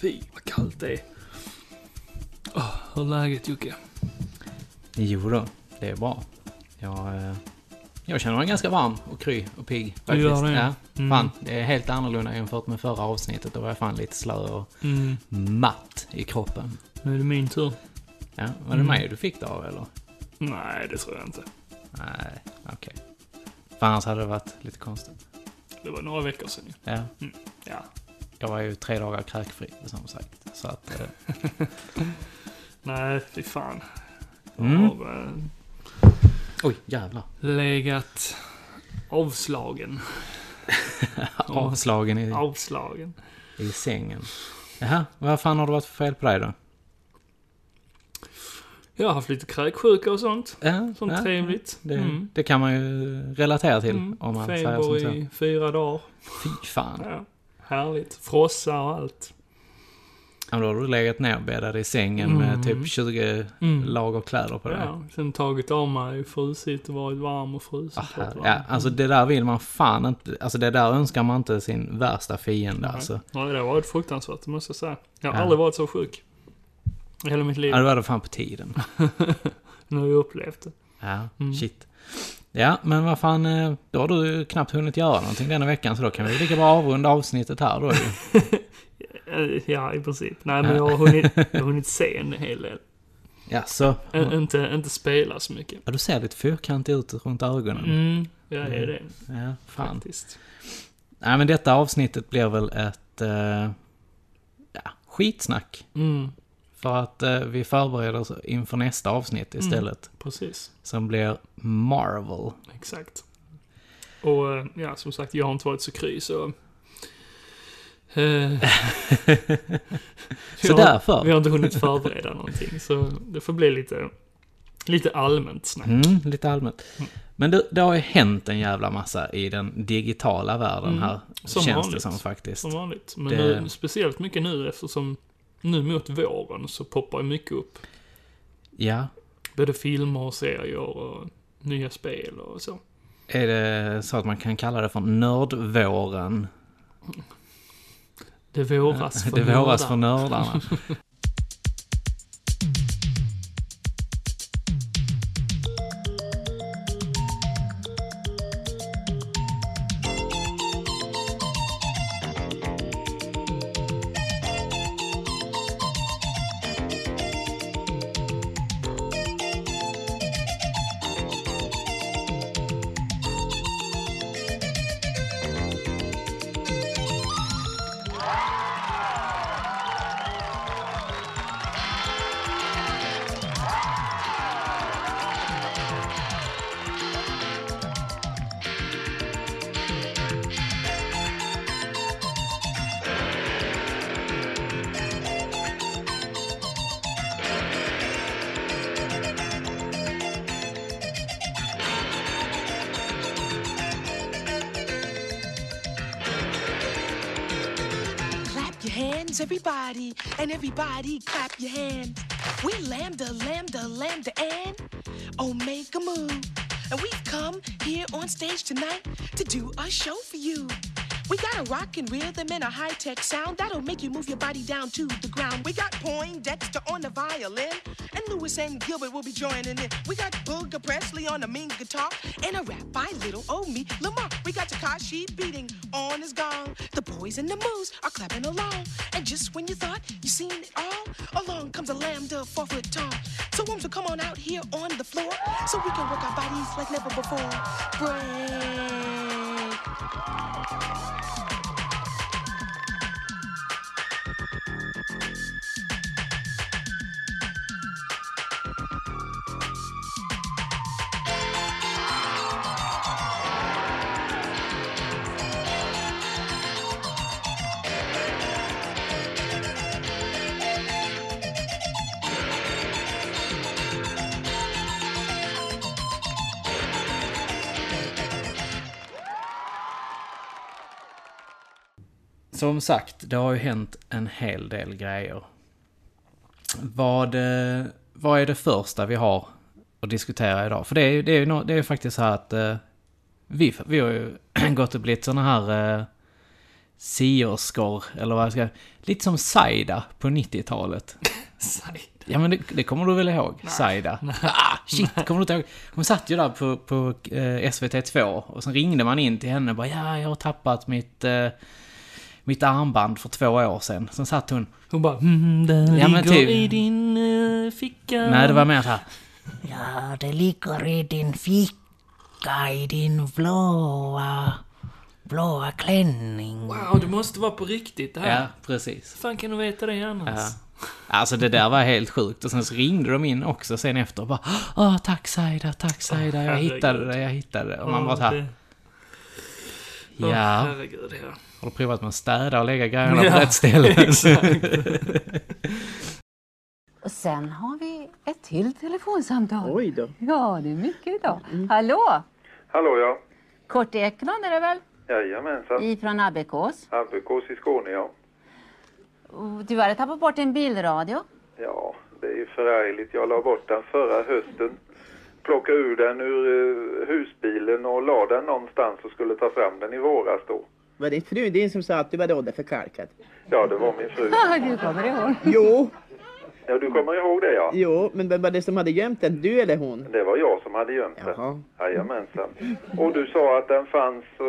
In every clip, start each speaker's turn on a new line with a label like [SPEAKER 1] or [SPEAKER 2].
[SPEAKER 1] Fy, vad kallt det är. Oh, hur är läget Jocke?
[SPEAKER 2] Jo då, det är bra. Jag, eh, jag känner mig ganska varm och kry och pigg
[SPEAKER 1] Du
[SPEAKER 2] faktiskt.
[SPEAKER 1] gör det?
[SPEAKER 2] Ja,
[SPEAKER 1] Mm.
[SPEAKER 2] fan, det är helt annorlunda jämfört med förra avsnittet. Då var jag fan lite slö och
[SPEAKER 1] Mm,
[SPEAKER 2] matt i kroppen.
[SPEAKER 1] nu är det min tur.
[SPEAKER 2] Ja, var det
[SPEAKER 1] Mm.
[SPEAKER 2] mig du fick det av eller?
[SPEAKER 1] Nej, det tror jag inte.
[SPEAKER 2] Nej, okej. För annars hade det varit lite konstigt.
[SPEAKER 1] Det var några veckor sedan ju.
[SPEAKER 2] Ja,
[SPEAKER 1] Mm, Ja.
[SPEAKER 2] jag var ju tre dagar kräkfri som sagt. Så att, eh,
[SPEAKER 1] Nej, fy fan. Jag
[SPEAKER 2] Mm.
[SPEAKER 1] har eh,
[SPEAKER 2] oj jävlar.
[SPEAKER 1] legat avslagen.
[SPEAKER 2] Avslagen i,
[SPEAKER 1] Avslagen.
[SPEAKER 2] i sängen. Jaha, vad fan har det varit för fel på dig då?
[SPEAKER 1] Jag har haft lite kräksjuka och sånt.
[SPEAKER 2] Ja,
[SPEAKER 1] Sånt
[SPEAKER 2] ja.
[SPEAKER 1] trevligt.
[SPEAKER 2] Det,
[SPEAKER 1] Mm.
[SPEAKER 2] det kan man ju relatera till
[SPEAKER 1] Mm.
[SPEAKER 2] om man säger som
[SPEAKER 1] Feber
[SPEAKER 2] så.
[SPEAKER 1] i fyra dagar.
[SPEAKER 2] Fy fan. Ja.
[SPEAKER 1] Ja. Härligt. Frossa och allt.
[SPEAKER 2] men Då har du legat nerbäddad i sängen
[SPEAKER 1] Mm.
[SPEAKER 2] med typ 20
[SPEAKER 1] Mm.
[SPEAKER 2] lager kläder på dig. Ja.
[SPEAKER 1] Ja, sen tagit av mig, frusit och varit varm och frusen.
[SPEAKER 2] Ah, ja, alltså
[SPEAKER 1] mm.
[SPEAKER 2] det där vill man fan inte, alltså det där önskar man inte sin värsta fiende alltså.
[SPEAKER 1] Nej, det har varit fruktansvärt, det måste jag säga. Jag har
[SPEAKER 2] Ja.
[SPEAKER 1] aldrig varit så sjuk. I hela mitt liv.
[SPEAKER 2] Ja, det var det fan på tiden.
[SPEAKER 1] Nu har jag upplevt det.
[SPEAKER 2] Ja,
[SPEAKER 1] Mm.
[SPEAKER 2] shit. Ja, men vad fan, eh, då har du ju knappt hunnit göra någonting denna veckan så då kan vi lika bra avrunda avsnittet här då ju.
[SPEAKER 1] Eh, Ja, i princip. Nej, men jag har hunnit, jag har hunnit se en hel del.
[SPEAKER 2] Ja, så.
[SPEAKER 1] Ä- inte, inte spela så mycket.
[SPEAKER 2] Ja, du ser lite fyrkantig ut runt ögonen.
[SPEAKER 1] Mm, jag är det.
[SPEAKER 2] Ja, fan.
[SPEAKER 1] Faktiskt.
[SPEAKER 2] Nej, men detta avsnittet blir väl ett eh, ja, skitsnack.
[SPEAKER 1] Mm,
[SPEAKER 2] För att eh, vi förbereder oss inför nästa avsnitt
[SPEAKER 1] Mm.
[SPEAKER 2] istället.
[SPEAKER 1] precis.
[SPEAKER 2] Som blir Marvel.
[SPEAKER 1] Exakt. Och eh, ja, som sagt, jag har inte varit så kry så... Eh,
[SPEAKER 2] Så
[SPEAKER 1] vi har-
[SPEAKER 2] därför.
[SPEAKER 1] Vi har inte hunnit förbereda någonting, så det får bli lite, lite allmänt snack.
[SPEAKER 2] Mm, lite allmänt. Men det, det har ju hänt en jävla massa i den digitala världen här.
[SPEAKER 1] Mm. Som
[SPEAKER 2] känns det
[SPEAKER 1] vanligt.
[SPEAKER 2] som faktiskt.
[SPEAKER 1] Som vanligt. Men
[SPEAKER 2] Det-
[SPEAKER 1] nu, speciellt mycket nu eftersom nu mot våren så poppar ju mycket upp.
[SPEAKER 2] Ja.
[SPEAKER 1] Både filmer och serier och nya spel och så.
[SPEAKER 2] Är det så att man kan kalla det för nördvåren?
[SPEAKER 1] Det våras för
[SPEAKER 2] det våras
[SPEAKER 1] nördar.
[SPEAKER 2] för nördarna.
[SPEAKER 3] Clap your hands, everybody, and everybody clap your hands. We lambda, lambda, lambda, and oh, omega mu. And we've come here on stage tonight to do a show for you. We got a rockin' rhythm and a high-tech sound that'll make you move your body down to the ground. We got Poindexter on the violin, and Lewis and Gilbert will be joining in. We got Booger Presley on the mean guitar, and a rap by little old me, Lamar. We got Takashi beating on his gong. The boys and the moves are clapping along. And just when you thought you seen it all, along comes a lambda four foot tall. So won't you come on out here on the floor so we can work our bodies like never before? Break.
[SPEAKER 2] Som sagt, det har ju hänt en hel del grejer. Vad, eh, vad är det första vi har att diskutera idag? För det är ju det är ju nå- det är ju faktiskt så här att eh, Vi, vi har ju gått och blivit såna här eh, sierskor, eller vad jag ska... Lite som Saida på 90-talet.
[SPEAKER 1] Sajt.
[SPEAKER 2] Ja men det, det kommer du väl ihåg? Saida. Ah, shit, kommer du inte ihåg? Hon satt ju där på, på eh, SVT2 och sen ringde man in till henne och bara ja, jag har tappat mitt, eh, mitt armband för två år sedan. Sen satt hon...
[SPEAKER 1] Hon bara mm, den
[SPEAKER 2] Ja, men
[SPEAKER 1] ligger
[SPEAKER 2] typ.
[SPEAKER 1] i din eh, ficka.
[SPEAKER 2] Nej, det var mer så här.
[SPEAKER 4] Ja, det ligger i din ficka, i din blåa, blåa klänning.
[SPEAKER 1] Wow, det måste vara på riktigt det här.
[SPEAKER 2] Ja, precis.
[SPEAKER 1] Hur fan kan du veta det annars?
[SPEAKER 2] Ja. Alltså det där var helt sjukt och sen så ringde de in också sen efter och bara Åh, tack Saida, tack Saida, jag
[SPEAKER 1] herregud.
[SPEAKER 2] hittade det, jag hittade det. Och man
[SPEAKER 1] Ja,
[SPEAKER 2] bara såhär,
[SPEAKER 1] det- Åh,
[SPEAKER 2] ja.
[SPEAKER 1] herregud, ja.
[SPEAKER 2] Har du provat med att städa och lägga grejerna
[SPEAKER 1] Ja,
[SPEAKER 2] på rätt ställe?
[SPEAKER 5] Och sen har vi ett till telefonsamtal.
[SPEAKER 6] Oj då. Mm.
[SPEAKER 5] Ja, det är mycket idag. Hallå!
[SPEAKER 7] Hallå ja.
[SPEAKER 5] Kurt Eklund är det väl?
[SPEAKER 7] Jajamensan.
[SPEAKER 5] Ifrån Abbekås.
[SPEAKER 7] Abbekås i Skåne ja.
[SPEAKER 5] Och Du hade tappat bort en bilradio.
[SPEAKER 7] Ja, det är ju förargligt. Jag la bort den förra hösten. Plockade ur den ur eh, husbilen och la den någonstans och skulle ta fram den i våras då.
[SPEAKER 6] Var det fru din som sa att du var rådda för kalkat?
[SPEAKER 7] Ja, det var min fru.
[SPEAKER 5] Ja, du kommer ihåg.
[SPEAKER 6] Jo,
[SPEAKER 7] Ja, du kommer ihåg det ja.
[SPEAKER 6] jo, men vem var det som hade gömt den? Du eller hon?
[SPEAKER 7] Det var jag som hade gömt
[SPEAKER 6] Jaha.
[SPEAKER 7] den. Jajamensan. Och du sa att den fanns eh,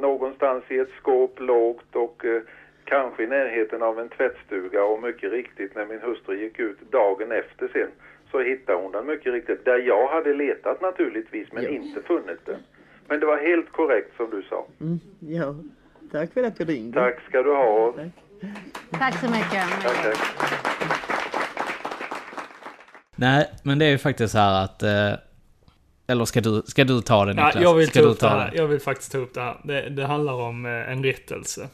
[SPEAKER 7] någonstans i ett skåp lågt och eh, kanske i närheten av en tvättstuga och mycket riktigt när min hustru gick ut dagen efter sen så hittade hon den mycket riktigt där jag hade letat naturligtvis men inte funnit den. Men det var helt korrekt som du sa.
[SPEAKER 6] Ja, tack för att du ringde.
[SPEAKER 7] Tack ska du ha.
[SPEAKER 5] Tack så mycket.
[SPEAKER 7] Tack, tack.
[SPEAKER 2] Nej, men det är ju faktiskt så här att... Eh, eller ska du, ska du ta den
[SPEAKER 1] Ja,
[SPEAKER 2] Niklas?
[SPEAKER 1] jag vill
[SPEAKER 2] ska
[SPEAKER 1] ta
[SPEAKER 2] du
[SPEAKER 1] upp det här. Jag vill faktiskt ta upp det här. Det, det handlar om eh, en rättelse.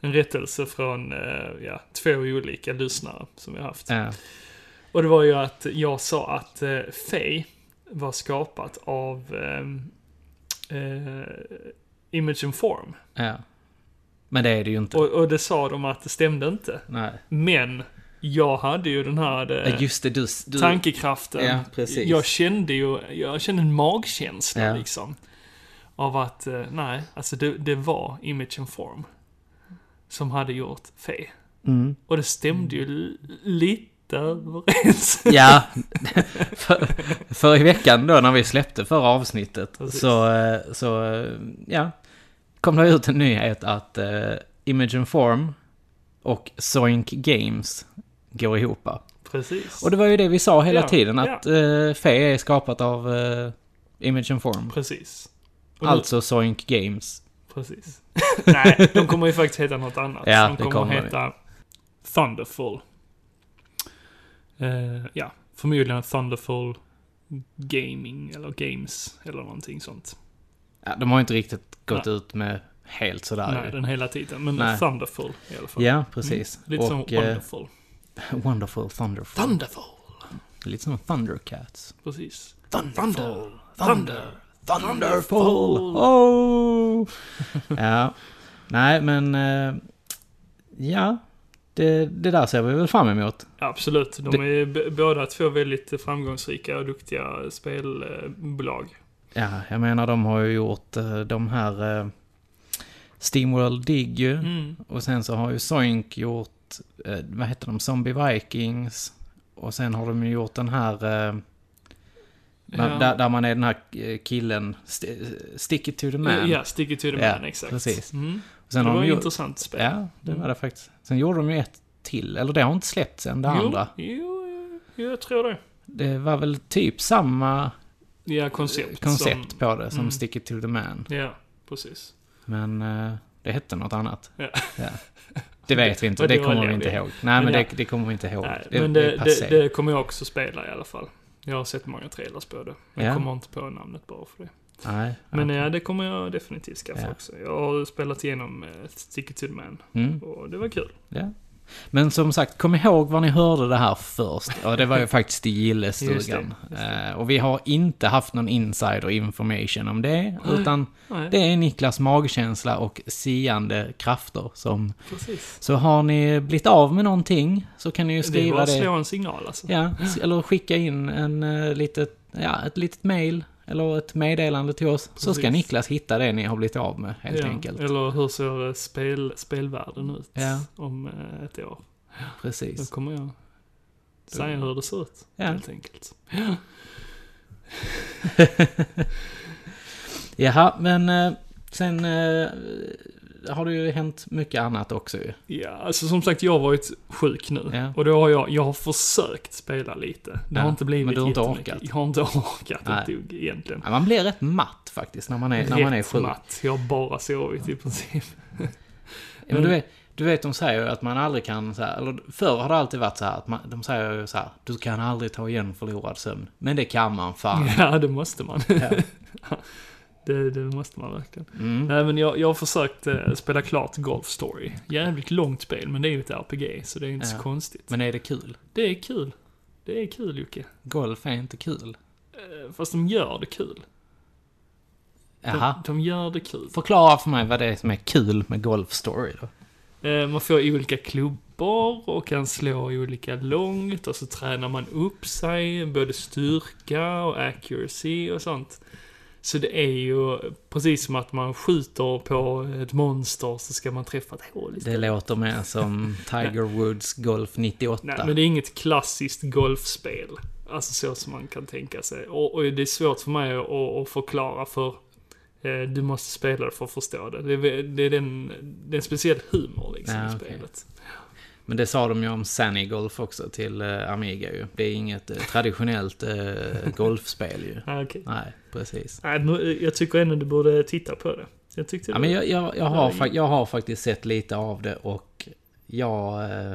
[SPEAKER 1] En rättelse från eh, ja, två olika lyssnare som vi har haft.
[SPEAKER 2] Ja.
[SPEAKER 1] Och det var ju att jag sa att eh, Faye var skapat av eh, eh, Image and Form.
[SPEAKER 2] ja. Men det är det ju inte.
[SPEAKER 1] Och, och det sa de att det stämde inte.
[SPEAKER 2] Nej.
[SPEAKER 1] Men jag hade ju den här eh,
[SPEAKER 2] Ja, just det, du... du
[SPEAKER 1] tankekraften.
[SPEAKER 2] Ja, precis.
[SPEAKER 1] Jag kände ju, jag kände en magkänsla
[SPEAKER 2] Ja.
[SPEAKER 1] liksom. Av att, eh, nej, alltså det, det var Image and Form. Som hade gjort Fe.
[SPEAKER 2] Mm.
[SPEAKER 1] Och det stämde ju l- lite överens.
[SPEAKER 2] Ja, för, för i veckan då när vi släppte förra avsnittet så, eh, så, eh, ja, kom det ut en nyhet att eh, Image and Form och Zoink Games går ihop.
[SPEAKER 1] Precis.
[SPEAKER 2] Och det var ju det vi sa hela
[SPEAKER 1] Ja,
[SPEAKER 2] tiden,
[SPEAKER 1] ja.
[SPEAKER 2] att eh, Fe är skapat av eh, Image and Form.
[SPEAKER 1] Precis. Och nu-
[SPEAKER 2] Alltså Zoink Games.
[SPEAKER 1] Precis. Nej, de kommer ju faktiskt heta något annat.
[SPEAKER 2] Ja,
[SPEAKER 1] de
[SPEAKER 2] det
[SPEAKER 1] kommer,
[SPEAKER 2] kommer de.
[SPEAKER 1] heta Thunderful. Eh, ja, förmodligen Thunderful Gaming eller Games eller någonting sånt.
[SPEAKER 2] Ja, de har ju inte riktigt gått
[SPEAKER 1] Nej.
[SPEAKER 2] ut med helt sådär.
[SPEAKER 1] Nej, den hela titeln. Men
[SPEAKER 2] Nej.
[SPEAKER 1] Thunderful i alla fall.
[SPEAKER 2] Ja, precis.
[SPEAKER 1] Lite som
[SPEAKER 2] och, eh,
[SPEAKER 1] Wonderful.
[SPEAKER 2] Wonderful Thunderful.
[SPEAKER 1] Thunderful!
[SPEAKER 2] Lite som Thundercats.
[SPEAKER 1] Precis.
[SPEAKER 2] Thunderful.
[SPEAKER 1] Thunder!
[SPEAKER 2] Thunderful! Oh! ja. Nej, men... eh, Ja. Det, det där ser vi väl fram emot.
[SPEAKER 1] Ja, absolut. De
[SPEAKER 2] Det-
[SPEAKER 1] är b- båda två väldigt framgångsrika och duktiga spelbolag.
[SPEAKER 2] Ja, jag menar de har ju gjort eh, de här... eh, Steamworld Dig ju.
[SPEAKER 1] Mm.
[SPEAKER 2] Och sen så har ju Soink gjort... eh, Vad heter de? Zombie Vikings. Och sen har de ju gjort den här... eh,
[SPEAKER 1] Ja.
[SPEAKER 2] Där, där man är den här eh, killen, st- eh, Stick it to the man.
[SPEAKER 1] Ja, Stick it to the
[SPEAKER 2] Ja,
[SPEAKER 1] man, exakt.
[SPEAKER 2] precis.
[SPEAKER 1] Mm.
[SPEAKER 2] Sen
[SPEAKER 1] det
[SPEAKER 2] har
[SPEAKER 1] var
[SPEAKER 2] de
[SPEAKER 1] ett
[SPEAKER 2] gjort,
[SPEAKER 1] intressant Mm. spel.
[SPEAKER 2] Ja, det var det faktiskt. Sen gjorde de ju ett till, eller det har inte släppts än det andra.
[SPEAKER 1] Jo, jo, jo, jag tror det.
[SPEAKER 2] Det var väl typ samma
[SPEAKER 1] Ja, koncept.
[SPEAKER 2] koncept
[SPEAKER 1] Som,
[SPEAKER 2] på det som Stick It To The Man.
[SPEAKER 1] ja, precis.
[SPEAKER 2] Men eh, det hette något annat.
[SPEAKER 1] Ja.
[SPEAKER 2] Det vet vi inte,
[SPEAKER 1] Vad
[SPEAKER 2] det
[SPEAKER 1] det
[SPEAKER 2] kommer
[SPEAKER 1] var
[SPEAKER 2] vi
[SPEAKER 1] det
[SPEAKER 2] inte
[SPEAKER 1] vi-
[SPEAKER 2] ihåg. Nej, men
[SPEAKER 1] Men ja.
[SPEAKER 2] det, det kommer vi inte ihåg.
[SPEAKER 1] Nej,
[SPEAKER 2] det,
[SPEAKER 1] men
[SPEAKER 2] det
[SPEAKER 1] det,
[SPEAKER 2] är passé.
[SPEAKER 1] det, det kommer jag också spela i alla fall. Jag har sett många trailers på det. Men
[SPEAKER 2] Ja.
[SPEAKER 1] jag kommer inte på namnet bara för det.
[SPEAKER 2] Nej,
[SPEAKER 1] Men
[SPEAKER 2] ja.
[SPEAKER 1] ja, det kommer jag definitivt skaffa
[SPEAKER 2] Ja.
[SPEAKER 1] också. Jag har spelat igenom eh, Stick it to the man.
[SPEAKER 2] Mm,
[SPEAKER 1] Och det var kul.
[SPEAKER 2] ja. Men som sagt, kom ihåg var ni hörde det här först. Och det var ju faktiskt i gillestugan.
[SPEAKER 1] Just det, just
[SPEAKER 2] Eh, och vi har inte haft någon insider information om det, utan
[SPEAKER 1] Nej,
[SPEAKER 2] det är Niklas magkänsla och siande krafter som
[SPEAKER 1] precis.
[SPEAKER 2] Så har ni blivit av med någonting så kan ni ju
[SPEAKER 1] Det är bara
[SPEAKER 2] skriva
[SPEAKER 1] att
[SPEAKER 2] det.
[SPEAKER 1] slå en signal alltså.
[SPEAKER 2] Ja, s- eller skicka in en eh, litet, ja, ett litet mail eller ett meddelande till oss, så ska
[SPEAKER 1] Precis.
[SPEAKER 2] Niklas hitta det ni har blivit av med, helt
[SPEAKER 1] ja.
[SPEAKER 2] enkelt.
[SPEAKER 1] Eller hur ser eh, spel, spelvärlden ut
[SPEAKER 2] Ja.
[SPEAKER 1] om eh, ett år? Då
[SPEAKER 2] Precis.
[SPEAKER 1] kommer jag säga hur det ser ut,
[SPEAKER 2] Ja.
[SPEAKER 1] helt enkelt. Ja.
[SPEAKER 2] Jaha, men eh, sen eh, har det ju hänt mycket annat också ju.
[SPEAKER 1] Ja, alltså som sagt, jag har varit sjuk nu.
[SPEAKER 2] Ja.
[SPEAKER 1] Och då har jag, jag har försökt spela lite. Det har
[SPEAKER 2] Ja,
[SPEAKER 1] inte blivit
[SPEAKER 2] men du har inte
[SPEAKER 1] jättemycket.
[SPEAKER 2] orkat.
[SPEAKER 1] Jag har inte orkat
[SPEAKER 2] Nej.
[SPEAKER 1] ett dugg egentligen.
[SPEAKER 2] Ja, Man blir rätt matt faktiskt när man är, när man är sjuk.
[SPEAKER 1] matt. Jag har bara sovit i princip.
[SPEAKER 2] Ja,
[SPEAKER 1] Mm.
[SPEAKER 2] men du, vet, du vet, de säger ju att man aldrig kan... Så här, eller förr har det alltid varit så här att man, de säger ju så här, du kan aldrig ta igen förlorad sömn. Men det kan man fan.
[SPEAKER 1] Ja, det måste man. det, det måste man verkligen.
[SPEAKER 2] Mm.
[SPEAKER 1] Nej, men jag, jag har försökt eh, spela klart Golf Story. Jävligt långt spel, men det är ju ett RPG, så det är inte så
[SPEAKER 2] Ja.
[SPEAKER 1] konstigt.
[SPEAKER 2] Men är det kul?
[SPEAKER 1] Det är kul. Det är kul, Jocke.
[SPEAKER 2] Golf är inte kul.
[SPEAKER 1] Eh, Fast de gör det kul. De,
[SPEAKER 2] Jaha.
[SPEAKER 1] de gör det kul.
[SPEAKER 2] Förklara för mig vad det är som är kul med Golf Story då.
[SPEAKER 1] Eh, Man får olika klubbor och kan slå olika långt och så tränar man upp sig, både styrka och accuracy och sånt. Så det är ju precis som att man skjuter på ett monster så ska man träffa ett hål
[SPEAKER 2] Det
[SPEAKER 1] istället.
[SPEAKER 2] låter mer som Tiger Woods Golf 98.
[SPEAKER 1] Nej, men det är inget klassiskt golfspel. Alltså så som man kan tänka sig. Och, och det är svårt för mig att, att förklara för eh, du måste spela det för att förstå det. Det är, det är, den, det är en speciell humor liksom
[SPEAKER 2] Ja,
[SPEAKER 1] i
[SPEAKER 2] okej.
[SPEAKER 1] spelet.
[SPEAKER 2] Men det sa de ju om Sunny Golf också till eh, Amiga ju. Det är inget eh, traditionellt eh, golfspel ju.
[SPEAKER 1] Ah, okej.
[SPEAKER 2] Nej, precis.
[SPEAKER 1] Nej, men jag tycker ändå du borde titta på det. Jag tyckte
[SPEAKER 2] Ja,
[SPEAKER 1] det
[SPEAKER 2] men
[SPEAKER 1] var-
[SPEAKER 2] jag, jag, jag, har, fa- jag har faktiskt sett lite av det och jag... eh,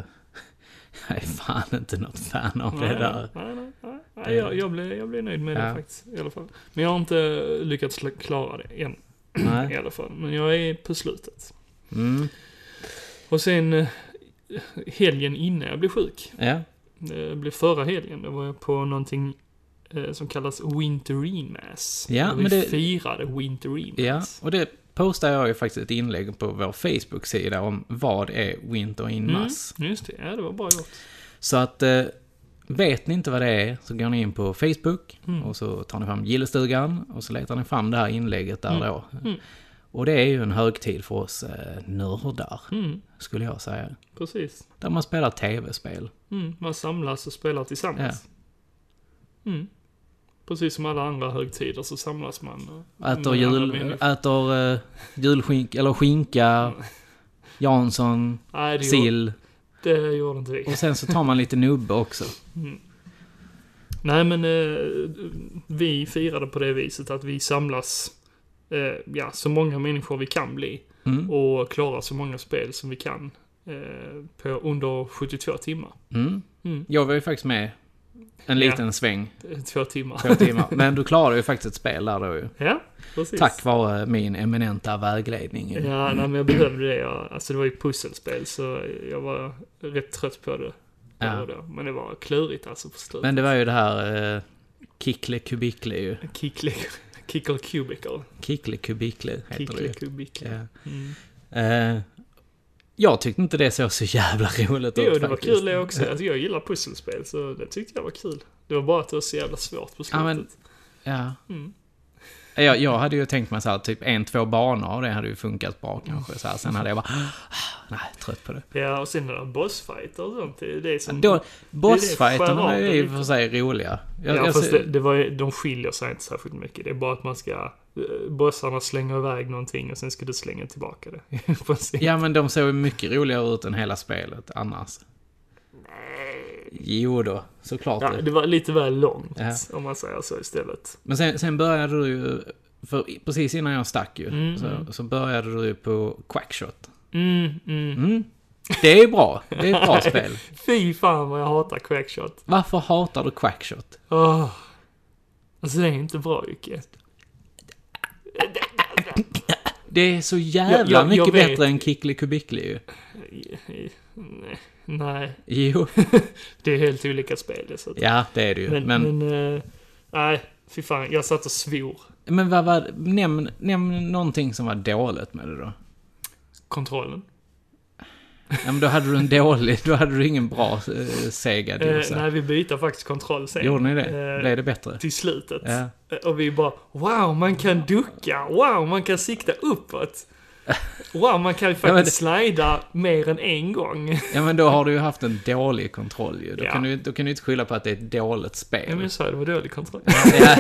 [SPEAKER 2] Jag är fan inte något fan av det
[SPEAKER 1] nej,
[SPEAKER 2] där.
[SPEAKER 1] Nej, nej, nej, nej. Jag, jag, blev, jag blev nöjd med
[SPEAKER 2] Ja.
[SPEAKER 1] det faktiskt. I alla fall. Men jag har inte lyckats sl- klara det än. I
[SPEAKER 2] Nej.
[SPEAKER 1] alla fall. Men jag är på slutet.
[SPEAKER 2] Mm.
[SPEAKER 1] Och sen eh, helgen innan jag blev sjuk.
[SPEAKER 2] Ja.
[SPEAKER 1] Det blev förra helgen. Då var jag på någonting eh, som kallas Winterine Mass.
[SPEAKER 2] Ja,
[SPEAKER 1] Där vi
[SPEAKER 2] men det-
[SPEAKER 1] firade Winterine
[SPEAKER 2] ja,
[SPEAKER 1] Mass.
[SPEAKER 2] och det postar jag ju faktiskt ett inlägg på vår Facebook-sida om vad är Winter in Mass.
[SPEAKER 1] Mm, just det, ja, det var bra gjort.
[SPEAKER 2] Så att eh, vet ni inte vad det är så går ni in på Facebook
[SPEAKER 1] Mm.
[SPEAKER 2] och så tar ni fram gillestugan och så letar ni fram det här inlägget där
[SPEAKER 1] Mm.
[SPEAKER 2] då. Och det är ju en högtid för oss eh, nördar,
[SPEAKER 1] Mm,
[SPEAKER 2] skulle jag säga.
[SPEAKER 1] precis.
[SPEAKER 2] Där man spelar tv-spel.
[SPEAKER 1] Mm, man samlas och spelar tillsammans. Mm. Precis som alla andra högtider så samlas man. och-
[SPEAKER 2] Äter,
[SPEAKER 1] med andra
[SPEAKER 2] jul,
[SPEAKER 1] människor.
[SPEAKER 2] äter eh, julskinka, eller skinka, Jansson,
[SPEAKER 1] Nej, det gjorde,
[SPEAKER 2] sill.
[SPEAKER 1] det gjorde inte vi.
[SPEAKER 2] Och sen så tar man lite nubbe också.
[SPEAKER 1] Nej, men eh, vi firade på det viset att vi samlas eh, ja, så många människor vi kan bli
[SPEAKER 2] Mm.
[SPEAKER 1] och klarar så många spel som vi kan eh, på under 72 timmar.
[SPEAKER 2] Mm.
[SPEAKER 1] Mm.
[SPEAKER 2] Jag var ju faktiskt med en
[SPEAKER 1] Ja.
[SPEAKER 2] liten sväng,
[SPEAKER 1] Eh, Två timmar.
[SPEAKER 2] två timmar. Men du klarade ju faktiskt ett spel där då ju.
[SPEAKER 1] Ja, precis.
[SPEAKER 2] Tack vare min eminenta vägledning. ju.
[SPEAKER 1] Ja, nej, men jag behövde det. Jag, alltså det var ju pusselspel så jag var rätt trött på det.
[SPEAKER 2] Ja.
[SPEAKER 1] Ja. Då. Men det var klurigt alltså på slutet.
[SPEAKER 2] Men det var ju det här eh, Kickle Kubikle ju.
[SPEAKER 1] Kickle, kickle cubicle.
[SPEAKER 2] Kickle Kubikle heter det
[SPEAKER 1] Kickle
[SPEAKER 2] ju.
[SPEAKER 1] cubicle.
[SPEAKER 2] Ja.
[SPEAKER 1] Mm.
[SPEAKER 2] Eh, jag tyckte inte det såg så jävla roligt
[SPEAKER 1] Jo,
[SPEAKER 2] ut
[SPEAKER 1] det var
[SPEAKER 2] faktiskt.
[SPEAKER 1] kul det också. Alltså, jag gillar pusselspel så det tyckte jag var kul. Det var bara att det var så jävla svårt på slutet.
[SPEAKER 2] Ja,
[SPEAKER 1] Ja,
[SPEAKER 2] men-
[SPEAKER 1] men...
[SPEAKER 2] Ja.
[SPEAKER 1] Mm.
[SPEAKER 2] Jag, jag hade ju tänkt mig så här, typ en, två banor och det hade ju funkat bra kanske. Så här, sen hade jag bara, "Ah, nej, trött på det.
[SPEAKER 1] ja och sen den där bossfighter och sånt. Det, det är som...
[SPEAKER 2] Då,
[SPEAKER 1] skär
[SPEAKER 2] bossfighterna
[SPEAKER 1] av
[SPEAKER 2] är
[SPEAKER 1] det
[SPEAKER 2] ju i och
[SPEAKER 1] lite.
[SPEAKER 2] för sig roliga.
[SPEAKER 1] ja,
[SPEAKER 2] Jag, jag,
[SPEAKER 1] fast
[SPEAKER 2] ser-
[SPEAKER 1] det, det var, ju- de skiljer sig inte särskilt mycket. Det är bara att man ska... eh, Bossarna slänger iväg någonting och sen ska du slänga tillbaka det. I princip.
[SPEAKER 2] ja, men de såg ju mycket roligare ut än hela spelet annars. Jo då, såklart
[SPEAKER 1] Ja,
[SPEAKER 2] det.
[SPEAKER 1] det var lite väl långt,
[SPEAKER 2] Ja.
[SPEAKER 1] om man säger så istället.
[SPEAKER 2] Men sen, sen började du ju, för i- precis innan jag stack ju,
[SPEAKER 1] Mm,
[SPEAKER 2] så, så började du ju på Quackshot.
[SPEAKER 1] Mm, mm.
[SPEAKER 2] Mm. Det är bra, det är ett bra spel.
[SPEAKER 1] Fy fan vad jag hatar Quackshot.
[SPEAKER 2] Varför hatar du Quackshot?
[SPEAKER 1] Åh. Alltså det är inte bra, Jocke.
[SPEAKER 2] Det är så jävla
[SPEAKER 1] Jag- jag- jag
[SPEAKER 2] mycket
[SPEAKER 1] vet.
[SPEAKER 2] bättre än Kickly Kubikly ju.
[SPEAKER 1] Nej,
[SPEAKER 2] Jo,
[SPEAKER 1] det är helt olika spel dessutom.
[SPEAKER 2] ja det är det ju.
[SPEAKER 1] Men,
[SPEAKER 2] Men,
[SPEAKER 1] men,
[SPEAKER 2] men,
[SPEAKER 1] eh, nej, fy fan. Jag satt och svor.
[SPEAKER 2] vad var, nämn, nämn någonting som var dåligt med det då.
[SPEAKER 1] Kontrollen.
[SPEAKER 2] Ja, men då hade du en dålig, då hade du ingen bra eh, Sega
[SPEAKER 1] Eh,
[SPEAKER 2] dosa.
[SPEAKER 1] nej, vi byter faktiskt kontroll sen.
[SPEAKER 2] Gjorde ni
[SPEAKER 1] Eh,
[SPEAKER 2] det? Blev det bättre?
[SPEAKER 1] Till slutet.
[SPEAKER 2] Ja.
[SPEAKER 1] Eh, Och vi bara, wow, man kan ducka, wow, man kan sikta uppåt. Wow, man kan ju
[SPEAKER 2] men
[SPEAKER 1] faktiskt slida mer än en gång.
[SPEAKER 2] Ja men då har du ju haft en dålig kontroll ju. Då,
[SPEAKER 1] Ja.
[SPEAKER 2] kan, du, då kan du inte skylla på att det är ett dåligt
[SPEAKER 1] Ja, men
[SPEAKER 2] spel.
[SPEAKER 1] jag sa det, det var dålig kontroll.
[SPEAKER 2] Ja,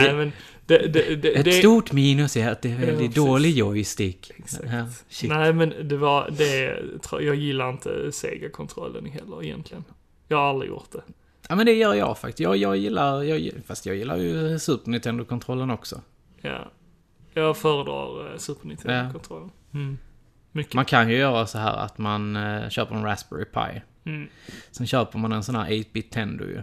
[SPEAKER 1] nej, men det... det, det,
[SPEAKER 2] ett
[SPEAKER 1] det
[SPEAKER 2] stort minus är att det är väldigt
[SPEAKER 1] precis.
[SPEAKER 2] dålig joystick.
[SPEAKER 1] Exakt.
[SPEAKER 2] Ja, shit.
[SPEAKER 1] Nej, men det var det... tror- Jag gillar inte Sega-kontrollen heller egentligen. Jag har aldrig gjort det.
[SPEAKER 2] Ja men det gör jag faktiskt. Jag, jag gillar, jag, gi- fast jag gillar ju Super Nintendo-kontrollen också.
[SPEAKER 1] Ja. Jag föredrar eh, Super Nintendo-kontrollen. Mm. Mycket.
[SPEAKER 2] Man kan ju göra så här att man eh, köper en Raspberry Pi.
[SPEAKER 1] Mm.
[SPEAKER 2] Sen köper man en sån här 8-bit Tendo ju.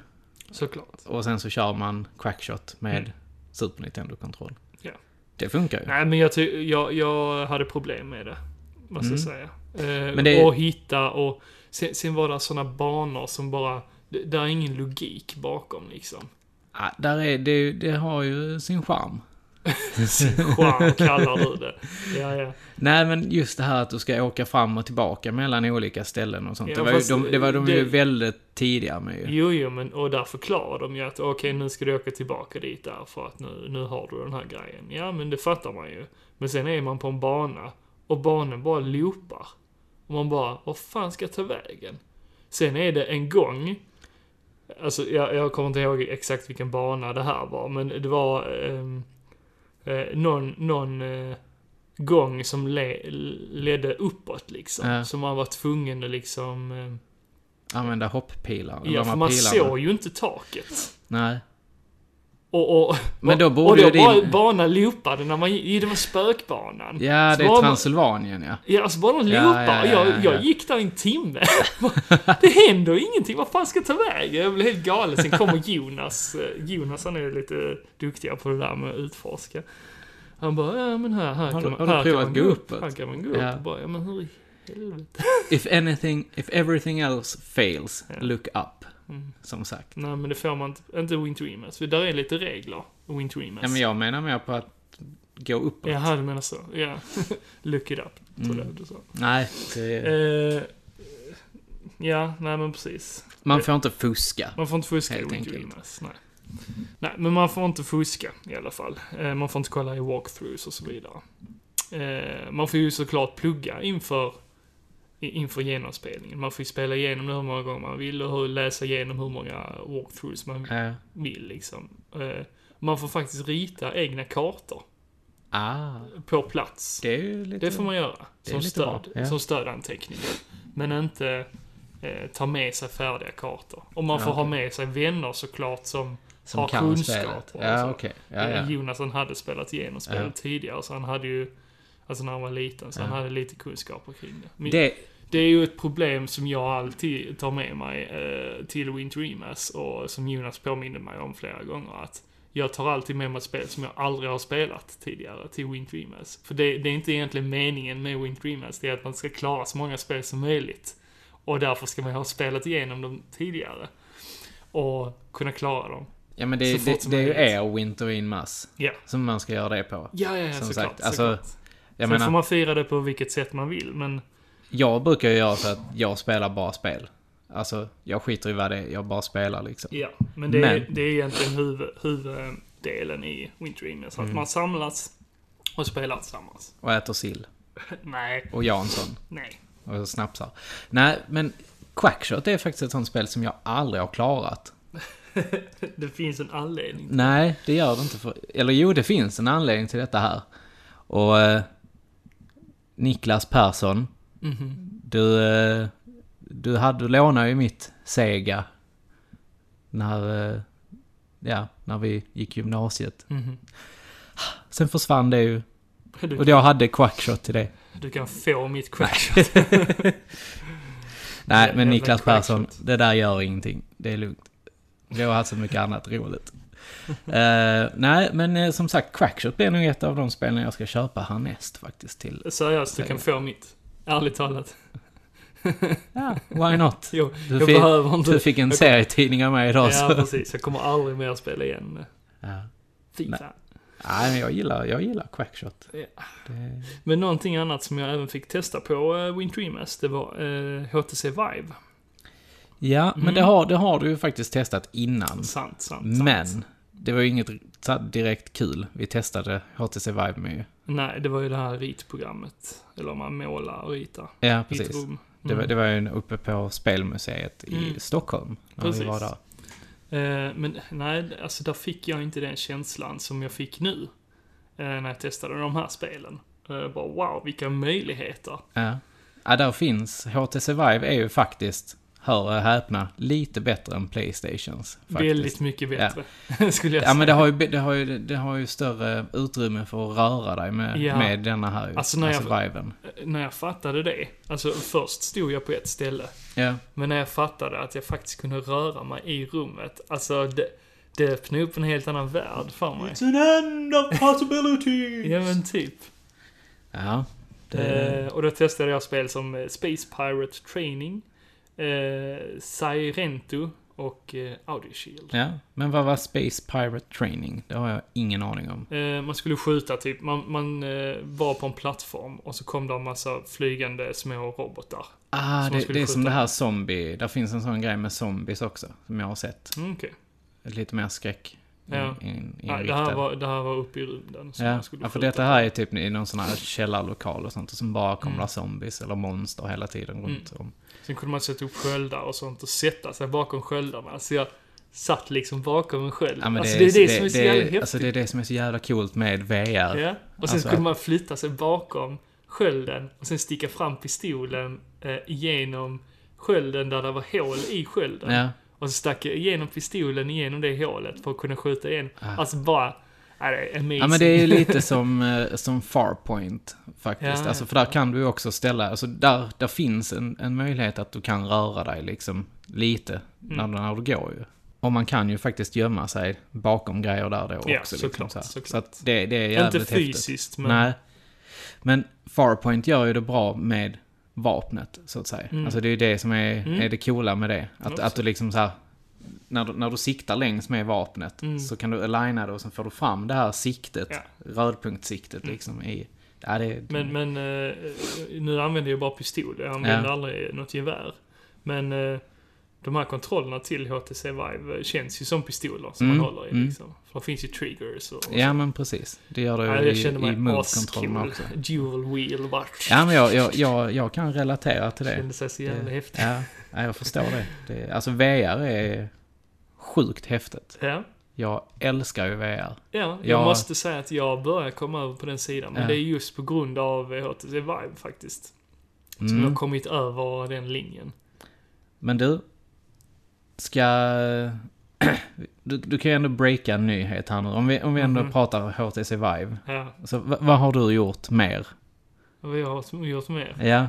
[SPEAKER 1] Såklart.
[SPEAKER 2] Och sen så kör man Quackshot med Super Nintendo-kontroll.
[SPEAKER 1] Mm. Ja.
[SPEAKER 2] Det funkar ju.
[SPEAKER 1] Nej, men jag, ty- jag, jag hade problem med det. Måste jag säga. Eh,
[SPEAKER 2] Mm. Men det-
[SPEAKER 1] Och hitta och... Sen, sen var det sådana banor som bara... Det, där är ingen logik bakom liksom.
[SPEAKER 2] Ja, där är, det, det har ju sin charm.
[SPEAKER 1] Wow, kallar du det. Ja, ja.
[SPEAKER 2] Nej, men just det här att du ska åka fram och tillbaka mellan olika ställen och sånt.
[SPEAKER 1] Ja,
[SPEAKER 2] det, var ju,
[SPEAKER 1] fast
[SPEAKER 2] de, det var de
[SPEAKER 1] det-
[SPEAKER 2] ju väldigt tidiga med ju.
[SPEAKER 1] Jo, jo, men och där förklarar de ju att okej, nu ska du åka tillbaka dit där för att nu, nu har du den här grejen. Ja, men det fattar man ju. Men sen är man på en bana och banan bara loopar. Och man bara, vad fan ska jag ta vägen? Sen är det en gång, alltså jag, jag kommer inte ihåg exakt vilken bana det här var, men det var ehm, eh, någon, någon eh, gång som le, ledde uppåt liksom.
[SPEAKER 2] Ja.
[SPEAKER 1] Så man var tvungen att liksom ehm,
[SPEAKER 2] Använda hopppilar.
[SPEAKER 1] Ja,
[SPEAKER 2] de här
[SPEAKER 1] för man
[SPEAKER 2] pilarna.
[SPEAKER 1] såg ju inte taket.
[SPEAKER 2] Nej.
[SPEAKER 1] Och, och,
[SPEAKER 2] Men då
[SPEAKER 1] och,
[SPEAKER 2] borde
[SPEAKER 1] och
[SPEAKER 2] ju
[SPEAKER 1] då
[SPEAKER 2] din-
[SPEAKER 1] bara banan loopade när man gick- Det var spökbanan.
[SPEAKER 2] Ja,
[SPEAKER 1] Så
[SPEAKER 2] det är
[SPEAKER 1] bara-
[SPEAKER 2] Transylvanien ja.
[SPEAKER 1] Ja, alltså bara de
[SPEAKER 2] Ja,
[SPEAKER 1] loopar.
[SPEAKER 2] ja, ja, ja,
[SPEAKER 1] jag, jag
[SPEAKER 2] ja.
[SPEAKER 1] gick där i en timme. det händer ju ingenting. Vad fan ska jag ta vägen? Jag blev helt galen. Sen kommer Jonas. Eh, Jonas han är lite duktigare på det där med att utforska. Han bara, ja men här, här
[SPEAKER 2] Har du-
[SPEAKER 1] kan man,
[SPEAKER 2] har du
[SPEAKER 1] här kan
[SPEAKER 2] provat
[SPEAKER 1] man
[SPEAKER 2] gå
[SPEAKER 1] gå upp.
[SPEAKER 2] uppåt?
[SPEAKER 1] Här kan man gå upp.
[SPEAKER 2] Ja.
[SPEAKER 1] Och bara, ja men hur i helvete.
[SPEAKER 2] If anything, if everything else fails, look up.
[SPEAKER 1] Mm.
[SPEAKER 2] Som sagt.
[SPEAKER 1] Nej men det får man inte. Inte Win to Emas. För där är lite regler. Win to Emas.
[SPEAKER 2] Ja, men jag menar mer på att gå uppåt.
[SPEAKER 1] Jaha, du menar så. Ja. Look it up,
[SPEAKER 2] Mm.
[SPEAKER 1] tror jag du sa.
[SPEAKER 2] Nej, det,
[SPEAKER 1] Eh, ja, nej men precis.
[SPEAKER 2] man får inte fuska.
[SPEAKER 1] Man får inte fuska
[SPEAKER 2] Helt
[SPEAKER 1] i Wing
[SPEAKER 2] enkelt.
[SPEAKER 1] Dreamers, nej. nej, men man får inte fuska i alla fall. Eh, man får inte kolla i walkthroughs och så vidare. Eh, man får ju såklart plugga inför, i- inför genomspelningen. Man får ju spela igenom det hur många gånger man vill och hur, läsa igenom hur många walkthroughs man
[SPEAKER 2] Eh,
[SPEAKER 1] vill liksom. Eh, man får faktiskt rita egna kartor
[SPEAKER 2] ah,
[SPEAKER 1] på plats.
[SPEAKER 2] det är ju lite...
[SPEAKER 1] Det får man göra.
[SPEAKER 2] är
[SPEAKER 1] Som,
[SPEAKER 2] lite
[SPEAKER 1] stöd,
[SPEAKER 2] bra, ja.
[SPEAKER 1] som stödanteckning. Men inte eh, ta med sig färdiga kartor. Och man får ha med sig vänner såklart som,
[SPEAKER 2] som
[SPEAKER 1] har
[SPEAKER 2] kan
[SPEAKER 1] kunskap.
[SPEAKER 2] spelet. Ja,
[SPEAKER 1] så.
[SPEAKER 2] okej. Ja, ja.
[SPEAKER 1] Eh, Jonas han hade spelat igenom spelet
[SPEAKER 2] Ja.
[SPEAKER 1] tidigare så han hade ju Alltså när han var liten, så han hade lite kunskaper kring det. Men det.
[SPEAKER 2] Det,
[SPEAKER 1] är ju ett problem som jag alltid tar med mig eh, till Winter Emas och som Jonas påminner mig om flera gånger. Att jag tar alltid med mig ett spel som jag aldrig har spelat tidigare till Wind Dreamers. För det, det är inte egentligen meningen med Wind Dreamers, det är att man ska klara så många spel som möjligt. Och därför ska man ha spelat igenom dem tidigare. Och kunna klara dem.
[SPEAKER 2] ja, men
[SPEAKER 1] Så
[SPEAKER 2] det,
[SPEAKER 1] fort
[SPEAKER 2] det,
[SPEAKER 1] som
[SPEAKER 2] det är ju
[SPEAKER 1] möjligt.
[SPEAKER 2] er Winter in Mass.
[SPEAKER 1] Ja.
[SPEAKER 2] Som man ska göra det på.
[SPEAKER 1] Ja, ja, ja
[SPEAKER 2] Som
[SPEAKER 1] såklart.
[SPEAKER 2] sagt, alltså,
[SPEAKER 1] såklart.
[SPEAKER 2] Jag
[SPEAKER 1] Sen
[SPEAKER 2] menar,
[SPEAKER 1] får man fira det på vilket sätt man vill, men
[SPEAKER 2] jag brukar ju göra så att jag spelar bara spel. Alltså, jag skiter i vad det är, jag bara spelar liksom.
[SPEAKER 1] ja. Men det, Är,
[SPEAKER 2] Men-
[SPEAKER 1] det är egentligen huvud, huvuddelen i Winter Dreamers.
[SPEAKER 2] Mm.
[SPEAKER 1] Att man samlas och spelar tillsammans.
[SPEAKER 2] Och äter sill.
[SPEAKER 1] Nej,
[SPEAKER 2] Och Jansson.
[SPEAKER 1] nej.
[SPEAKER 2] Och snapsar. Nej, men Quackshot är faktiskt ett sånt spel som jag aldrig har klarat.
[SPEAKER 1] Det finns en anledning.
[SPEAKER 2] Nej, det gör det inte. För, eller jo, det finns en anledning till detta här. Och eh, Niklas Persson, du, eh, du, hade, du lånade ju mitt Sega när, eh, ja, när vi gick gymnasiet. Sen försvann det ju.
[SPEAKER 1] Du-
[SPEAKER 2] Och jag hade Quackshot till det.
[SPEAKER 1] Du kan få mitt crash.
[SPEAKER 2] Nej, men
[SPEAKER 1] Jävla
[SPEAKER 2] Niklas Persson,
[SPEAKER 1] crackshot.
[SPEAKER 2] det där gör ingenting. Det är lugnt. Vi har haft så mycket annat roligt. Eh, nej, men eh, som sagt, Crackshot blir nog ett av de spelen jag ska köpa härnäst faktiskt till.
[SPEAKER 1] Seriöst, du kan få mitt. Ärligt talat.
[SPEAKER 2] Ja, why not?
[SPEAKER 1] Jo,
[SPEAKER 2] Du
[SPEAKER 1] jag
[SPEAKER 2] fick-
[SPEAKER 1] behöver inte.
[SPEAKER 2] Du fick en serietidning av mig idag
[SPEAKER 1] Ja,
[SPEAKER 2] så.
[SPEAKER 1] precis. Jag kommer aldrig mer spela igen.
[SPEAKER 2] Ja.
[SPEAKER 1] Fy fan.
[SPEAKER 2] Nej, men jag gillar, jag gillar Quackshot.
[SPEAKER 1] Ja.
[SPEAKER 2] Det,
[SPEAKER 1] Men någonting annat som jag även fick testa på eh, Wintreamers, det var eh, HTC Vive.
[SPEAKER 2] ja, men det har, det har du ju faktiskt testat innan.
[SPEAKER 1] Mm. Sant, sant, sant.
[SPEAKER 2] Men det var ju inget så här direkt kul. Vi testade HTC Vive med ju.
[SPEAKER 1] Nej, det var ju det här ritprogrammet. Eller om man målar och ritar.
[SPEAKER 2] Ja,
[SPEAKER 1] I ett
[SPEAKER 2] precis.
[SPEAKER 1] rum.
[SPEAKER 2] Det var, det var ju en uppe på Spelmuseet i
[SPEAKER 1] Mm.
[SPEAKER 2] Stockholm. När
[SPEAKER 1] Precis.
[SPEAKER 2] vi var där.
[SPEAKER 1] Eh, men nej, alltså där fick jag inte den känslan som jag fick nu. Eh, när jag testade de här spelen. Eh, bara wow, vilka möjligheter.
[SPEAKER 2] Ja. ja, där finns. HTC Vive är ju faktiskt, hör och häpna, lite bättre än Playstations. Faktiskt.
[SPEAKER 1] Väldigt mycket bättre. skulle jag
[SPEAKER 2] Ja,
[SPEAKER 1] säga.
[SPEAKER 2] men det har, ju, be- det, har ju, det har ju större utrymme för att röra dig med,
[SPEAKER 1] Ja.
[SPEAKER 2] med denna här ju.
[SPEAKER 1] Alltså, när jag-
[SPEAKER 2] Viven.
[SPEAKER 1] När jag fattade det. Alltså först stod jag på ett ställe.
[SPEAKER 2] Ja.
[SPEAKER 1] Men när jag fattade att jag faktiskt kunde röra mig i rummet. Alltså det, det öppnade upp en helt annan värld för mig.
[SPEAKER 2] an end of possibility!
[SPEAKER 1] Ja men typ.
[SPEAKER 2] ja.
[SPEAKER 1] Eh, och då testade jag spel som eh, Space Pirate Training, eh, Sirento och eh, Audio Shield.
[SPEAKER 2] Ja, men vad var Space Pirate Training? Det har jag ingen aning om.
[SPEAKER 1] Eh, man skulle skjuta typ, man, man eh, var på en plattform och så kom det en massa flygande små robotar.
[SPEAKER 2] Ah,
[SPEAKER 1] Som man
[SPEAKER 2] det,
[SPEAKER 1] skulle
[SPEAKER 2] det är som
[SPEAKER 1] skjuta.
[SPEAKER 2] det här zombie. Där finns en sån grej med zombies också, som jag har sett.
[SPEAKER 1] Mm, okej.
[SPEAKER 2] Lite mer skräck. in-
[SPEAKER 1] Ja.
[SPEAKER 2] in-
[SPEAKER 1] Nej, det,
[SPEAKER 2] inriktad.
[SPEAKER 1] här var, det här var uppe i rymden. som
[SPEAKER 2] Ja.
[SPEAKER 1] man skulle
[SPEAKER 2] ja, för
[SPEAKER 1] skjuta.
[SPEAKER 2] detta här är typ i någon sån här källarlokal och sånt. Och som bara
[SPEAKER 1] Mm.
[SPEAKER 2] kommer där zombies eller monster hela tiden runt om.
[SPEAKER 1] Sen kunde man sätta upp sköldar och sånt och sätta sig bakom sköldarna. Så jag satt liksom bakom en sköld.
[SPEAKER 2] Ja, men
[SPEAKER 1] alltså det är det, som är så jävla häftigt.
[SPEAKER 2] Alltså det är det som är så jävla coolt med VR.
[SPEAKER 1] Ja, och sen
[SPEAKER 2] Alltså-
[SPEAKER 1] kunde man flytta sig bakom skölden och sen sticka fram pistolen eh, genom skölden där det var hål i skölden.
[SPEAKER 2] Ja.
[SPEAKER 1] Och så stack jag igenom pistolen igenom det hålet för att kunna skjuta igen. Alltså bara, ja, det är amazing.
[SPEAKER 2] Ja men det är ju lite som, eh, som Farpoint faktiskt.
[SPEAKER 1] Ja,
[SPEAKER 2] alltså
[SPEAKER 1] ja,
[SPEAKER 2] för där kan du ju också ställa, alltså där, där finns en, en möjlighet att du kan röra dig liksom lite när,
[SPEAKER 1] Mm.
[SPEAKER 2] när du går ju. Och man kan ju faktiskt gömma sig bakom grejer där då också.
[SPEAKER 1] Ja,
[SPEAKER 2] liksom,
[SPEAKER 1] såklart,
[SPEAKER 2] så här.
[SPEAKER 1] såklart.
[SPEAKER 2] så att det, det är jävligt
[SPEAKER 1] Inte fysiskt,
[SPEAKER 2] häftigt.
[SPEAKER 1] men-
[SPEAKER 2] Nej. Men Farpoint gör ju det bra med vapnet, så att säga.
[SPEAKER 1] Mm.
[SPEAKER 2] Alltså det är ju det som är, är det coola med det. Att, att du liksom så här, när du, när du siktar längs med vapnet så kan du aligna det och sen får du fram det här siktet,
[SPEAKER 1] Mm. Ja. Mm.
[SPEAKER 2] rödpunktssiktet liksom i... Ja, det är...
[SPEAKER 1] Men, men eh, nu använder jag bara pistol. Jag använder
[SPEAKER 2] Ja.
[SPEAKER 1] aldrig något gevär. Men eh, de här kontrollerna till HTC Vive känns ju som pistoler som man håller i liksom. För det finns ju triggers och...
[SPEAKER 2] Mm. ja men precis. Det gör du
[SPEAKER 1] Ja,
[SPEAKER 2] ju
[SPEAKER 1] jag
[SPEAKER 2] i,
[SPEAKER 1] kände
[SPEAKER 2] i
[SPEAKER 1] mig
[SPEAKER 2] move-kontrollerna
[SPEAKER 1] ascool.
[SPEAKER 2] också.
[SPEAKER 1] Dual wheel vart.
[SPEAKER 2] Ja men jag, jag, jag, jag kan relatera till det.
[SPEAKER 1] Kände sig så jävla
[SPEAKER 2] Det-
[SPEAKER 1] häftigt.
[SPEAKER 2] Ja, ja, jag förstår det. det. Alltså VR är sjukt häftigt.
[SPEAKER 1] Ja.
[SPEAKER 2] Jag älskar ju VR.
[SPEAKER 1] Ja, jag
[SPEAKER 2] Ja.
[SPEAKER 1] måste säga att jag börjar komma över på den sidan. Men
[SPEAKER 2] Ja.
[SPEAKER 1] det är just på grund av eh, HTC Vive faktiskt. Som
[SPEAKER 2] Mm.
[SPEAKER 1] jag har kommit över den linjen.
[SPEAKER 2] Men du, ska... Du, du kan ju ändå breaka en nyhet här nu. Om vi, om vi ändå
[SPEAKER 1] Mhm.
[SPEAKER 2] pratar HTC Vive.
[SPEAKER 1] Ja,
[SPEAKER 2] Så v- vad har du gjort mer?
[SPEAKER 1] och vi har som- gjort mer.
[SPEAKER 2] Ja,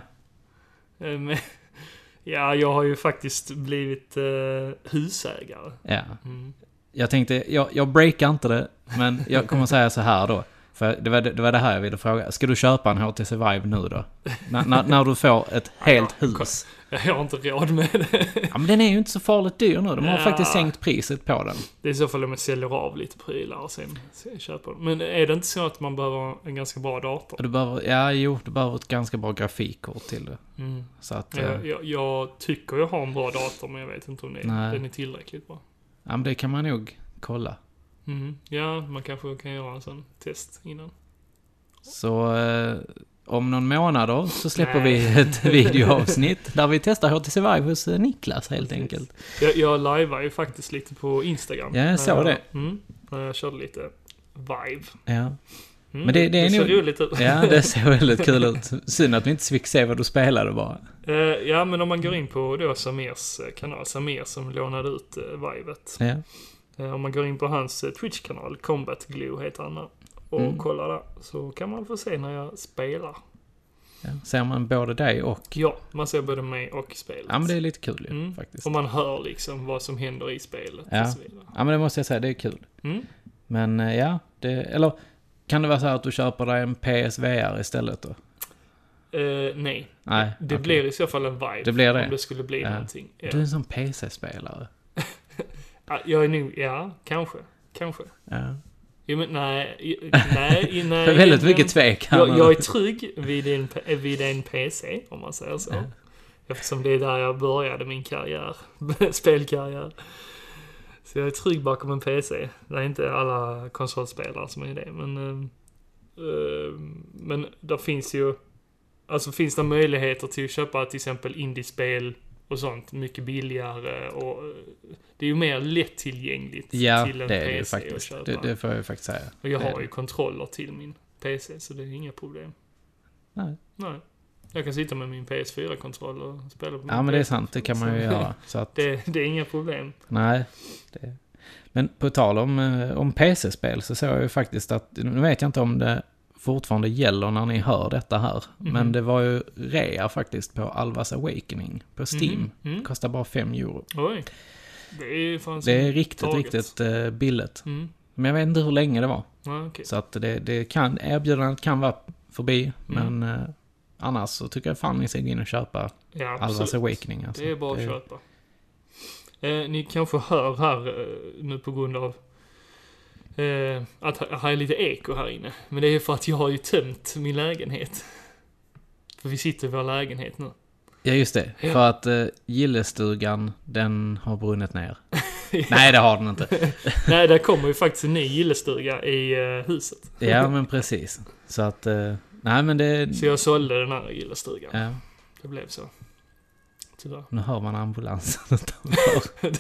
[SPEAKER 1] Eh, men- Ja, jag har ju faktiskt blivit eh, husägare.
[SPEAKER 2] ja.
[SPEAKER 1] Mm.
[SPEAKER 2] Jag tänkte, jag, jag breakar inte det, men jag kommer säga så här då. För det var det, det var det här jag ville fråga. Ska du köpa en HTC Vive nu då? När- när- när du får ett helt hus?
[SPEAKER 1] Jag har inte råd med det.
[SPEAKER 2] Ja, men den är ju inte så farligt dyr nu. De har
[SPEAKER 1] Ja.
[SPEAKER 2] faktiskt sänkt priset på den.
[SPEAKER 1] Det är i så fall om jag säljer av lite prylar och sen, sen köper dem. Men är det inte så att man behöver en ganska bra dator?
[SPEAKER 2] Och du behöver, ja, jo, du behöver ett ganska bra grafikkort till det.
[SPEAKER 1] Mm.
[SPEAKER 2] Så att... eh,
[SPEAKER 1] Jag, jag, jag tycker jag har en bra dator, men jag vet inte om det,
[SPEAKER 2] Nej.
[SPEAKER 1] den är tillräckligt bra.
[SPEAKER 2] Ja, men det kan man nog kolla.
[SPEAKER 1] Mm. Ja, man kanske kan göra en sån test innan.
[SPEAKER 2] Så eh, om någon månad då så släpper
[SPEAKER 1] Nej.
[SPEAKER 2] vi ett videoavsnitt där vi testar HTC Vive hos eh, Niklas helt enkelt.
[SPEAKER 1] Jag, jag lajvar ju faktiskt lite på Instagram.
[SPEAKER 2] Ja, jag såg
[SPEAKER 1] När
[SPEAKER 2] det.
[SPEAKER 1] Mm, när jag körde lite vibe.
[SPEAKER 2] Ja.
[SPEAKER 1] Mm,
[SPEAKER 2] Men det- det är
[SPEAKER 1] ser
[SPEAKER 2] nog-
[SPEAKER 1] roligt ut.
[SPEAKER 2] ja, det såg väldigt kul ut. Synd att vi inte fick se vad du spelade bara.
[SPEAKER 1] Eh, ja, men om man går in på då Samirs eh, kanal, Samir som lånade ut uh, vivet.
[SPEAKER 2] Ja.
[SPEAKER 1] Eh, om man går in på hans eh, Twitch-kanal, Combat Glue heter han där, och
[SPEAKER 2] Mm.
[SPEAKER 1] kollar där, så kan man få se när jag spelar.
[SPEAKER 2] Ja. Ser man både dig och...
[SPEAKER 1] Ja, man ser både mig och spelet.
[SPEAKER 2] Ja, men det är lite kul ju
[SPEAKER 1] Mm.
[SPEAKER 2] faktiskt.
[SPEAKER 1] Och man hör liksom vad som händer i spelet
[SPEAKER 2] Ja.
[SPEAKER 1] och så vidare.
[SPEAKER 2] Ja, men det måste jag säga, det är kul.
[SPEAKER 1] Mm.
[SPEAKER 2] Men eh, ja, det, eller kan det vara så här att du köper dig en PSVR istället då?
[SPEAKER 1] Eh, nej.
[SPEAKER 2] Nej,
[SPEAKER 1] Det
[SPEAKER 2] okej.
[SPEAKER 1] blir i så fall en vibe.
[SPEAKER 2] Det blir det.
[SPEAKER 1] Om det skulle bli
[SPEAKER 2] Ja.
[SPEAKER 1] någonting. Ja.
[SPEAKER 2] Du är en sån PC-spelare.
[SPEAKER 1] Ja, Jag är nog, ja, kanske. Kanske.
[SPEAKER 2] Ja.
[SPEAKER 1] Jo, men nej, i- nej, nej.
[SPEAKER 2] Det är väldigt
[SPEAKER 1] egentligen-
[SPEAKER 2] mycket tvek här nu.
[SPEAKER 1] jag, jag är trygg vid en, p- vid en PC, om man säger så. Eftersom det är där jag började min karriär, spelkarriär. Så jag är trygg bakom en PC. Det är inte alla konsolspelare som är det, men... eh, eh, men där finns ju... Alltså finns det möjligheter till att köpa till exempel indiespel och sånt mycket billigare och... eh, Det är ju mer lättillgängligt
[SPEAKER 2] Ja,
[SPEAKER 1] till en
[SPEAKER 2] det är det
[SPEAKER 1] PC
[SPEAKER 2] ju
[SPEAKER 1] att
[SPEAKER 2] faktiskt.
[SPEAKER 1] köpa.
[SPEAKER 2] Det, det får jag ju faktiskt säga.
[SPEAKER 1] Och jag
[SPEAKER 2] Det är
[SPEAKER 1] har ju
[SPEAKER 2] det.
[SPEAKER 1] kontroller till min PC, så det är inga problem.
[SPEAKER 2] Nej.
[SPEAKER 1] Nej. Jag kan sitta med min PS4-kontroll och spela på min
[SPEAKER 2] Ja, men det är
[SPEAKER 1] PS4.
[SPEAKER 2] sant. Det kan man ju
[SPEAKER 1] Så-
[SPEAKER 2] göra. Så att,
[SPEAKER 1] Det, det är inga problem.
[SPEAKER 2] nej. Det. Men på tal om, eh, om PC-spel så såg jag ju faktiskt att, nu vet jag inte om det fortfarande gäller när ni hör detta här,
[SPEAKER 1] Mhm.
[SPEAKER 2] men det var ju rea faktiskt på Alvas Awakening på Steam.
[SPEAKER 1] mm.
[SPEAKER 2] Kostar bara 5 euro.
[SPEAKER 1] Oj. Det är ju fan
[SPEAKER 2] Det är
[SPEAKER 1] som
[SPEAKER 2] riktigt,
[SPEAKER 1] Alltså, taget.
[SPEAKER 2] riktigt eh, billigt.
[SPEAKER 1] Mm.
[SPEAKER 2] Men jag vet inte hur länge det var.
[SPEAKER 1] Ja, okej.
[SPEAKER 2] Så att det, det kan, erbjudandet kan vara förbi,
[SPEAKER 1] Mhm.
[SPEAKER 2] men eh, annars så tycker jag fan ni ska gå in och köpa
[SPEAKER 1] Ja,
[SPEAKER 2] Alvas
[SPEAKER 1] absolut.
[SPEAKER 2] Awakening. Alltså.
[SPEAKER 1] Det är bara att köpa. Eh, ni kanske hör här eh, nu på grund av eh, att här här är lite eko här inne. Men det är för att jag har ju tömt min lägenhet. För vi sitter i vår lägenhet nu.
[SPEAKER 2] Ja, just det. För att eh, gillestugan, den har brunnit ner. Nej, det har den inte.
[SPEAKER 1] Nej, där kommer ju faktiskt en ny gillestuga i eh, huset.
[SPEAKER 2] Ja, men precis. Så att, eh, nej men det...
[SPEAKER 1] Så jag sålde den här gillestugan.
[SPEAKER 2] Ja,
[SPEAKER 1] Det blev så. Tyvärr.
[SPEAKER 2] nu hör man ambulansen utanför.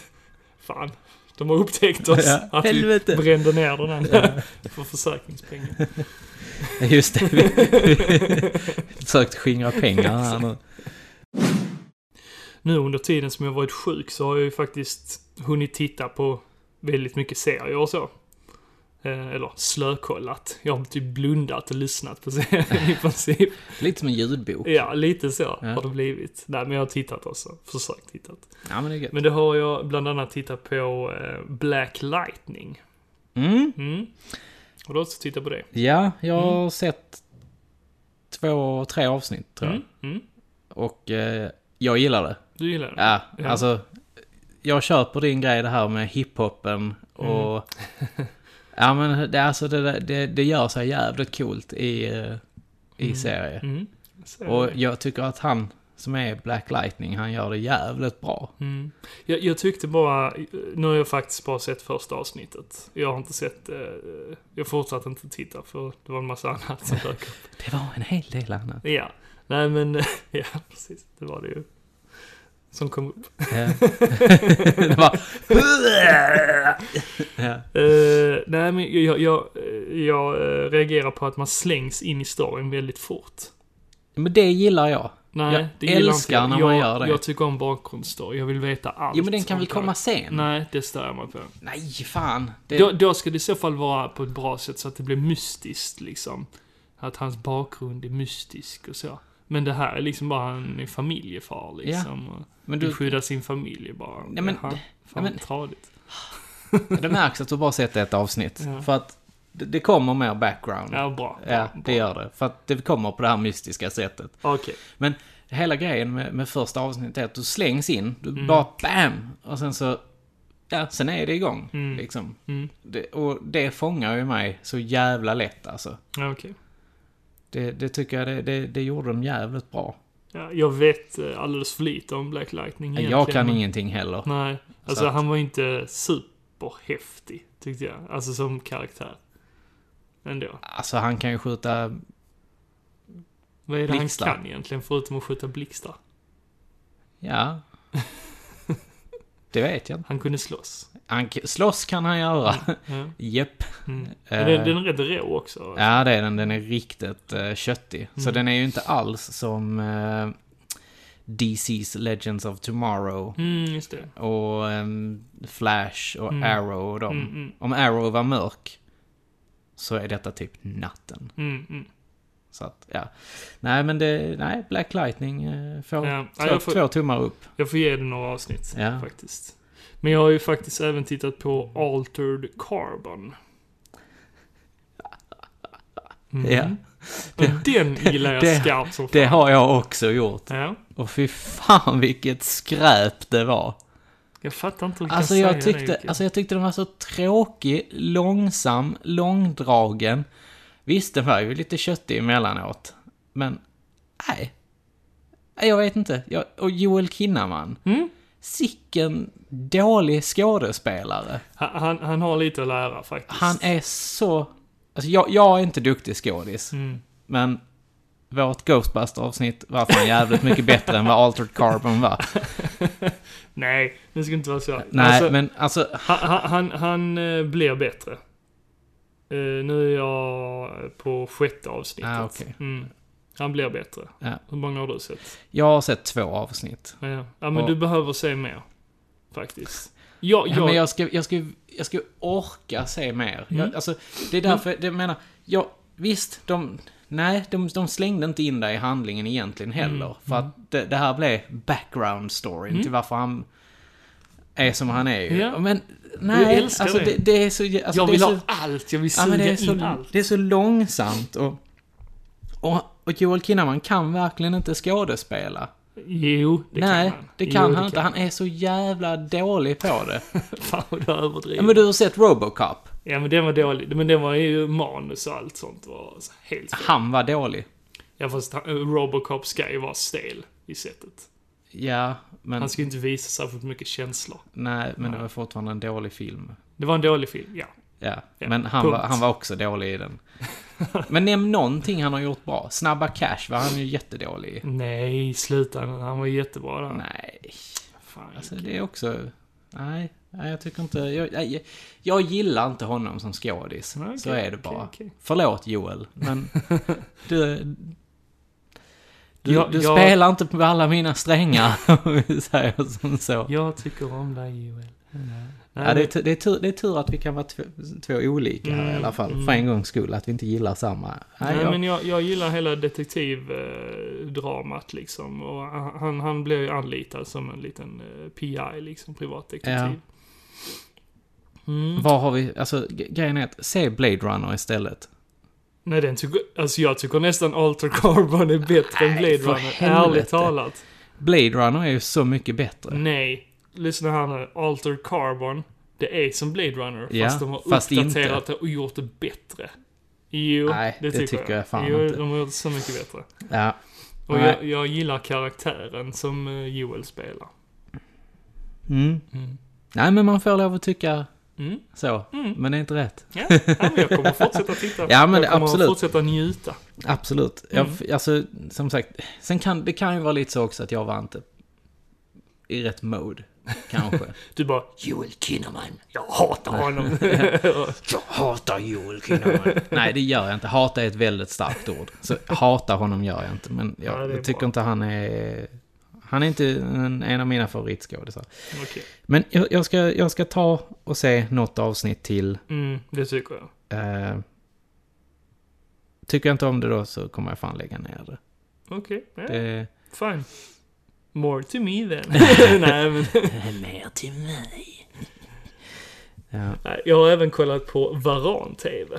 [SPEAKER 1] Fan. De har upptäckt oss.
[SPEAKER 2] Ja,
[SPEAKER 1] att
[SPEAKER 2] helvete.
[SPEAKER 1] vi brände ner den andra. för försäkringspengar.
[SPEAKER 2] Just det, vi, vi försökt skingra pengar här nu.
[SPEAKER 1] Nu under tiden som jag varit sjuk så har jag ju faktiskt hunnit titta på väldigt mycket serier och så. Eh, eller slökollat. Jag har typ blundat och lyssnat på serien i princip.
[SPEAKER 2] Lite som en ljudbok.
[SPEAKER 1] Ja, lite så
[SPEAKER 2] Ja.
[SPEAKER 1] har det blivit. Nej, men jag har tittat också. Försökt tittat.
[SPEAKER 2] Ja, men det är gött.
[SPEAKER 1] Men det har jag bland annat tittat på eh, Black Lightning.
[SPEAKER 2] Mm.
[SPEAKER 1] Mm. Har du också tittat på det?
[SPEAKER 2] Ja, jag har
[SPEAKER 1] Mm.
[SPEAKER 2] sett två, tre avsnitt tror jag.
[SPEAKER 1] Mm. Mm.
[SPEAKER 2] Och eh, jag gillar det.
[SPEAKER 1] Du gillar det?
[SPEAKER 2] Ja,
[SPEAKER 1] Ja.
[SPEAKER 2] alltså. Jag köper din grej det här med hiphopen
[SPEAKER 1] Mm.
[SPEAKER 2] och... ja men det, alltså, det, där- det, det gör sig jävligt coolt i, eh, i serie.
[SPEAKER 1] Mm. Så är
[SPEAKER 2] Och
[SPEAKER 1] det.
[SPEAKER 2] jag tycker att han som är Black Lightning, han gör det jävligt bra.
[SPEAKER 1] Mm. Jag, jag tyckte bara, eh, nu har jag faktiskt bara sett första avsnittet. Jag har inte sett, eh, jag fortsatte inte titta för det var en massa annat som dök upp.
[SPEAKER 2] Det var en hel del annat.
[SPEAKER 1] Ja, nej men, ja precis, det var det ju. Som kom upp.
[SPEAKER 2] Ja. det var... ja.
[SPEAKER 1] Eh, nej men jag, jag, eh, jag eh, reagerar på att man slängs in i storyn väldigt fort.
[SPEAKER 2] Men det gillar jag.
[SPEAKER 1] Nej,
[SPEAKER 2] Jag
[SPEAKER 1] det gillar
[SPEAKER 2] älskar
[SPEAKER 1] inte. jag.
[SPEAKER 2] när man
[SPEAKER 1] jag,
[SPEAKER 2] gör det.
[SPEAKER 1] Jag tycker om bakgrundsstory. Jag vill veta allt.
[SPEAKER 2] Jo men den kan
[SPEAKER 1] om
[SPEAKER 2] väl komma
[SPEAKER 1] karaktären.
[SPEAKER 2] sen?
[SPEAKER 1] Nej, det stör jag mig på.
[SPEAKER 2] Nej, fan. Det...
[SPEAKER 1] Då, då ska det i så fall vara på ett bra sätt så att det blir mystiskt liksom. Att hans bakgrund är mystisk och så. Men det här är liksom bara en familjefar liksom. och
[SPEAKER 2] men
[SPEAKER 1] Vill
[SPEAKER 2] du,
[SPEAKER 1] skydda sin familj bara.
[SPEAKER 2] Nej, men-
[SPEAKER 1] Jaha, fan
[SPEAKER 2] nej, men-
[SPEAKER 1] tradigt.
[SPEAKER 2] det märks att du bara sett ett avsnitt.
[SPEAKER 1] Ja.
[SPEAKER 2] För att det, det kommer mer background.
[SPEAKER 1] Ja, bra.
[SPEAKER 2] Ja,
[SPEAKER 1] bra,
[SPEAKER 2] det
[SPEAKER 1] bra.
[SPEAKER 2] gör det. För att det kommer på det här mystiska sättet.
[SPEAKER 1] Okej.
[SPEAKER 2] Men hela grejen med, med första avsnittet är att du slängs in, du
[SPEAKER 1] Mm.
[SPEAKER 2] bara BAM! Och sen så... Ja, sen är det igång.
[SPEAKER 1] Mm.
[SPEAKER 2] Liksom. Det, och det fångar ju mig så jävla lätt alltså.
[SPEAKER 1] Ja, okej.
[SPEAKER 2] Det, det tycker jag, det, det, det gjorde de jävligt bra.
[SPEAKER 1] Ja, jag vet eh, alldeles för lite om Black Lightning
[SPEAKER 2] jag kan
[SPEAKER 1] men-
[SPEAKER 2] ingenting heller.
[SPEAKER 1] Nej, alltså
[SPEAKER 2] Så att-
[SPEAKER 1] han var inte superhäftig tyckte jag. Alltså som karaktär. Ändå.
[SPEAKER 2] Alltså han kan ju skjuta...
[SPEAKER 1] Vad är det
[SPEAKER 2] Blixtar.
[SPEAKER 1] han kan egentligen förutom att skjuta blixtar?
[SPEAKER 2] Ja. det vet jag inte.
[SPEAKER 1] Han kunde slåss.
[SPEAKER 2] Han, k- slåss kan han göra.
[SPEAKER 1] Ja.
[SPEAKER 2] Jepp.
[SPEAKER 1] Men den, den är rätt rå också.
[SPEAKER 2] Eh. Ja, det är den. Den är riktigt eh, köttig.
[SPEAKER 1] Mm.
[SPEAKER 2] Så den är ju inte alls som eh, DC's Legends of Tomorrow
[SPEAKER 1] Mm, just det.
[SPEAKER 2] och ehm, Flash och Arrow och dem.
[SPEAKER 1] Mm, mm,
[SPEAKER 2] Om Arrow var mörk så är detta typ natten.
[SPEAKER 1] mm, mm.
[SPEAKER 2] Så att, ja. Nej, men det... Nej, Black Lightning eh, får,
[SPEAKER 1] Ja. Ja,
[SPEAKER 2] två,
[SPEAKER 1] jag får-
[SPEAKER 2] två tummar upp.
[SPEAKER 1] Jag får ge den några avsnitt
[SPEAKER 2] Ja.
[SPEAKER 1] faktiskt. Men jag har ju faktiskt även tittat på Altered Carbon. Mm.
[SPEAKER 2] Ja.
[SPEAKER 1] Och den gillar jag
[SPEAKER 2] det-
[SPEAKER 1] skarpt som
[SPEAKER 2] Det
[SPEAKER 1] fan.
[SPEAKER 2] har jag också gjort.
[SPEAKER 1] Ja.
[SPEAKER 2] Och fy fan vilket skräp det var.
[SPEAKER 1] Jag fattar inte hur du
[SPEAKER 2] Alltså
[SPEAKER 1] kan
[SPEAKER 2] jag,
[SPEAKER 1] säga det,
[SPEAKER 2] tyckte,
[SPEAKER 1] Jocke.
[SPEAKER 2] alltså jag tyckte den var så tråkig, långsam, långdragen. Visst, den var ju lite köttig emellanåt. Men, nej. Nej, Jag vet inte. Jag, och Joel Kinnaman. Mm? Sicken dålig skådespelare.
[SPEAKER 1] han, han, han har lite att lära faktiskt.
[SPEAKER 2] Han är så... Alltså jag, jag är inte duktig skådis.
[SPEAKER 1] Mm.
[SPEAKER 2] Men vårt Ghostbuster-avsnitt var fan jävligt mycket bättre än vad Altered Carbon var.
[SPEAKER 1] Nej, det ska inte vara så.
[SPEAKER 2] Nej,
[SPEAKER 1] Alltså,
[SPEAKER 2] men alltså...
[SPEAKER 1] Han, han, han, han eh, blir bättre. Eh, nu är jag på sjätte avsnittet.
[SPEAKER 2] Ah, okej.
[SPEAKER 1] mm. Han blir bättre.
[SPEAKER 2] Ja.
[SPEAKER 1] Hur många har du sett?
[SPEAKER 2] Jag har sett två avsnitt.
[SPEAKER 1] Ja, ja. ja men
[SPEAKER 2] Och-
[SPEAKER 1] du behöver se mer. Faktiskt. Ja,
[SPEAKER 2] Ja,
[SPEAKER 1] jag, Mm.
[SPEAKER 2] men jag ska, jag, ska, jag ska orka se mer. Jag, alltså, det är därför, det jag menar, jag, visst, de, nej, de, de slängde inte in dig i handlingen egentligen
[SPEAKER 1] Mm,
[SPEAKER 2] heller. För att det, det här blev background storyn till varför han är som han är ju.
[SPEAKER 1] Mm. Ja.
[SPEAKER 2] Men nej,
[SPEAKER 1] Jag älskar
[SPEAKER 2] alltså
[SPEAKER 1] det.
[SPEAKER 2] det, det är så... jä- Alltså,
[SPEAKER 1] jag
[SPEAKER 2] det
[SPEAKER 1] vill
[SPEAKER 2] är
[SPEAKER 1] ha
[SPEAKER 2] så,
[SPEAKER 1] allt. Jag vill
[SPEAKER 2] ja,
[SPEAKER 1] suga
[SPEAKER 2] men det, är
[SPEAKER 1] in
[SPEAKER 2] så,
[SPEAKER 1] allt.
[SPEAKER 2] det är så långsamt och, och, och Joel Kinnaman kan verkligen inte skådespela.
[SPEAKER 1] Jo, det
[SPEAKER 2] nej,
[SPEAKER 1] kan han.
[SPEAKER 2] det kan
[SPEAKER 1] jo,
[SPEAKER 2] han inte. Han är så jävla dålig på det.
[SPEAKER 1] Fan vad du överdriver.
[SPEAKER 2] Ja, men du har sett Robocop?
[SPEAKER 1] Ja, men den var dålig. Men den var ju manus och allt sånt var så helt fel.
[SPEAKER 2] Han var dålig.
[SPEAKER 1] Ja, fast han- Robocop ska ju vara stel i sättet.
[SPEAKER 2] Ja, men,
[SPEAKER 1] Han ska ju inte visa särskilt mycket känslor.
[SPEAKER 2] nej, men det var fortfarande en dålig film.
[SPEAKER 1] Det var en dålig film, ja.
[SPEAKER 2] Ja,
[SPEAKER 1] Ja,
[SPEAKER 2] men han
[SPEAKER 1] punkt.
[SPEAKER 2] var, han var också dålig i den. Men nämn någonting han har gjort bra. Snabba Cash var han ju jättedålig i.
[SPEAKER 1] Nej, sluta nu. Han var jättebra där.
[SPEAKER 2] Nej,
[SPEAKER 1] Fan.
[SPEAKER 2] alltså det är också... Nej, nej jag tycker inte... Jag, nej, jag, jag gillar inte honom som skådis.
[SPEAKER 1] Nej, okej,
[SPEAKER 2] så är det bara.
[SPEAKER 1] okej, okej.
[SPEAKER 2] Förlåt Joel, men... Du, du,
[SPEAKER 1] Jag-
[SPEAKER 2] du
[SPEAKER 1] jag-
[SPEAKER 2] spelar inte på alla mina strängar, om vi säger som så.
[SPEAKER 1] Jag tycker om dig Joel. Nej,
[SPEAKER 2] Ja, det, är
[SPEAKER 1] men-
[SPEAKER 2] tu- det, är tur, det är tur att vi kan vara två, två olika här i alla fall. För en gångs skull, att vi inte gillar samma. Mm. Nej,
[SPEAKER 1] Nej,
[SPEAKER 2] jag,
[SPEAKER 1] men jag, jag gillar hela detektivdramat liksom. Och han, han blir ju anlitad som en liten eh, PI liksom, privatdetektiv.
[SPEAKER 2] Vad har vi? Alltså, g- grejen är att se Blade Runner istället.
[SPEAKER 1] Nej, den tycker, alltså jag tycker nästan Alter Carbon är bättre än Blade
[SPEAKER 2] för
[SPEAKER 1] Runner,
[SPEAKER 2] helvete.
[SPEAKER 1] ärligt talat.
[SPEAKER 2] Blade Runner är ju så mycket bättre.
[SPEAKER 1] Nej, lyssna här nu. Alter Carbon, det är som Blade Runner,
[SPEAKER 2] Ja,
[SPEAKER 1] fast de har
[SPEAKER 2] fast
[SPEAKER 1] uppdaterat det
[SPEAKER 2] inte.
[SPEAKER 1] och gjort det bättre. Jo,
[SPEAKER 2] Nej,
[SPEAKER 1] det,
[SPEAKER 2] det
[SPEAKER 1] tycker,
[SPEAKER 2] tycker jag fan
[SPEAKER 1] jo,
[SPEAKER 2] inte.
[SPEAKER 1] de har gjort det så mycket bättre.
[SPEAKER 2] Ja.
[SPEAKER 1] Och
[SPEAKER 2] Nej.
[SPEAKER 1] jag, jag gillar karaktären som eh, Joel spelar.
[SPEAKER 2] Mm. Nej, men man får lov att tycka
[SPEAKER 1] Mm.
[SPEAKER 2] så. Men det är inte rätt.
[SPEAKER 1] Ja, nej, men jag kommer fortsätta titta.
[SPEAKER 2] Ja, men
[SPEAKER 1] jag kommer
[SPEAKER 2] absolut.
[SPEAKER 1] fortsätta njuta.
[SPEAKER 2] Absolut. Jag, f- alltså, som sagt, sen kan det kan ju vara lite så också att jag var inte i rätt mode. Kanske.
[SPEAKER 1] Du bara
[SPEAKER 4] Joel Kinnaman.
[SPEAKER 1] “Jag hatar honom”.
[SPEAKER 4] Jag hatar Joel Kinnaman.
[SPEAKER 2] Nej, det gör jag inte. Hata är ett väldigt starkt ord. Så hata honom gör jag inte. Men
[SPEAKER 1] Nej,
[SPEAKER 2] jag
[SPEAKER 1] det är
[SPEAKER 2] tycker
[SPEAKER 1] bra.
[SPEAKER 2] inte han är... Han är inte en, en av mina favoritskådisar.
[SPEAKER 1] Okej.
[SPEAKER 2] Men jag, jag, ska, jag ska ta och se något avsnitt till.
[SPEAKER 1] Mm, det tycker jag.
[SPEAKER 2] Eh, tycker jag inte om det då så kommer jag fan lägga ner det.
[SPEAKER 1] Okej, ja,
[SPEAKER 2] det Eh,
[SPEAKER 1] fine. More to me then. nej, men,
[SPEAKER 4] Mer till mig.
[SPEAKER 2] ja.
[SPEAKER 1] nej, jag har även kollat på Varan-TV.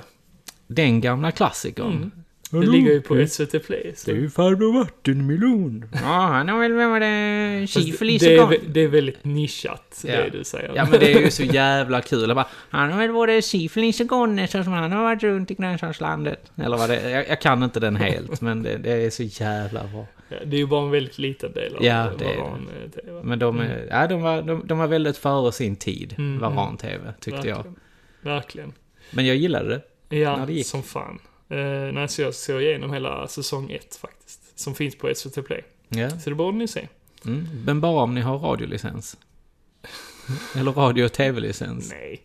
[SPEAKER 2] Den gamla klassikern.
[SPEAKER 1] Mm. Det ligger ju på SVT Play. Så.
[SPEAKER 2] Det är ju farbror Vattenmelon. Ja, han har väl med det...
[SPEAKER 1] Fast
[SPEAKER 2] Syfilis
[SPEAKER 1] det, är,
[SPEAKER 2] och
[SPEAKER 1] vä- det är väldigt nischat, det du säger.
[SPEAKER 2] Ja men det är ju så jävla kul. Jag Bara, han har väl varit syfilis och gonne så som han har varit runt i grönsakslandet. Eller vad det är. Jag, jag kan inte den helt men det, det är så jävla bra.
[SPEAKER 1] Ja, det är ju bara en väldigt liten del av
[SPEAKER 2] Ja,
[SPEAKER 1] eh,
[SPEAKER 2] det är det.
[SPEAKER 1] Varan-TV.
[SPEAKER 2] Men de, är, ja, de, var, de, de var väldigt före sin tid,
[SPEAKER 1] Mm,
[SPEAKER 2] Varan-TV, tyckte jag.
[SPEAKER 1] Verkligen. Verkligen.
[SPEAKER 2] Men jag gillade det.
[SPEAKER 1] Ja,
[SPEAKER 2] när det gick.
[SPEAKER 1] som fan. Uh, nej, så jag såg igenom hela säsong ett faktiskt. Som finns på SVT Play.
[SPEAKER 2] Ja.
[SPEAKER 1] Så det borde ni se.
[SPEAKER 2] Mm. Men bara om ni har radiolicens. Eller radio och tv-licens.
[SPEAKER 1] Nej.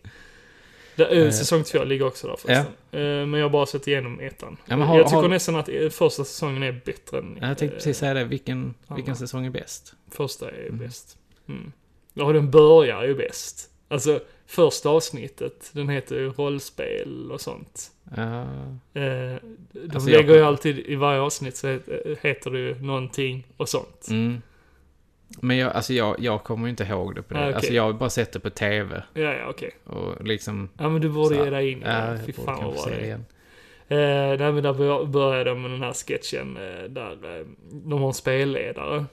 [SPEAKER 1] Där, eh, säsong två ligger också där förresten. Eh, men jag har bara sett igenom ettan.
[SPEAKER 2] Ja, men har-
[SPEAKER 1] jag tycker
[SPEAKER 2] har-
[SPEAKER 1] nästan att eh, första säsongen är bättre än...
[SPEAKER 2] Ja, Jag tänkte
[SPEAKER 1] eh,
[SPEAKER 2] precis säga det, vilken, vilken
[SPEAKER 1] andra.
[SPEAKER 2] säsong är bäst?
[SPEAKER 1] Första är bäst. Mm. Ja, den börjar ju bäst. Alltså, första avsnittet, den heter ju rollspel och sånt.
[SPEAKER 2] Ja.
[SPEAKER 1] Eh, de
[SPEAKER 2] Alltså, jag
[SPEAKER 1] lägger ju
[SPEAKER 2] kan-
[SPEAKER 1] alltid, i varje avsnitt så heter, heter det ju någonting och sånt.
[SPEAKER 2] Mm. Men jag, alltså jag, jag kommer ju inte ihåg det på det.
[SPEAKER 1] Ah, okej.
[SPEAKER 2] Alltså jag har bara sett det på tv.
[SPEAKER 1] Ja, ja, okej.
[SPEAKER 2] Och liksom...
[SPEAKER 1] Ja, men du borde
[SPEAKER 2] så här,
[SPEAKER 1] ge dig in i
[SPEAKER 2] ja,
[SPEAKER 1] det.
[SPEAKER 2] jag
[SPEAKER 1] Fy fan
[SPEAKER 2] borde
[SPEAKER 1] vad bra
[SPEAKER 2] kanske
[SPEAKER 1] det
[SPEAKER 2] se
[SPEAKER 1] är.
[SPEAKER 2] igen.
[SPEAKER 1] Eh, nej men där bör- börjar de med den här sketchen eh, där eh, de har en spelledare.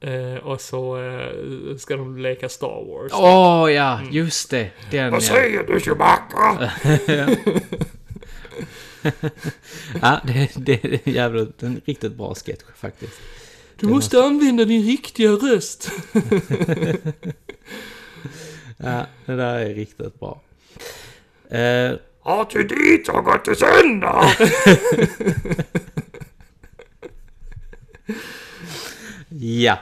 [SPEAKER 1] Eh, och så eh, ska de leka Star Wars.
[SPEAKER 2] Åh ja,
[SPEAKER 1] Mm.
[SPEAKER 2] just det. Den, Vad säger du Chewbacca? ja, det, det är jävligt, en riktigt bra sketch faktiskt.
[SPEAKER 1] du måste använda din riktiga röst.
[SPEAKER 2] Ja, det där är riktigt bra. Eh, ja,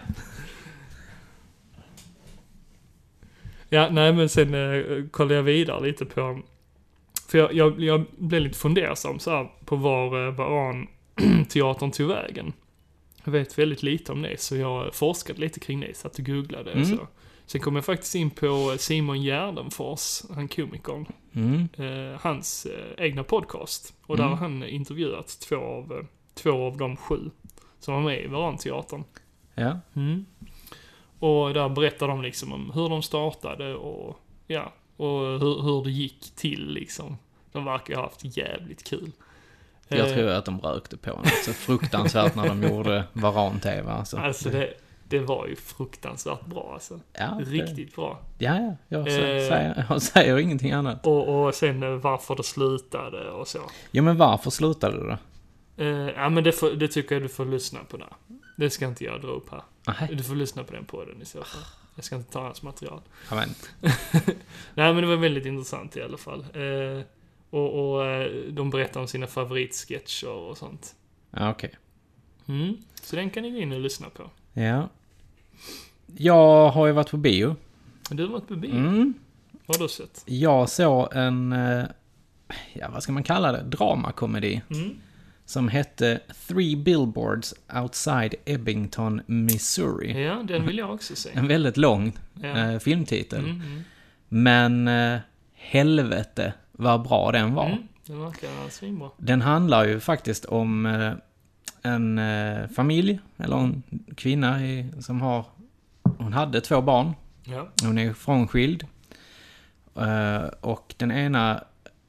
[SPEAKER 1] Ja, nej men sen eh, kollade jag vidare lite på... För jag, jag, jag blev lite fundersam så här, på var eh, Varan-teatern tog vägen. Jag vet väldigt lite om det, så jag forskade lite kring det, satt och googlade och så. Sen kom jag faktiskt in på eh, Simon Gärdenfors, han komikern. Eh, hans eh, egna podcast. Och där har han intervjuat två av, eh, två av de sju som var med i Varan-teatern.
[SPEAKER 2] ja.
[SPEAKER 1] Och där berättar de liksom om hur de startade och ja, och hur, hur det gick till liksom. De verkar ha haft jävligt kul.
[SPEAKER 2] Jag
[SPEAKER 1] Eh,
[SPEAKER 2] tror att de rökte på honom så fruktansvärt när de gjorde Varan-TV. Alltså.
[SPEAKER 1] Alltså det, det var ju fruktansvärt bra alltså.
[SPEAKER 2] Ja, det-
[SPEAKER 1] Riktigt bra.
[SPEAKER 2] Ja, ja, jag,
[SPEAKER 1] Eh.
[SPEAKER 2] sä- säger, jag säger ingenting annat.
[SPEAKER 1] Och, och sen eh, varför det slutade och så.
[SPEAKER 2] Jo, men varför slutade du då?
[SPEAKER 1] Eh, ja men det, får, det tycker jag du får lyssna på där. Det ska inte jag dra upp här.
[SPEAKER 2] Nej,
[SPEAKER 1] Du får lyssna på den podden i så fall. Jag ska inte ta hans material.
[SPEAKER 2] jag vet inte.
[SPEAKER 1] Nej men det var väldigt intressant i alla fall. Eh, och och eh, de berättar om sina favoritsketcher och sånt.
[SPEAKER 2] Ja, okej.
[SPEAKER 1] Mm. Så den kan ni gå in och lyssna på.
[SPEAKER 2] Ja. Jag har ju varit på bio.
[SPEAKER 1] Men Du har varit på bio.
[SPEAKER 2] Mm.
[SPEAKER 1] Vad har du sett?
[SPEAKER 2] Jag såg en, eh, ja vad ska man kalla det, dramakomedi.
[SPEAKER 1] Mm.
[SPEAKER 2] Som hette Three Billboards Outside Ebbington, Missouri.
[SPEAKER 1] Ja, den vill jag också se.
[SPEAKER 2] En väldigt lång
[SPEAKER 1] Ja. Mm,
[SPEAKER 2] eh, filmtitel. Men eh, helvete vad bra den var.
[SPEAKER 1] Mm. Den verkar svinbra.
[SPEAKER 2] Den handlar ju faktiskt om eh, en eh, familj, eller en kvinna i, som har... Hon hade två barn.
[SPEAKER 1] Ja.
[SPEAKER 2] Hon är frånskild. Eh, Och den ena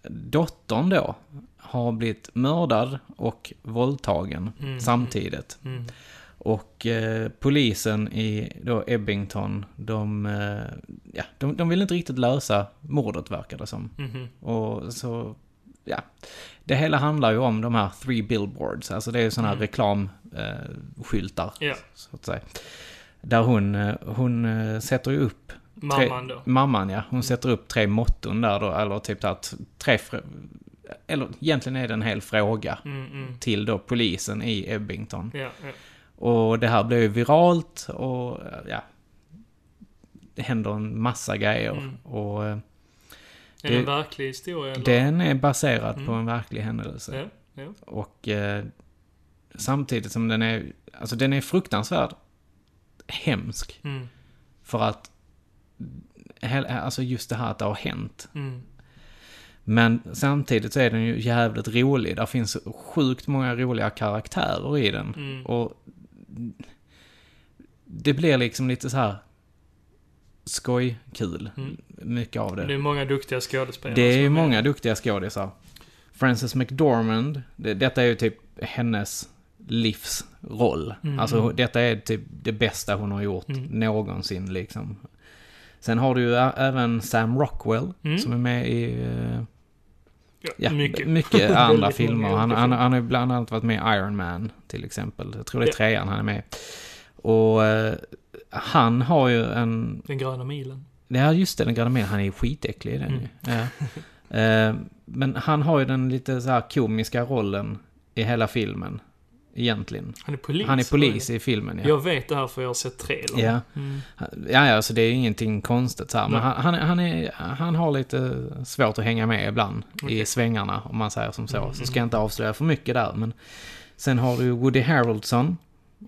[SPEAKER 2] dottern då har blivit mördad och våldtagen samtidigt. Och eh, polisen i då Ebbington, de, eh, ja, de, de vill inte riktigt lösa mordet verkar det som.
[SPEAKER 1] Mhm.
[SPEAKER 2] Och så, ja. Det hela handlar ju om de här three billboards, alltså det är ju sådana här reklamskyltar.
[SPEAKER 1] Mm. Ja.
[SPEAKER 2] Så att säga. Där hon, eh, hon eh, sätter ju upp... tre-
[SPEAKER 1] Mamman då. Mm.
[SPEAKER 2] Mamman ja. Hon sätter upp tre motton där då, eller typ där, t- tre... Fr- eller egentligen är det en hel fråga
[SPEAKER 1] Mm, mm.
[SPEAKER 2] till då polisen i Ebbington.
[SPEAKER 1] Ja, ja.
[SPEAKER 2] Och det här blev ju viralt och eh, ja... Det händer en massa grejer.
[SPEAKER 1] Mm.
[SPEAKER 2] Och eh,
[SPEAKER 1] Är
[SPEAKER 2] Det-
[SPEAKER 1] det en verklig historia eller?
[SPEAKER 2] den är baserad på en verklig händelse.
[SPEAKER 1] Mm. Ja, ja.
[SPEAKER 2] Och eh, samtidigt som den är, alltså den är fruktansvärd hemsk.
[SPEAKER 1] Mm.
[SPEAKER 2] För att, he- alltså just det här att det har hänt.
[SPEAKER 1] Mm.
[SPEAKER 2] Men samtidigt så är den ju jävligt rolig. Där finns sjukt många roliga karaktärer i den.
[SPEAKER 1] Mm.
[SPEAKER 2] Och det blir liksom lite så här skojkul. Mycket av
[SPEAKER 1] Mm. Det är många duktiga skådespelare.
[SPEAKER 2] det är
[SPEAKER 1] som
[SPEAKER 2] ju
[SPEAKER 1] med.
[SPEAKER 2] många duktiga skådisar. Frances McDormand, det, detta är ju typ hennes livsroll.
[SPEAKER 1] Mm.
[SPEAKER 2] Alltså detta är typ det bästa hon har gjort någonsin liksom. Sen har du ju ä- även Sam Rockwell
[SPEAKER 1] Mm.
[SPEAKER 2] som är med i eh, ja, mycket, andra
[SPEAKER 1] Väldigt
[SPEAKER 2] filmer.
[SPEAKER 1] många
[SPEAKER 2] Han,
[SPEAKER 1] olika
[SPEAKER 2] han,
[SPEAKER 1] filmer.
[SPEAKER 2] han har ju bland annat varit med i Iron Man till exempel. Jag tror det är
[SPEAKER 1] Ja.
[SPEAKER 2] trean han är med i. Och eh, han har ju en
[SPEAKER 1] Den gröna milen.
[SPEAKER 2] Ja, just det, den gröna milen. Han är skitäcklig i den ju. ja. Eh, Men han har ju den lite så här komiska rollen i hela filmen. Egentligen.
[SPEAKER 1] Han är polis.
[SPEAKER 2] Han är polis
[SPEAKER 1] eller?
[SPEAKER 2] i filmen, ja.
[SPEAKER 1] Jag vet det här för jag har sett trailern.
[SPEAKER 2] Ja. ja, ja, så det är ju ingenting konstigt så här. Men
[SPEAKER 1] Mm. Nej.
[SPEAKER 2] han, han, är- han, är, han har lite svårt att hänga med ibland i svängarna, om man säger som så.
[SPEAKER 1] Mm.
[SPEAKER 2] Så ska jag inte avslöja för mycket där. Men sen har du Woody Harrelson,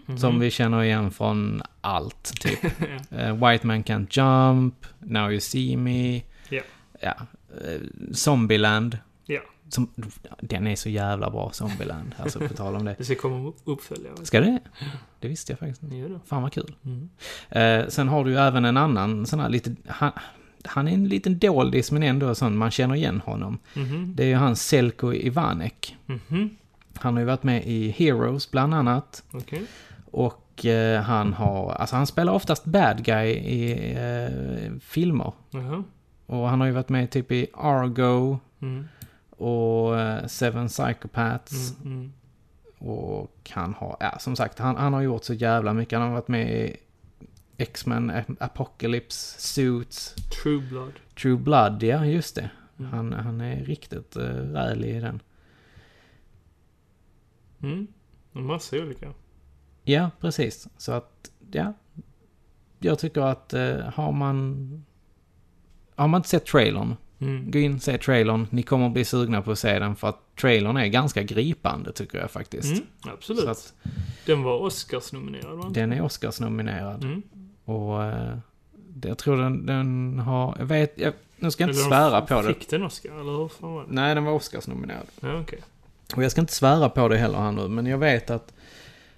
[SPEAKER 1] Mm.
[SPEAKER 2] som vi känner igen från allt, typ. Eh, White Man Can't Jump, Now You See Me,
[SPEAKER 1] Ja.
[SPEAKER 2] ja, eh, Zombieland.
[SPEAKER 1] ja.
[SPEAKER 2] Som, den är så jävla bra, Zombieland. Alltså, på tal om det.
[SPEAKER 1] Det ska komma upp- uppföljare.
[SPEAKER 2] Ska det? Det visste jag faktiskt inte.
[SPEAKER 1] Jo då.
[SPEAKER 2] Fan vad kul. Eh, sen har du ju även en annan sån här lite... Han, han är en liten doldis men ändå sån, man känner igen honom.
[SPEAKER 1] Mm. Mhm,
[SPEAKER 2] Det är ju han Selko Ivanek. Han har ju varit med i Heroes bland annat.
[SPEAKER 1] Okej.
[SPEAKER 2] Och Och eh, han har, alltså han spelar oftast bad guy i eh, filmer.
[SPEAKER 1] Jaha.
[SPEAKER 2] Och han har ju varit med typ i Argo
[SPEAKER 1] Mm,
[SPEAKER 2] och eh, Seven Psychopaths.
[SPEAKER 1] mm, mm.
[SPEAKER 2] Och han har, ja som sagt, han, han har gjort så jävla mycket. Han har varit med i X-Men, Ap- Apocalypse, Suits,
[SPEAKER 1] True Blood.
[SPEAKER 2] True Blood, ja just det.
[SPEAKER 1] Mm.
[SPEAKER 2] Han, han är riktigt uh, rälig i den.
[SPEAKER 1] Mm. En massa olika. Mm,
[SPEAKER 2] Ja, precis. Så att, ja. Jag tycker att eh, har man... Har man inte sett trailern,
[SPEAKER 1] Mm.
[SPEAKER 2] gå in se trailern. Ni kommer bli sugna på att se den för att trailern är ganska gripande tycker jag faktiskt.
[SPEAKER 1] Mm, absolut.
[SPEAKER 2] Så att
[SPEAKER 1] Den var Oscars-nominerad, va?
[SPEAKER 2] den är Oscars-nominerad.
[SPEAKER 1] Mm.
[SPEAKER 2] Och eh, det- jag tror den, den har... Jag vet, jag, nu ska jag inte
[SPEAKER 1] Eller de
[SPEAKER 2] svära
[SPEAKER 1] f-
[SPEAKER 2] på det.
[SPEAKER 1] Fick den Oscar, eller hur fan var det?
[SPEAKER 2] Nej, den var Oscars-nominerad.
[SPEAKER 1] Ja, okej.
[SPEAKER 2] Och jag ska inte svära på det heller här nu, men jag vet att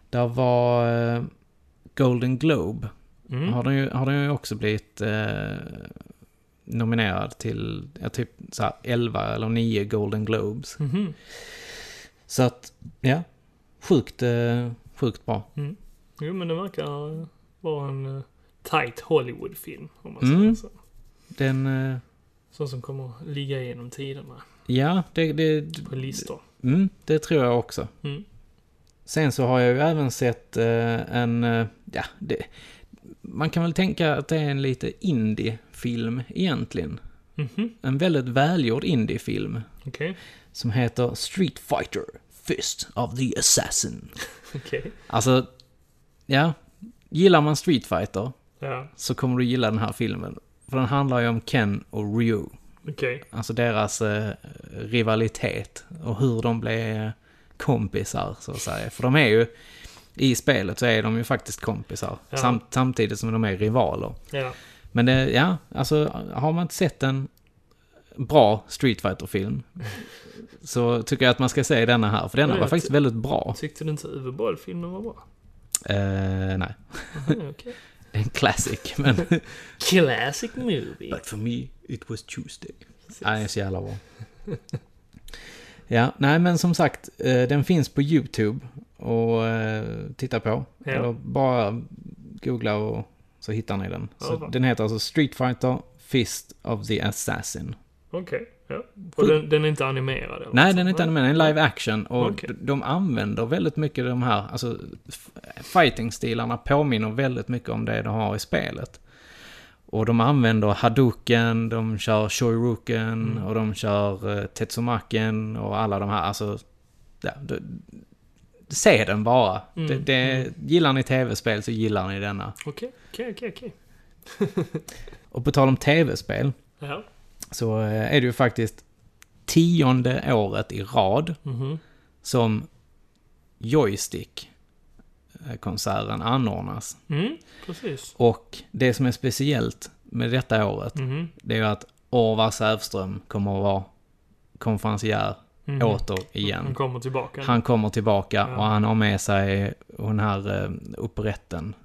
[SPEAKER 2] där var eh, Golden Globe.
[SPEAKER 1] Mm.
[SPEAKER 2] Har, den ju, har den ju också blivit eh, nominerad till ja, typ så här 11 eller 9 Golden Globes.
[SPEAKER 1] Mhm.
[SPEAKER 2] Så att, ja. Sjukt, eh, sjukt bra.
[SPEAKER 1] Jo, men den verkar eh, vara en eh, tight Hollywood-film, om man
[SPEAKER 2] Mm.
[SPEAKER 1] säger så.
[SPEAKER 2] Den, eh,
[SPEAKER 1] Sån som kommer att ligga genom tiderna
[SPEAKER 2] ja, det, det,
[SPEAKER 1] på listor.
[SPEAKER 2] mm, det tror jag också.
[SPEAKER 1] Mm.
[SPEAKER 2] Sen så har jag ju även sett eh, en, eh, ja, det, man kan väl tänka att det är en lite indie-film egentligen.
[SPEAKER 1] Mhm.
[SPEAKER 2] En väldigt välgjord indie-film
[SPEAKER 1] Okej.
[SPEAKER 2] som heter Street Fighter Fist of the Assassin.
[SPEAKER 1] Okej.
[SPEAKER 2] Alltså, ja. Gillar man Street Fighter
[SPEAKER 1] Ja,
[SPEAKER 2] så kommer du gilla den här filmen. För den handlar ju om Ken och Ryu.
[SPEAKER 1] okej.
[SPEAKER 2] Alltså deras eh, rivalitet och hur de blev eh, kompisar så att säga. För de är ju, i spelet så är de ju faktiskt kompisar.
[SPEAKER 1] Ja.
[SPEAKER 2] Sam- samtidigt som de är rivaler.
[SPEAKER 1] Ja.
[SPEAKER 2] Men det, ja, alltså har man inte sett en bra Street fighter film så tycker jag att man ska se denna här. För denna
[SPEAKER 1] Ja,
[SPEAKER 2] var
[SPEAKER 1] jag
[SPEAKER 2] faktiskt
[SPEAKER 1] ty-
[SPEAKER 2] väldigt bra.
[SPEAKER 1] Tyckte du inte Uwe-Boll-filmen var bra?
[SPEAKER 2] Eh, nej,
[SPEAKER 1] Aha, okej.
[SPEAKER 2] det är en classic. Men
[SPEAKER 1] Classic movie.
[SPEAKER 2] But for me it was Tuesday. Nej, den är så jävla bra. Ja, nej men som sagt, eh, den finns på YouTube och eh, titta på.
[SPEAKER 1] Ja.
[SPEAKER 2] Eller bara googla och så hittar ni den. Så
[SPEAKER 1] Ja, bra.
[SPEAKER 2] den heter alltså Street Fighter Fist of the Assassin.
[SPEAKER 1] Okej, ja. Och den, den är inte animerad? Eller
[SPEAKER 2] Nej,
[SPEAKER 1] något
[SPEAKER 2] den
[SPEAKER 1] sånt,
[SPEAKER 2] är inte animerad, den är live action. Och
[SPEAKER 1] Okej.
[SPEAKER 2] d- de använder väldigt mycket de här, alltså f- fighting-stilarna påminner väldigt mycket om det de har i spelet. Och de använder hadoken, de kör shoryuken och de kör eh, tetsumaken och alla de här, alltså... Ja, d- se den bara. Det, det, gillar ni tv-spel så gillar ni denna.
[SPEAKER 1] Okej, okej, okej, okej.
[SPEAKER 2] Och på tal om tv-spel
[SPEAKER 1] Ja.
[SPEAKER 2] så eh, är det ju faktiskt tionde året i rad
[SPEAKER 1] Mhm.
[SPEAKER 2] som joystick-konserten anordnas.
[SPEAKER 1] Mm, precis.
[SPEAKER 2] Och det som är speciellt med detta året,
[SPEAKER 1] Mhm.
[SPEAKER 2] det är ju att Orvar Sävström kommer att vara konferencier
[SPEAKER 1] Mhm.
[SPEAKER 2] åter
[SPEAKER 1] Han
[SPEAKER 2] igen.
[SPEAKER 1] kommer tillbaka.
[SPEAKER 2] Han kommer tillbaka
[SPEAKER 1] Ja.
[SPEAKER 2] och han har med sig hon här eh, operetten.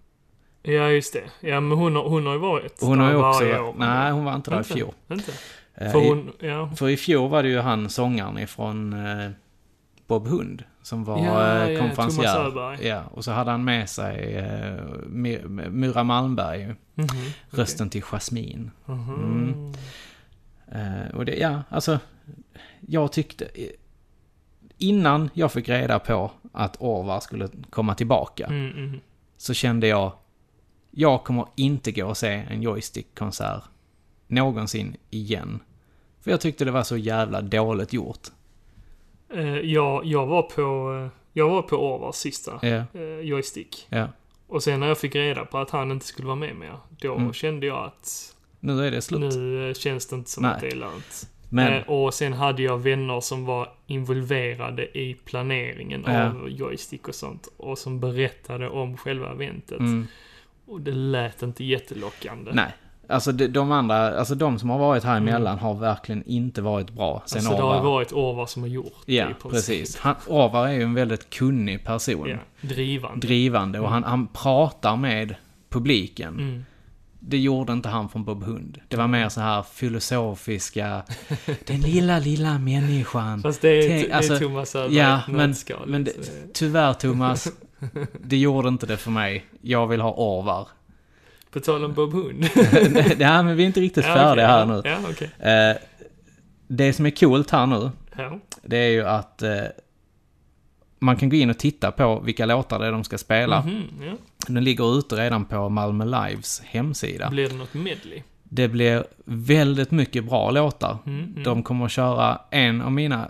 [SPEAKER 1] Ja, just det. Ja, men hon har, hon har ju varit
[SPEAKER 2] Och Hon har ju
[SPEAKER 1] där
[SPEAKER 2] också...
[SPEAKER 1] varje år.
[SPEAKER 2] Nej, hon var inte där i
[SPEAKER 1] Inte?
[SPEAKER 2] fjol.
[SPEAKER 1] Inte?
[SPEAKER 2] Eh,
[SPEAKER 1] För
[SPEAKER 2] i-
[SPEAKER 1] hon, ja.
[SPEAKER 2] För i fjol var det ju han sångaren ifrån eh, Bob Hund som var
[SPEAKER 1] Ja,
[SPEAKER 2] eh,
[SPEAKER 1] ja,
[SPEAKER 2] konferencier.
[SPEAKER 1] Thomas Öberg.
[SPEAKER 2] ja, och så hade han med sig eh, Mi- Mura Malmberg,
[SPEAKER 1] Mhm.
[SPEAKER 2] rösten till Jasmine.
[SPEAKER 1] Mhm.
[SPEAKER 2] Mm. Eh, och det, ja, alltså, jag tyckte... Innan jag fick reda på att Orvar skulle komma tillbaka
[SPEAKER 1] Mm, mm.
[SPEAKER 2] så kände jag, jag kommer inte gå och se en joystick-konsert någonsin igen. För jag tyckte det var så jävla dåligt gjort.
[SPEAKER 1] Eh, jag, jag var på, eh, jag var på Orvars sista
[SPEAKER 2] Ja,
[SPEAKER 1] eh, joystick.
[SPEAKER 2] ja.
[SPEAKER 1] Och sen när jag fick reda på att han inte skulle vara med mer, då
[SPEAKER 2] Mm.
[SPEAKER 1] kände jag att
[SPEAKER 2] Nu är det slut.
[SPEAKER 1] nu eh, känns det inte som
[SPEAKER 2] Nej.
[SPEAKER 1] att det är lönt.
[SPEAKER 2] Men,
[SPEAKER 1] Eh, och sen hade jag vänner som var involverade i planeringen
[SPEAKER 2] Ja.
[SPEAKER 1] av joystick och sånt. Och som berättade om själva eventet.
[SPEAKER 2] mm,
[SPEAKER 1] Och det lät inte jättelockande.
[SPEAKER 2] nej. Alltså de, de andra, alltså de som har varit här emellan har verkligen inte varit bra sen
[SPEAKER 1] Mm. alltså det har
[SPEAKER 2] Orvar.
[SPEAKER 1] ju varit Orvar som har gjort det
[SPEAKER 2] Ja,
[SPEAKER 1] i princip.
[SPEAKER 2] precis. Han, Orvar är ju en väldigt kunnig person.
[SPEAKER 1] Ja, drivande.
[SPEAKER 2] Drivande och han, han pratar med publiken.
[SPEAKER 1] Mm.
[SPEAKER 2] Det gjorde inte han från Bob Hund. Det var mer så här filosofiska, den lilla, lilla människan.
[SPEAKER 1] Fast det är,
[SPEAKER 2] Tänk-
[SPEAKER 1] det är
[SPEAKER 2] alltså,
[SPEAKER 1] Thomas Öberg
[SPEAKER 2] Ja,
[SPEAKER 1] ett
[SPEAKER 2] men,
[SPEAKER 1] nötskal,
[SPEAKER 2] men
[SPEAKER 1] så
[SPEAKER 2] det, tyvärr Thomas, Det gjorde inte det för mig. Jag vill ha orvar.
[SPEAKER 1] På tal om Bob Hund.
[SPEAKER 2] Nej, men vi är inte riktigt
[SPEAKER 1] Ja,
[SPEAKER 2] färdiga
[SPEAKER 1] okej,
[SPEAKER 2] här
[SPEAKER 1] ja,
[SPEAKER 2] nu.
[SPEAKER 1] Ja, okej.
[SPEAKER 2] Eh, det som är coolt här nu,
[SPEAKER 1] Ja.
[SPEAKER 2] det är ju att eh, man kan gå in och titta på vilka låtar det är de ska spela.
[SPEAKER 1] Mm, ja.
[SPEAKER 2] Den ligger ute redan på Malmö Lives hemsida.
[SPEAKER 1] Blir det något medley?
[SPEAKER 2] Det blir väldigt mycket bra låtar.
[SPEAKER 1] Mm,
[SPEAKER 2] De kommer att köra en av mina...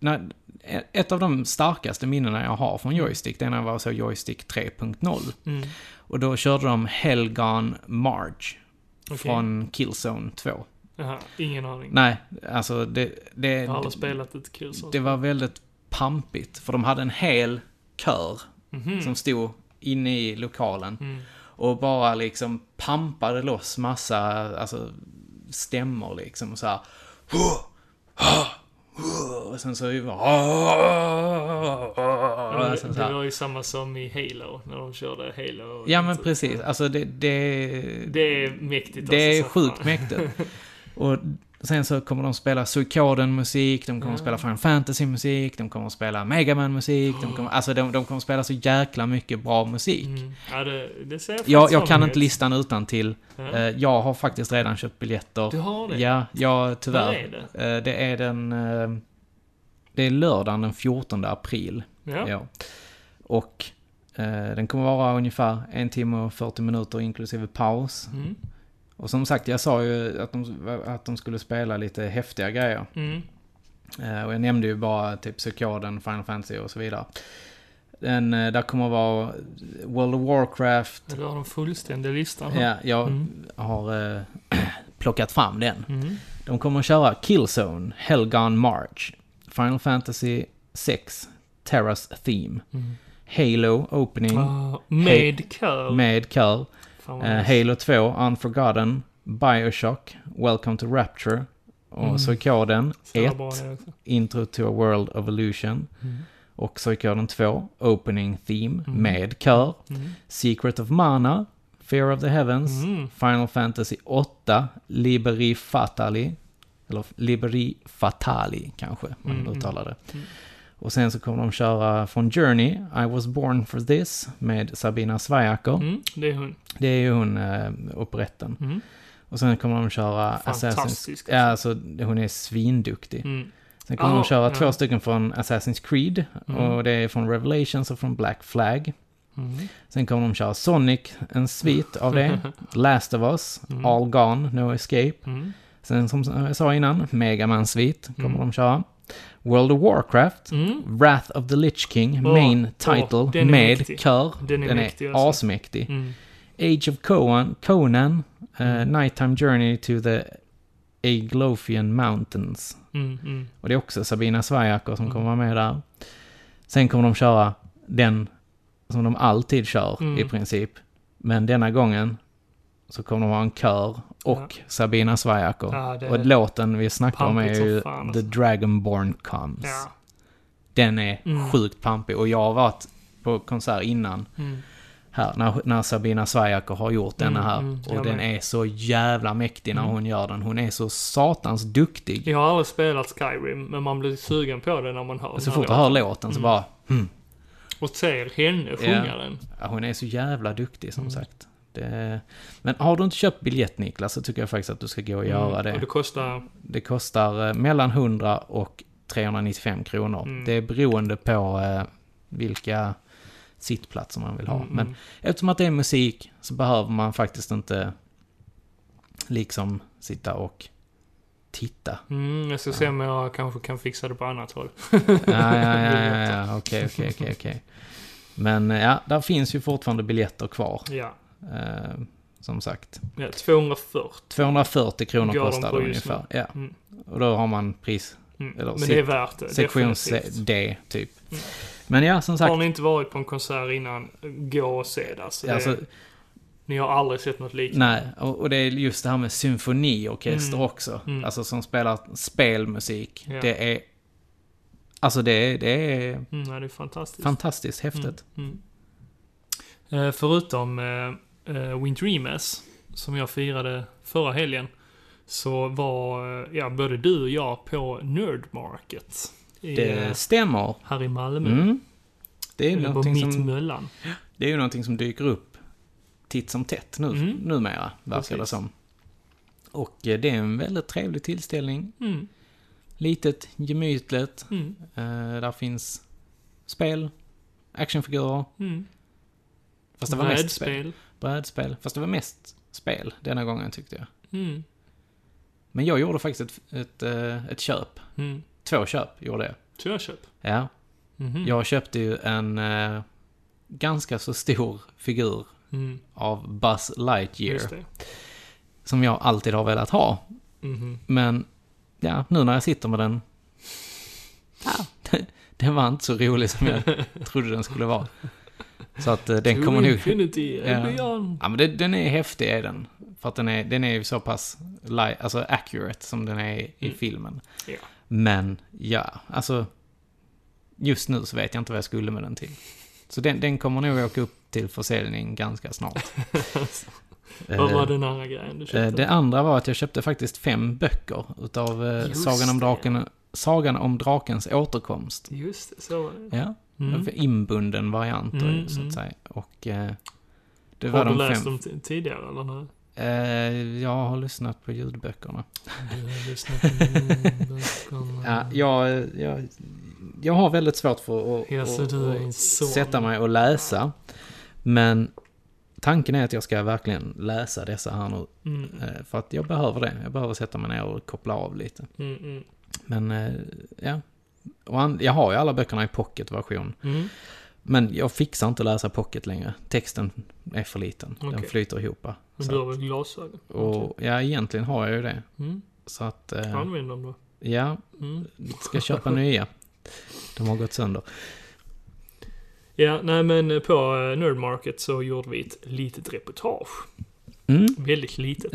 [SPEAKER 2] Nej, e-, ett av de starkaste minnena jag har
[SPEAKER 1] Mm.
[SPEAKER 2] från Joystick, det är när jag var så Joystick 3.0. Och då körde de Helgon March
[SPEAKER 1] Okej.
[SPEAKER 2] från Killzone 2.
[SPEAKER 1] Jaha, ingen aning.
[SPEAKER 2] Nej, alltså det... det
[SPEAKER 1] Jag har aldrig spelat ett kul sånt.
[SPEAKER 2] det var väldigt pampigt, för de hade en hel kör
[SPEAKER 1] Mhm.
[SPEAKER 2] som stod inne i lokalen
[SPEAKER 1] Mm.
[SPEAKER 2] och bara liksom pampade loss massa alltså, stämmor liksom så här. Och sen så... Och
[SPEAKER 1] det,
[SPEAKER 2] sen så här.
[SPEAKER 1] det var ju samma som i Halo, när de körde Halo.
[SPEAKER 2] Ja men precis, alltså det... det
[SPEAKER 1] Det är mäktigt.
[SPEAKER 2] Det är
[SPEAKER 1] alltså, så-
[SPEAKER 2] sjukt mäktigt. Och sen så kommer de spela Suikoden-musik, de kommer spela Final Fantasy-musik, de kommer spela Mega Man-musik, de kommer, alltså de, de kommer spela så jäkla mycket bra musik.
[SPEAKER 1] Mm. Ja, det, det ser jag
[SPEAKER 2] Jag,
[SPEAKER 1] faktiskt
[SPEAKER 2] jag
[SPEAKER 1] fram
[SPEAKER 2] kan
[SPEAKER 1] emot.
[SPEAKER 2] inte listan utan till. Eh, Jag har faktiskt redan köpt biljetter.
[SPEAKER 1] Du har det?
[SPEAKER 2] Ja, jag, tyvärr.
[SPEAKER 1] När är
[SPEAKER 2] det? det är den... eh, Det är lördagen den 14 april.
[SPEAKER 1] Ja.
[SPEAKER 2] Ja. Och eh, den kommer vara ungefär en timme och 40 minuter inklusive paus.
[SPEAKER 1] Mm.
[SPEAKER 2] Och som sagt, jag sa ju att de, att de skulle spela lite häftiga grejer.
[SPEAKER 1] Mm.
[SPEAKER 2] Eh, och jag nämnde ju bara typ Psykoden, Final Fantasy och så vidare. Den, eh, där kommer vara World of Warcraft.
[SPEAKER 1] Du har den fullständiga listan.
[SPEAKER 2] Ja, jag
[SPEAKER 1] Mm.
[SPEAKER 2] har eh, plockat fram den. De kommer att köra Killzone, Helgon March, Final Fantasy 6, Terras Theme, Halo Opening
[SPEAKER 1] Mm. Ah, med kör.
[SPEAKER 2] med kör,
[SPEAKER 1] Fan vad
[SPEAKER 2] eh,
[SPEAKER 1] nice.
[SPEAKER 2] Halo 2, Unforgotten, Bioshock, Welcome to Rapture
[SPEAKER 1] Mm.
[SPEAKER 2] och Psykoden
[SPEAKER 1] Så jävla
[SPEAKER 2] 1,
[SPEAKER 1] bra det också.
[SPEAKER 2] Intro to a World of Illusion och Psykoden 2, Opening Theme med kör, Secret of Mana, Fear of the Heavens, Final Fantasy 8, Liberi Fatali, eller Liberi Fatali kanske man uttalar det. Och sen så kommer de köra från Journey, I was born for this, med Sabina Svajaker.
[SPEAKER 1] Mm, det är hon.
[SPEAKER 2] Det är ju hon, eh, operetten. Och sen kommer de köra Assassin's...
[SPEAKER 1] Mm. Fantastisk,
[SPEAKER 2] Ja, alltså hon är svinduktig. Sen kommer
[SPEAKER 1] Ah,
[SPEAKER 2] de köra
[SPEAKER 1] ja. Mm.
[SPEAKER 2] två stycken från Assassin's Creed. Och det är från Revelations och från Black Flag.
[SPEAKER 1] Mm.
[SPEAKER 2] Sen kommer de köra Sonic, en svit av det. Last of Us,
[SPEAKER 1] Mm.
[SPEAKER 2] All Gone, No Escape. Sen som jag sa innan, Mega man svit kommer
[SPEAKER 1] Mm.
[SPEAKER 2] de köra. World of Warcraft, Wrath of the Lich King,
[SPEAKER 1] Åh,
[SPEAKER 2] main
[SPEAKER 1] åh,
[SPEAKER 2] title
[SPEAKER 1] den är
[SPEAKER 2] med
[SPEAKER 1] mäktig.
[SPEAKER 2] kör.
[SPEAKER 1] Den är mäktig alltså.
[SPEAKER 2] asmäktig. Age of Conan, Conan eh,
[SPEAKER 1] Mm.
[SPEAKER 2] Nighttime Journey to the Aglofian Mountains.
[SPEAKER 1] Mm, mm.
[SPEAKER 2] Och det är också Sabina Svajaker som kommer vara med där. Sen kommer de köra den som de alltid kör
[SPEAKER 1] Mm.
[SPEAKER 2] i princip. Men denna gången så kommer de ha en kör och Sabina Svajaker.
[SPEAKER 1] Ja, det är
[SPEAKER 2] och låten vi snackar om är
[SPEAKER 1] pampigt som
[SPEAKER 2] ju
[SPEAKER 1] fan,
[SPEAKER 2] The
[SPEAKER 1] alltså.
[SPEAKER 2] Dragonborn Comes.
[SPEAKER 1] Ja.
[SPEAKER 2] Den är sjukt pampig och jag har varit på konsert innan. Här, när, när Sabina Svajaker har gjort denna här. och
[SPEAKER 1] jag
[SPEAKER 2] den är så jävla mäktig när hon gör den. Hon är så satans duktig.
[SPEAKER 1] Jag har aldrig spelat Skyrim, men man blir sugen på det när man hör
[SPEAKER 2] Så
[SPEAKER 1] den
[SPEAKER 2] Alltså, fort jag
[SPEAKER 1] här
[SPEAKER 2] hör låten så bara... Hmm,
[SPEAKER 1] Och ser henne sjunga den.
[SPEAKER 2] ja, hon är så jävla duktig som sagt. Det, men har du inte köpt biljett Niklas så tycker jag faktiskt att du ska gå och göra
[SPEAKER 1] Och det
[SPEAKER 2] det.
[SPEAKER 1] kostar...
[SPEAKER 2] Det kostar eh, mellan 100 och 395 kronor. Det är beroende på eh, vilka sittplatser man vill ha.
[SPEAKER 1] Mm,
[SPEAKER 2] Men eftersom att det är musik så behöver man faktiskt inte liksom sitta och titta.
[SPEAKER 1] Mm, jag ska se om jag kanske kan fixa det på annat håll.
[SPEAKER 2] Ja, ja, ja, ja, ja, okej, okej, okej, okej. Men eh, ja, där finns ju fortfarande biljetter kvar.
[SPEAKER 1] Ja.
[SPEAKER 2] Eh, som sagt.
[SPEAKER 1] ja 240.
[SPEAKER 2] 240
[SPEAKER 1] Går
[SPEAKER 2] kronor
[SPEAKER 1] de
[SPEAKER 2] kostar
[SPEAKER 1] på
[SPEAKER 2] det
[SPEAKER 1] just Mm.
[SPEAKER 2] ungefär. Ja. Och då har man pris... Eller
[SPEAKER 1] Men
[SPEAKER 2] sit-
[SPEAKER 1] det är värt det.
[SPEAKER 2] sektion C-
[SPEAKER 1] definitivt. Mm.
[SPEAKER 2] D, typ. Men ja, som sagt.
[SPEAKER 1] Har ni inte varit på en konsert innan, gå och se det. Alltså,
[SPEAKER 2] Alltså,
[SPEAKER 1] det ni har aldrig sett något liknande.
[SPEAKER 2] nej, och, och det är just det här med symfoniorkester också. Alltså som spelar spelmusik.
[SPEAKER 1] Mm. Ja.
[SPEAKER 2] Det är... Alltså det är, det är
[SPEAKER 1] Mm, ja, det är fantastiskt.
[SPEAKER 2] fantastiskt
[SPEAKER 1] Mm.
[SPEAKER 2] häftigt.
[SPEAKER 1] Eh, förutom eh, eh, Winter Emas, som jag firade förra helgen, så var eh, ja, både du och jag på Nerd Market i, eh,
[SPEAKER 2] Det stämmer.
[SPEAKER 1] här i Malmö.
[SPEAKER 2] Mm. Det är,
[SPEAKER 1] Eller bara
[SPEAKER 2] någonting
[SPEAKER 1] mitt
[SPEAKER 2] som,
[SPEAKER 1] möllan.
[SPEAKER 2] det är ju någonting som dyker upp titt som tätt nu,
[SPEAKER 1] Mm.
[SPEAKER 2] numera, verkar det
[SPEAKER 1] Precis.
[SPEAKER 2] som. Och eh, det är en väldigt trevlig tillställning.
[SPEAKER 1] Mm,
[SPEAKER 2] Litet, gemytligt.
[SPEAKER 1] mm,
[SPEAKER 2] Eh, där finns spel, actionfigurer.
[SPEAKER 1] mm.
[SPEAKER 2] Fast det var mest spel.
[SPEAKER 1] Brädspel.
[SPEAKER 2] Brädspel. Fast det var mest spel denna gången tyckte jag.
[SPEAKER 1] Mm,
[SPEAKER 2] Men jag gjorde faktiskt ett, ett, eh, ett köp.
[SPEAKER 1] mm.
[SPEAKER 2] Två köp gjorde jag.
[SPEAKER 1] Så jag köp.
[SPEAKER 2] Ja.
[SPEAKER 1] Mhm.
[SPEAKER 2] Jag köpte ju en eh, ganska så stor figur
[SPEAKER 1] Mm,
[SPEAKER 2] av Buzz
[SPEAKER 1] just
[SPEAKER 2] Lightyear.
[SPEAKER 1] det.
[SPEAKER 2] Som jag alltid har velat ha.
[SPEAKER 1] Mhm.
[SPEAKER 2] Men ja, nu när jag sitter med den. Ja, den var inte så rolig som jag trodde den skulle vara. Så att eh, den
[SPEAKER 1] To
[SPEAKER 2] kommer nog...
[SPEAKER 1] Infinity and
[SPEAKER 2] Ja.
[SPEAKER 1] beyond.
[SPEAKER 2] Ja, men det, den är häftig är den. För att den är, den är ju så pass li- alltså accurate som den är i
[SPEAKER 1] Mm.
[SPEAKER 2] filmen.
[SPEAKER 1] Ja.
[SPEAKER 2] Men ja, alltså just nu så vet jag inte vad jag skulle med den till. Så den, den kommer nog åka upp till försäljning ganska snart.
[SPEAKER 1] Vad var
[SPEAKER 2] Eh,
[SPEAKER 1] den andra grejen du
[SPEAKER 2] eh,
[SPEAKER 1] köpte?
[SPEAKER 2] Det andra var att jag köpte faktiskt fem böcker utav eh,
[SPEAKER 1] Just
[SPEAKER 2] Sagan om,
[SPEAKER 1] det.
[SPEAKER 2] draken, Sagan om drakens återkomst.
[SPEAKER 1] Just det, så var det.
[SPEAKER 2] Ja,
[SPEAKER 1] Mm.
[SPEAKER 2] inbunden variant då,
[SPEAKER 1] Mm,
[SPEAKER 2] så
[SPEAKER 1] mm.
[SPEAKER 2] att säga. Och eh, det var
[SPEAKER 1] Har du
[SPEAKER 2] de
[SPEAKER 1] läst
[SPEAKER 2] fem...
[SPEAKER 1] dem t- tidigare eller? Nej?
[SPEAKER 2] Eh, jag har lyssnat på ljudböckerna.
[SPEAKER 1] Du har lyssnat på ljudböckerna.
[SPEAKER 2] Ja, jag, jag, jag har väldigt svårt för att,
[SPEAKER 1] Ja, så
[SPEAKER 2] att,
[SPEAKER 1] du är en
[SPEAKER 2] att
[SPEAKER 1] sån.
[SPEAKER 2] sätta mig och läsa. Men tanken är att jag ska verkligen läsa dessa här nu.
[SPEAKER 1] Mm,
[SPEAKER 2] eh, För att jag behöver det. Jag behöver sätta mig ner och koppla av lite.
[SPEAKER 1] mm, mm,
[SPEAKER 2] Men eh, ja. Och an- jag har ju alla böckerna i pocketversion.
[SPEAKER 1] mm.
[SPEAKER 2] Men jag fixar inte läsa pocket längre. Texten är för liten. Den
[SPEAKER 1] Okej.
[SPEAKER 2] flyter ihop.
[SPEAKER 1] Men du har väl glasögon?
[SPEAKER 2] Och ja, egentligen har jag ju det.
[SPEAKER 1] Mm.
[SPEAKER 2] Så att... eh,
[SPEAKER 1] Använd dem då.
[SPEAKER 2] Ja,
[SPEAKER 1] Mm.
[SPEAKER 2] ska köpa nya. De har gått sönder.
[SPEAKER 1] Ja, nej men på eh, Nerd Market så gjorde vi ett litet reportage.
[SPEAKER 2] Mm.
[SPEAKER 1] Väldigt litet.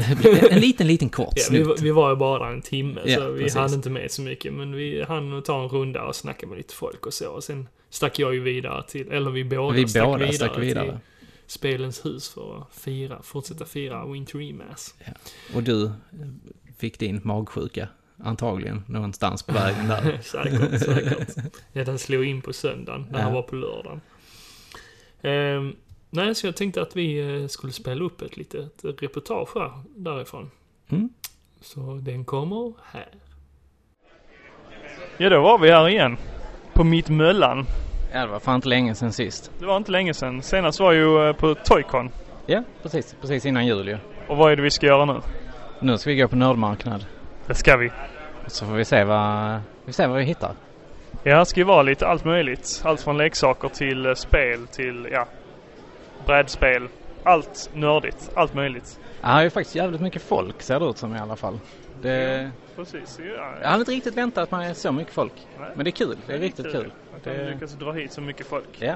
[SPEAKER 2] En liten, liten kort
[SPEAKER 1] Ja, vi,
[SPEAKER 2] snutt.
[SPEAKER 1] var- vi var ju bara där en timme,
[SPEAKER 2] Ja,
[SPEAKER 1] så vi
[SPEAKER 2] precis.
[SPEAKER 1] hann inte med så mycket. Men vi hann ta en runda och snacka med lite folk och så. Och sen stack jag ju vidare till, eller vi båda,
[SPEAKER 2] Vi
[SPEAKER 1] stack,
[SPEAKER 2] båda
[SPEAKER 1] vidare
[SPEAKER 2] stack vidare.
[SPEAKER 1] till Spelens hus för att fira, fortsätta fira Winter Emass.
[SPEAKER 2] Och du fick din magsjuka, antagligen, någonstans på vägen där.
[SPEAKER 1] säkert, säkert. Ja, den slog in på söndagen, när han
[SPEAKER 2] Ja.
[SPEAKER 1] var på lördagen. Ehm, nej, så jag tänkte att vi eh, skulle spela upp ett litet reportage här, därifrån.
[SPEAKER 2] Mm.
[SPEAKER 1] Så den kommer här. Ja, då var vi här igen. På mitt möllan.
[SPEAKER 2] Ja, det var fan inte länge sen sist.
[SPEAKER 1] Det var inte länge sedan. Senast var ju eh, på Toycon.
[SPEAKER 2] Ja, precis. Precis innan jul ju.
[SPEAKER 1] Och vad är det vi ska göra nu?
[SPEAKER 2] Nu ska vi gå på nördmarknad.
[SPEAKER 1] Det ska vi.
[SPEAKER 2] Och så får vi se vad vi, ser vad vi hittar.
[SPEAKER 1] Ja, här ska ju vara lite allt möjligt. Allt från leksaker till eh, spel till, ja, brädspel. Allt nördigt. Allt möjligt.
[SPEAKER 2] Ja, här är ju faktiskt jävligt mycket folk ser det ut som i alla fall. Det...
[SPEAKER 1] Precis. Ja,
[SPEAKER 2] Jag hade inte riktigt väntat mig så mycket folk.
[SPEAKER 1] Nej.
[SPEAKER 2] Men det är kul. Det är riktigt kul.
[SPEAKER 1] Att de
[SPEAKER 2] Det...
[SPEAKER 1] lyckas dra hit så mycket folk.
[SPEAKER 2] Ja.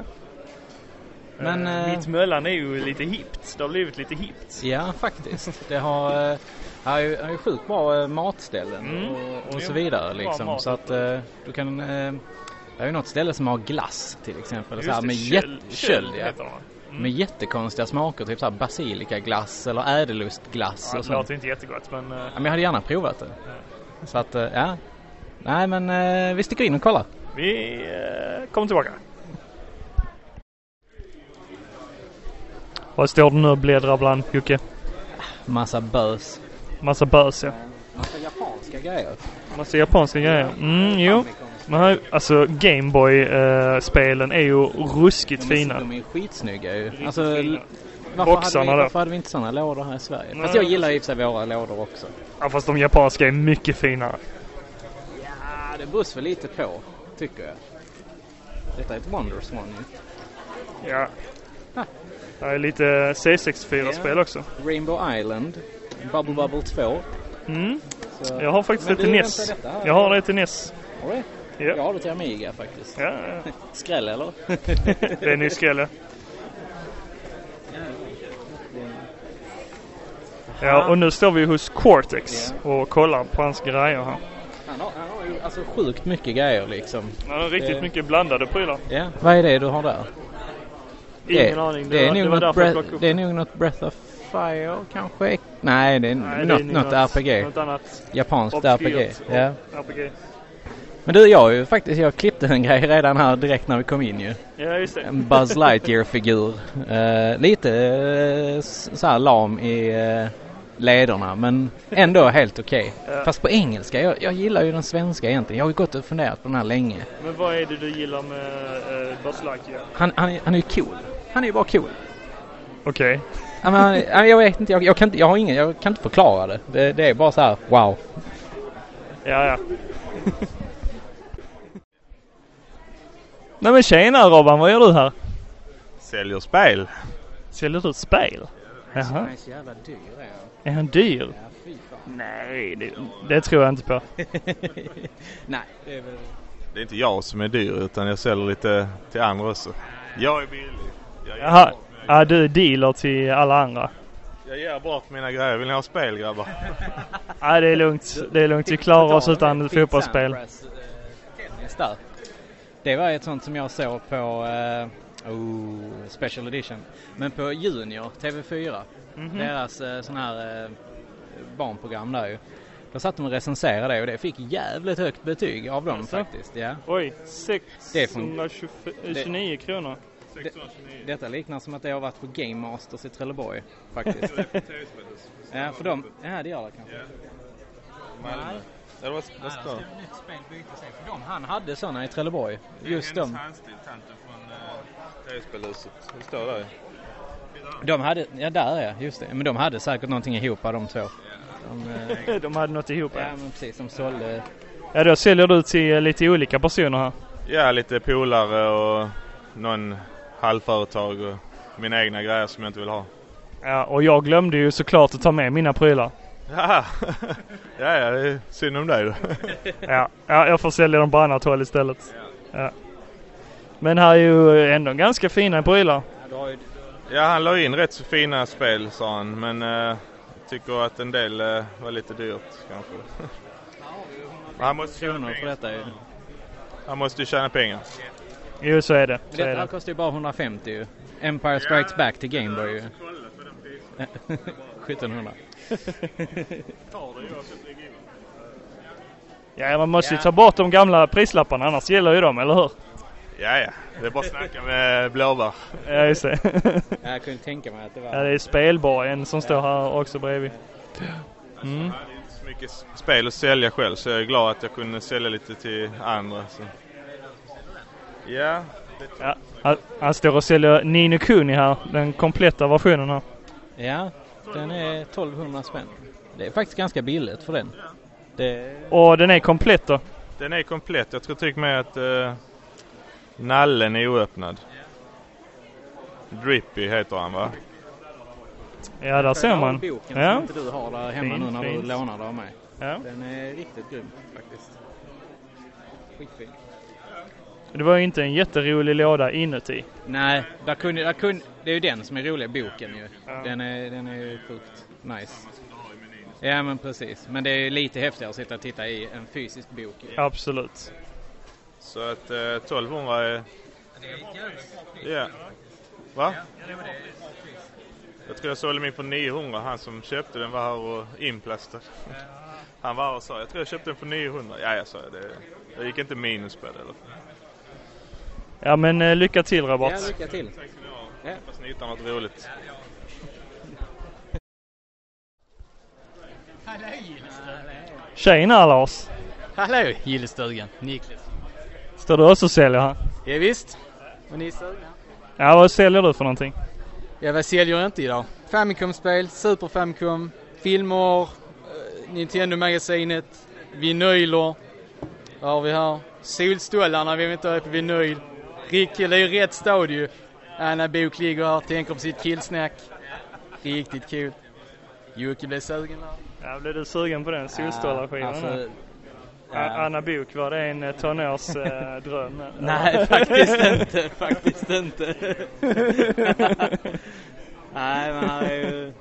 [SPEAKER 2] Men...
[SPEAKER 1] Eh,
[SPEAKER 2] eh,
[SPEAKER 1] Mitt Möllan är ju lite hippt. Det har blivit lite hippt.
[SPEAKER 2] Ja, faktiskt. Det har, eh, har, ju, har ju sjukt bra eh, matställen
[SPEAKER 1] Mm.
[SPEAKER 2] och,
[SPEAKER 1] Jo,
[SPEAKER 2] och så vidare.
[SPEAKER 1] bra
[SPEAKER 2] Liksom.
[SPEAKER 1] mat.
[SPEAKER 2] Så att eh, du kan... Eh, det är ju något ställe som har glass till exempel. Så här,
[SPEAKER 1] det,
[SPEAKER 2] med,
[SPEAKER 1] köld-
[SPEAKER 2] jätte, köld,
[SPEAKER 1] köld
[SPEAKER 2] ja,
[SPEAKER 1] heter de. Mm.
[SPEAKER 2] med jättekonstiga smaker. Typ så här basilikaglass eller ädellustglass.
[SPEAKER 1] Ja,
[SPEAKER 2] och
[SPEAKER 1] det
[SPEAKER 2] sånt.
[SPEAKER 1] låter inte jättegott men... eh,
[SPEAKER 2] Ja, men jag hade gärna provat det. Så att, eh, ja. Nej, men eh, vi sticker in och kollar.
[SPEAKER 1] Vi eh, kommer tillbaka. Vad står det nu och bläddrar bland, Jocke?
[SPEAKER 2] Massa bös.
[SPEAKER 1] Massa bös, ja.
[SPEAKER 2] Massa japanska grejer.
[SPEAKER 1] Massa japanska grejer. Mm, jo. Men här, alltså Gameboy-spelen är ju ruskigt fina.
[SPEAKER 2] De är ju skitsnygga ju. Alltså,
[SPEAKER 1] fina.
[SPEAKER 2] varför,
[SPEAKER 1] Boxarna
[SPEAKER 2] hade
[SPEAKER 1] då?
[SPEAKER 2] vi, varför hade vi inte sådana lådor här i Sverige?
[SPEAKER 1] Nej,
[SPEAKER 2] Fast jag gillar ju i och för sig våra lådor också.
[SPEAKER 1] Ja, fast de japanska är mycket finare.
[SPEAKER 2] Ja, Ah, det beror väl lite på, tycker jag. Detta är ett Wonderswan ju.
[SPEAKER 1] Ja. Det är lite C64-spel också.
[SPEAKER 2] Rainbow Island, Bubble Bubble 2.
[SPEAKER 1] Mm.
[SPEAKER 2] Så...
[SPEAKER 1] Jag har faktiskt
[SPEAKER 2] Men
[SPEAKER 1] det till
[SPEAKER 2] du,
[SPEAKER 1] NES.
[SPEAKER 2] vänta, detta här-
[SPEAKER 1] Jag har det till NES.
[SPEAKER 2] Har du det?
[SPEAKER 1] Ja.
[SPEAKER 2] Jag har det till Amiga faktiskt.
[SPEAKER 1] Ja, ja.
[SPEAKER 2] Skräll eller?
[SPEAKER 1] det är en ny skrälle. Ja, och nu står vi hos Cortex och kollar på hans grejer här.
[SPEAKER 2] han, har, han har ju alltså sjukt mycket grejer liksom.
[SPEAKER 1] Han har riktigt
[SPEAKER 2] Det-
[SPEAKER 1] mycket blandade prylar.
[SPEAKER 2] Ja. Vad är det du har där?
[SPEAKER 1] Ingen aning.
[SPEAKER 2] Det är,
[SPEAKER 1] var, det
[SPEAKER 2] nog
[SPEAKER 1] var
[SPEAKER 2] något
[SPEAKER 1] därför jag
[SPEAKER 2] breath,
[SPEAKER 1] plockade upp.
[SPEAKER 2] det är nog något Breath of Fire kanske? Nej, det är,
[SPEAKER 1] Nej, det är
[SPEAKER 2] något, något RPG.
[SPEAKER 1] Något annat
[SPEAKER 2] Japanskt
[SPEAKER 1] obskyrt
[SPEAKER 2] RPG.
[SPEAKER 1] och-
[SPEAKER 2] Ja.
[SPEAKER 1] RPG.
[SPEAKER 2] Men du, jag har ju faktiskt, jag klippte en grej redan här direkt när vi kom in ju.
[SPEAKER 1] Ja, just det.
[SPEAKER 2] En Buzz Lightyear-figur. Eh, lite eh, s- så här lam i eh, lederna men ändå helt okej. Fast på engelska. Jag, jag gillar ju den svenska egentligen. Jag har ju gått och funderat på den här länge.
[SPEAKER 1] Men vad är det du gillar med uh, Buzz Lightyear?
[SPEAKER 2] Han, han, han är ju cool. Han är ju bara cool.
[SPEAKER 1] Okej.
[SPEAKER 2] Ja, men, han- ja, jag vet inte, jag, jag, kan inte, jag har ingen, jag kan inte förklara det. Det, det är bara så här, wow.
[SPEAKER 1] Ja, ja.
[SPEAKER 8] Nej men tjena Robban, vad gör du här?
[SPEAKER 7] Säljer spel.
[SPEAKER 8] Säljer du ett spel? Jaha.
[SPEAKER 2] är så jävla dyr är
[SPEAKER 8] Är han dyr? Nej, det, det tror jag inte på.
[SPEAKER 2] Nej,
[SPEAKER 7] Det är inte jag som är dyr utan jag säljer lite till andra också. Jag är billig. Jag ger,
[SPEAKER 8] Jaha,
[SPEAKER 7] bort, mina,
[SPEAKER 8] ja, du är dealer till alla andra.
[SPEAKER 7] jag ger bort mina grejer. Vill ni ha spel grabbar?
[SPEAKER 8] Nej, det är lugnt. Det är lugnt. Vi klarar oss utan fotbollsspel.
[SPEAKER 2] eh, Där. Det var ett sånt som jag såg på eh, oh, Special Edition. Men på Junior TV4.
[SPEAKER 8] Mhm.
[SPEAKER 2] Deras eh, sån här eh, barnprogram där ju. Då satt de och recenserade det och det fick jävligt högt betyg av dem
[SPEAKER 1] Jaså?
[SPEAKER 2] faktiskt. Ja.
[SPEAKER 1] Oj,
[SPEAKER 2] Det funkar.
[SPEAKER 1] 629 kronor.
[SPEAKER 2] Detta liknar som att det har varit på Game Masters i Trelleborg faktiskt. ja, för dem. Ja, det gör det kanske.
[SPEAKER 7] Malmö. Eller vad, vad ska du?
[SPEAKER 2] För dem, han hade sådana i Trelleborg. Just dem.
[SPEAKER 7] handstil, tanten från eh, TV-spelhuset. Det står där
[SPEAKER 2] De hade, ja där är jag, just det. Men de hade säkert någonting ihop de två. De, eh,
[SPEAKER 8] De hade något ihop.
[SPEAKER 2] ja men precis, de sålde.
[SPEAKER 8] Ja, då säljer du till eh, lite olika personer här.
[SPEAKER 7] Ja, lite polare och någon halvföretag och mina egna grejer som jag inte vill ha.
[SPEAKER 8] Ja, och jag glömde ju såklart att ta med mina prylar.
[SPEAKER 7] Ja, ja, ja det är synd om dig då.
[SPEAKER 8] Ja, ja jag får sälja dem på annat håll istället. Ja. Men här är ju ändå ganska fina prylar.
[SPEAKER 7] Ja, han la in rätt så fina spel sa han, men eh, tycker att en del eh, var lite dyrt kanske. Han måste, tjäna
[SPEAKER 2] Kronor för
[SPEAKER 7] pengar.
[SPEAKER 2] detta ju.
[SPEAKER 7] han måste ju tjäna pengar.
[SPEAKER 8] Jo, så är det. Så är
[SPEAKER 2] Detta här
[SPEAKER 8] det.
[SPEAKER 2] kostar ju bara 150 ju. Empire Strikes Back till Game Boy ju. 1700.
[SPEAKER 8] Ja, man måste ju ta bort de gamla prislapparna annars gäller ju de, eller hur?
[SPEAKER 7] Ja, ja, det är bara att snacka med blåbär.
[SPEAKER 8] Ja, just det.
[SPEAKER 2] Ja, jag kunde tänka mig att det var.
[SPEAKER 8] ja, det är spelborgen som står här också bredvid.
[SPEAKER 7] Jag hade inte så mycket s- spel att sälja själv så jag är glad att jag kunde sälja lite till andra. Så. Ja,
[SPEAKER 8] Ja, han, han står och säljer Nino Kuni här, den kompletta versionen här.
[SPEAKER 2] Ja, den är 1200 spänn. Det är faktiskt ganska billigt för den. Det...
[SPEAKER 8] Och den är komplett då.
[SPEAKER 7] den är komplett. Jag tror till och med att eh, nallen är oöppnad. Drippy heter han va?
[SPEAKER 8] Ja, där ser man.
[SPEAKER 2] Boken
[SPEAKER 8] Ja.
[SPEAKER 2] som inte du har där hemma
[SPEAKER 8] Fint,
[SPEAKER 2] nu när du
[SPEAKER 8] fint.
[SPEAKER 2] lånar det av mig.
[SPEAKER 8] Ja.
[SPEAKER 2] Den är riktigt grym faktiskt. Skitfin.
[SPEAKER 8] Det var ju inte en jätterolig låda inuti.
[SPEAKER 2] Nej, där kunde, där kunde, det är ju den som är rolig, boken ju. Den är, den är ju sjukt nice. Ja men precis. Men det är ju lite häftigare att sitta och titta i en fysisk bok. ju.
[SPEAKER 8] Absolut.
[SPEAKER 7] Så att eh, 1200 är... Ja. Va? Jag tror jag sålde min för 900. Han som köpte den var här och inplastad. Han var här och sa jag tror jag köpte den för 900. Ja, jag sa jag. det. Jag gick inte minus på det. Eller?
[SPEAKER 8] Ja, men eh, lycka till Robert.
[SPEAKER 2] Ja, lycka till.
[SPEAKER 7] Hoppas ni hittar något roligt.
[SPEAKER 8] Tjena Lars!
[SPEAKER 6] Hallå gillestugan, Niklas.
[SPEAKER 8] Står du också och säljer här?
[SPEAKER 6] Ja, visst. Och ni är sugna?
[SPEAKER 8] Ja, vad säljer du för någonting?
[SPEAKER 6] Ja, vad säljer jag inte idag? Famicom-spel, Super Famicom, filmer, eh, Nintendo-magasinet, vinyler. Vad har vi här? Solstolarna vill vi inte ha på vinyl. Riktigt, det är ju rätt stadie. Anna Bok ligger här och tänker på sitt killsnack. Riktigt kul. Jocke blev sugen där.
[SPEAKER 8] Ja, blev du sugen på den solstolarskivan?
[SPEAKER 2] Alltså,
[SPEAKER 8] Anna Bok var det en eh, tonårsdröm?
[SPEAKER 6] Nej, faktiskt inte. Faktiskt inte. Nej, men här är ju...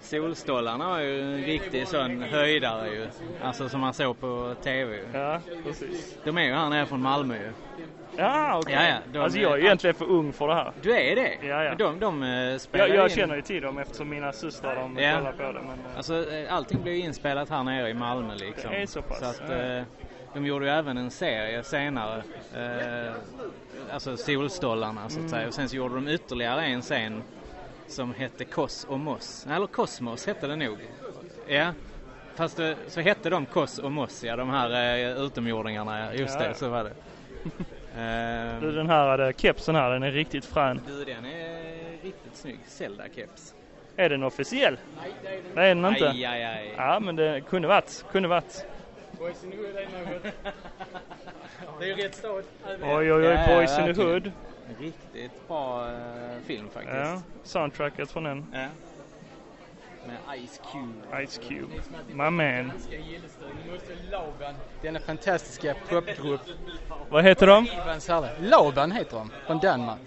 [SPEAKER 2] Solstolarna var ju en riktig sån höjdare ju. Alltså som man såg på TV ju.
[SPEAKER 8] Ja, precis.
[SPEAKER 2] De är ju här nere från Malmö ju.
[SPEAKER 8] Ja, okej.
[SPEAKER 2] Ja, ja, de-
[SPEAKER 8] alltså jag är ju egentligen för ung för det här.
[SPEAKER 2] Du är det?
[SPEAKER 8] Ja, ja.
[SPEAKER 2] Men De, de eh, spelar
[SPEAKER 8] Jag, jag
[SPEAKER 2] in.
[SPEAKER 8] känner ju till dem eftersom mina systrar de
[SPEAKER 2] Ja.
[SPEAKER 8] kollar på det. Men, eh,
[SPEAKER 2] Alltså eh, allting blir ju inspelat här nere i Malmö liksom.
[SPEAKER 8] Det är så pass,
[SPEAKER 2] Så att,
[SPEAKER 8] ja.
[SPEAKER 2] eh, De gjorde ju även en serie senare, eh, alltså Solstollarna så att
[SPEAKER 6] Mm.
[SPEAKER 2] säga. Och sen så gjorde de ytterligare en sen som hette Kos och Moss. Nej, Eller Kosmos hette det nog. Ja, fast det, så hette de Kos och Moss, ja de här eh, utomjordingarna. ja. Just
[SPEAKER 8] Ja,
[SPEAKER 2] det,
[SPEAKER 8] ja.
[SPEAKER 2] så var det. Ehm,
[SPEAKER 8] Du, den här eh, kepsen här, den är riktigt frän.
[SPEAKER 2] du, den är riktigt snygg. Zelda-keps.
[SPEAKER 8] Är den officiell?
[SPEAKER 2] Nej, det är den
[SPEAKER 8] Det är den inte.
[SPEAKER 2] Aj, aj, aj.
[SPEAKER 8] Ja, men det kunde varit. Kunde varit.
[SPEAKER 6] Boys in the Hood är något. Det är ju rätt stad.
[SPEAKER 8] Oj, oj, oj,
[SPEAKER 2] Ja, typ.
[SPEAKER 8] Boys in the
[SPEAKER 2] verkligen.
[SPEAKER 8] Hood.
[SPEAKER 2] Riktigt bra eh, film faktiskt.
[SPEAKER 8] Ja, soundtracket från den.
[SPEAKER 2] Ja. Med Ice Cube.
[SPEAKER 8] Ice Cube. My man.
[SPEAKER 6] Denna fantastiska popgrupp.
[SPEAKER 8] Vad heter de?
[SPEAKER 6] Ivans härliga. Laban heter de, från Danmark.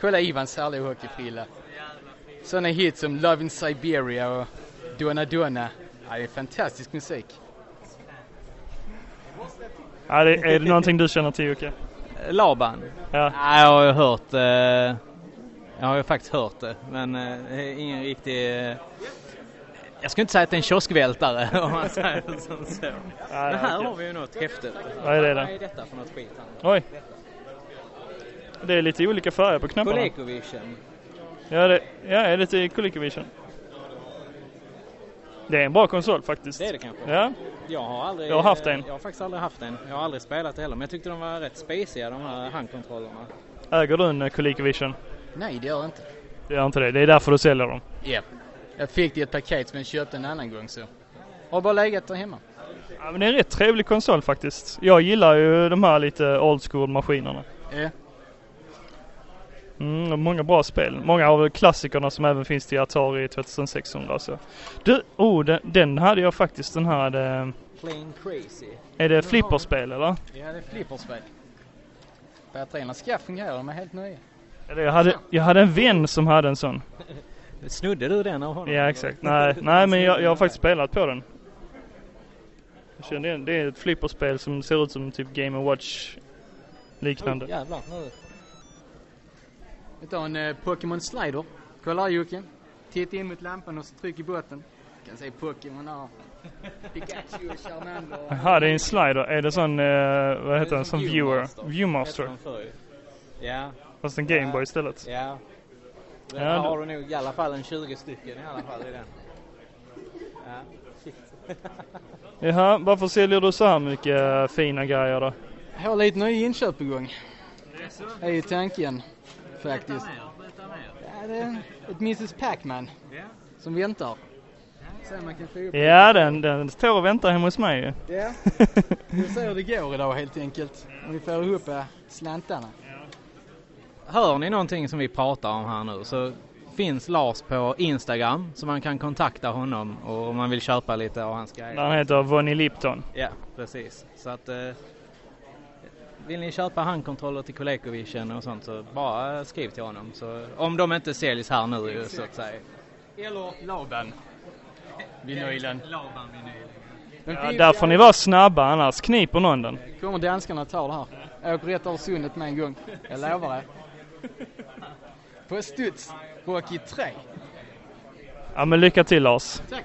[SPEAKER 6] Kolla Ivans härliga hockeyfrilla. Sådana hits som Love in Siberia och Donna Donna. Ja, det är fantastisk musik.
[SPEAKER 8] Ja, det, är det någonting du känner till Jocke?
[SPEAKER 2] Laban?
[SPEAKER 8] Ja.
[SPEAKER 2] Nej, jag har ju hört eh, Jag har ju faktiskt hört det, men eh, det är ingen riktig... eh, jag skulle inte säga att det är en kioskvältare om man säger som så.
[SPEAKER 8] nej,
[SPEAKER 2] men här
[SPEAKER 8] okej.
[SPEAKER 2] har vi ju något häftigt.
[SPEAKER 8] Vad är det då?
[SPEAKER 2] Vad är detta för något skit?
[SPEAKER 8] Oj. Det är lite olika färger på knapparna.
[SPEAKER 2] Colecovision.
[SPEAKER 8] Ja, det ja, det är lite Colecovision. Det är en bra konsol faktiskt.
[SPEAKER 2] Det är det kanske.
[SPEAKER 8] Ja.
[SPEAKER 2] Jag har aldrig...
[SPEAKER 8] Jag har haft en.
[SPEAKER 2] Jag har faktiskt aldrig haft en. Jag har aldrig spelat det heller, men jag tyckte de var rätt spaciga de här handkontrollerna.
[SPEAKER 8] Äger du en eh, Colecovision?
[SPEAKER 6] Nej, det gör jag inte.
[SPEAKER 8] Det gör inte det. Det är därför du säljer dem.
[SPEAKER 6] Japp. Jag fick det i ett paket som jag köpte en annan gång så. Har bara legat där hemma.
[SPEAKER 8] Ja, men det är en rätt trevlig konsol faktiskt. Jag gillar ju de här lite old school maskinerna.
[SPEAKER 6] Ja.
[SPEAKER 8] Mm, och många bra spel. Många av klassikerna som även finns till Atari 2600 och så. Du, oh, den, den hade jag faktiskt den här... eh,
[SPEAKER 6] Plain crazy.
[SPEAKER 8] Är det flipperspel eller?
[SPEAKER 6] Ja, det är flipperspel. Batterierna ska fungera, de är helt nya.
[SPEAKER 8] Eller jag hade, jag hade en vän som hade en sån.
[SPEAKER 2] Snodde du den av honom?
[SPEAKER 8] Ja exakt. Nej, nej men jag, jag har faktiskt spelat på den. Jag känner igen- Det är ett flipperspel som ser ut som typ Game Watch liknande.
[SPEAKER 2] Oj, jävlar, nu.
[SPEAKER 6] Vi tar en eh, Pokémon Slider. Kolla här Jocke. Titta in mot lampan och så tryck i botten. Du kan se Pokémon här. Pikachu och Charmander.
[SPEAKER 8] Jaha, det är en slider. Är det sån, eh, vad heter den, som viewer? Viewmaster.
[SPEAKER 2] Hette de förr ju. Ja.
[SPEAKER 8] Fast en Gameboy istället.
[SPEAKER 2] Ja.
[SPEAKER 8] Ja,
[SPEAKER 2] Där ja,
[SPEAKER 8] då-
[SPEAKER 2] har du nog i alla fall en 20 stycken i alla fall i den. Ja, shit.
[SPEAKER 8] Jaha, varför säljer du så här mycket eh, fina grejer då?
[SPEAKER 6] Jag har lite nya inköp på gång. Det är ju tanken faktiskt. Ja, det är ett Mrs Pac-Man som väntar. Se om man kan få upp
[SPEAKER 8] Ja, den, den står och väntar hemma hos mig ju.
[SPEAKER 6] Ja, vi får se hur det går idag helt enkelt. Om vi får ihop eh, slantarna.
[SPEAKER 2] Hör ni någonting som vi pratar om här nu så finns Lars på Instagram så man kan kontakta honom och om man vill köpa lite av hans grejer.
[SPEAKER 8] Där han heter Vonnie Lipton.
[SPEAKER 2] Ja, precis. Så att eh, vill ni köpa handkontroller till Colecovision och sånt så bara skriv till honom. Så, om de inte säljs här nu ju, så att säga.
[SPEAKER 6] Eller Laban. Vinylen. Laban vinylen.
[SPEAKER 8] Ja, där får ni vara snabba annars kniper någon den.
[SPEAKER 6] Kommer danskarna och tar det här. Jag åker rätt över sundet med en gång. Jag lovar det. På studs. Rocky 3.
[SPEAKER 8] Ja men lycka till Lars.
[SPEAKER 6] Tack.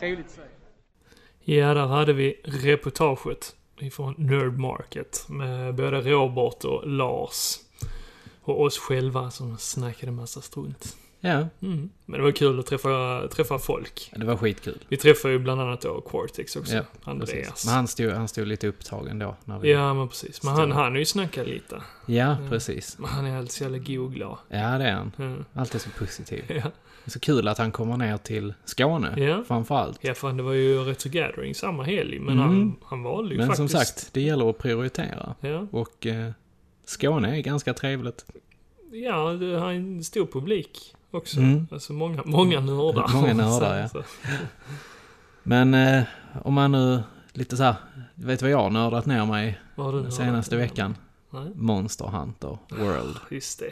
[SPEAKER 6] Trevligt att se.
[SPEAKER 1] Ja, där hade vi reportaget ifrån Nerd Market med både Robert och Lars. Och oss själva som snackade massa strunt.
[SPEAKER 2] Ja.
[SPEAKER 1] Mm. Men det var kul att träffa, träffa folk.
[SPEAKER 2] Det var skitkul.
[SPEAKER 1] Vi träffade ju bland annat då Quartix också,
[SPEAKER 2] Ja,
[SPEAKER 1] Andreas.
[SPEAKER 2] precis. Men han stod, han stod lite upptagen då. När vi
[SPEAKER 1] Ja, men precis. Men han
[SPEAKER 2] stod-
[SPEAKER 1] hann ju snacka lite.
[SPEAKER 2] Ja, precis.
[SPEAKER 1] Men han är alltid så jävla goglad.
[SPEAKER 2] Ja, det är han.
[SPEAKER 1] Mm.
[SPEAKER 2] Alltid så positiv.
[SPEAKER 1] Ja.
[SPEAKER 2] Det är så kul att han kommer ner till Skåne,
[SPEAKER 1] Ja.
[SPEAKER 2] framförallt.
[SPEAKER 1] Ja, fan det var ju Retro Gathering samma helg, men
[SPEAKER 2] Mm.
[SPEAKER 1] han, han valde ju
[SPEAKER 2] Men som
[SPEAKER 1] faktiskt...
[SPEAKER 2] sagt, det gäller att prioritera.
[SPEAKER 1] Ja.
[SPEAKER 2] Och eh, Skåne är ganska trevligt.
[SPEAKER 1] Ja, det har en stor publik också.
[SPEAKER 2] Mm.
[SPEAKER 1] Alltså många, många nördar.
[SPEAKER 2] Många nördar, ja.
[SPEAKER 1] Så- så-
[SPEAKER 2] Men eh, om man nu lite så här, vet du vad jag har nördat ner mig
[SPEAKER 1] Vad har du
[SPEAKER 2] den
[SPEAKER 1] nördat
[SPEAKER 2] senaste
[SPEAKER 1] ner dig?
[SPEAKER 2] veckan?
[SPEAKER 1] Nej. Ah,
[SPEAKER 2] Monster Hunter World.
[SPEAKER 1] Just det.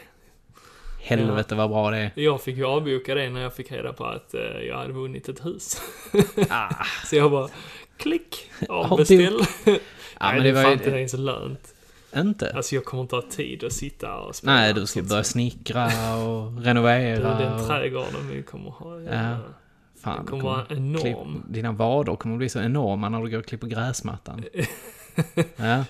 [SPEAKER 2] Helvete vad bra det är.
[SPEAKER 1] Jag fick ju avboka det när jag fick reda på att eh, jag hade vunnit ett hus. Så jag bara, klick, avbeställ.
[SPEAKER 2] Ah. Avbok.
[SPEAKER 1] Nej,
[SPEAKER 2] Ja, men
[SPEAKER 1] det
[SPEAKER 2] det
[SPEAKER 1] är
[SPEAKER 2] var
[SPEAKER 1] fan
[SPEAKER 2] ju-
[SPEAKER 1] inte ens lönt.
[SPEAKER 2] Inte?
[SPEAKER 1] Alltså jag kommer inte ha tid att sitta och spela.
[SPEAKER 2] Nej, du ska börja snickra och renovera.
[SPEAKER 1] Du, den
[SPEAKER 2] och-
[SPEAKER 1] trädgården vi kommer ha.
[SPEAKER 2] Ja. Fan,
[SPEAKER 1] Den
[SPEAKER 2] du
[SPEAKER 1] kommer vara enorm.
[SPEAKER 2] Klipp, dina vader kommer bli så enorma när du går och klipper gräsmattan. Ja.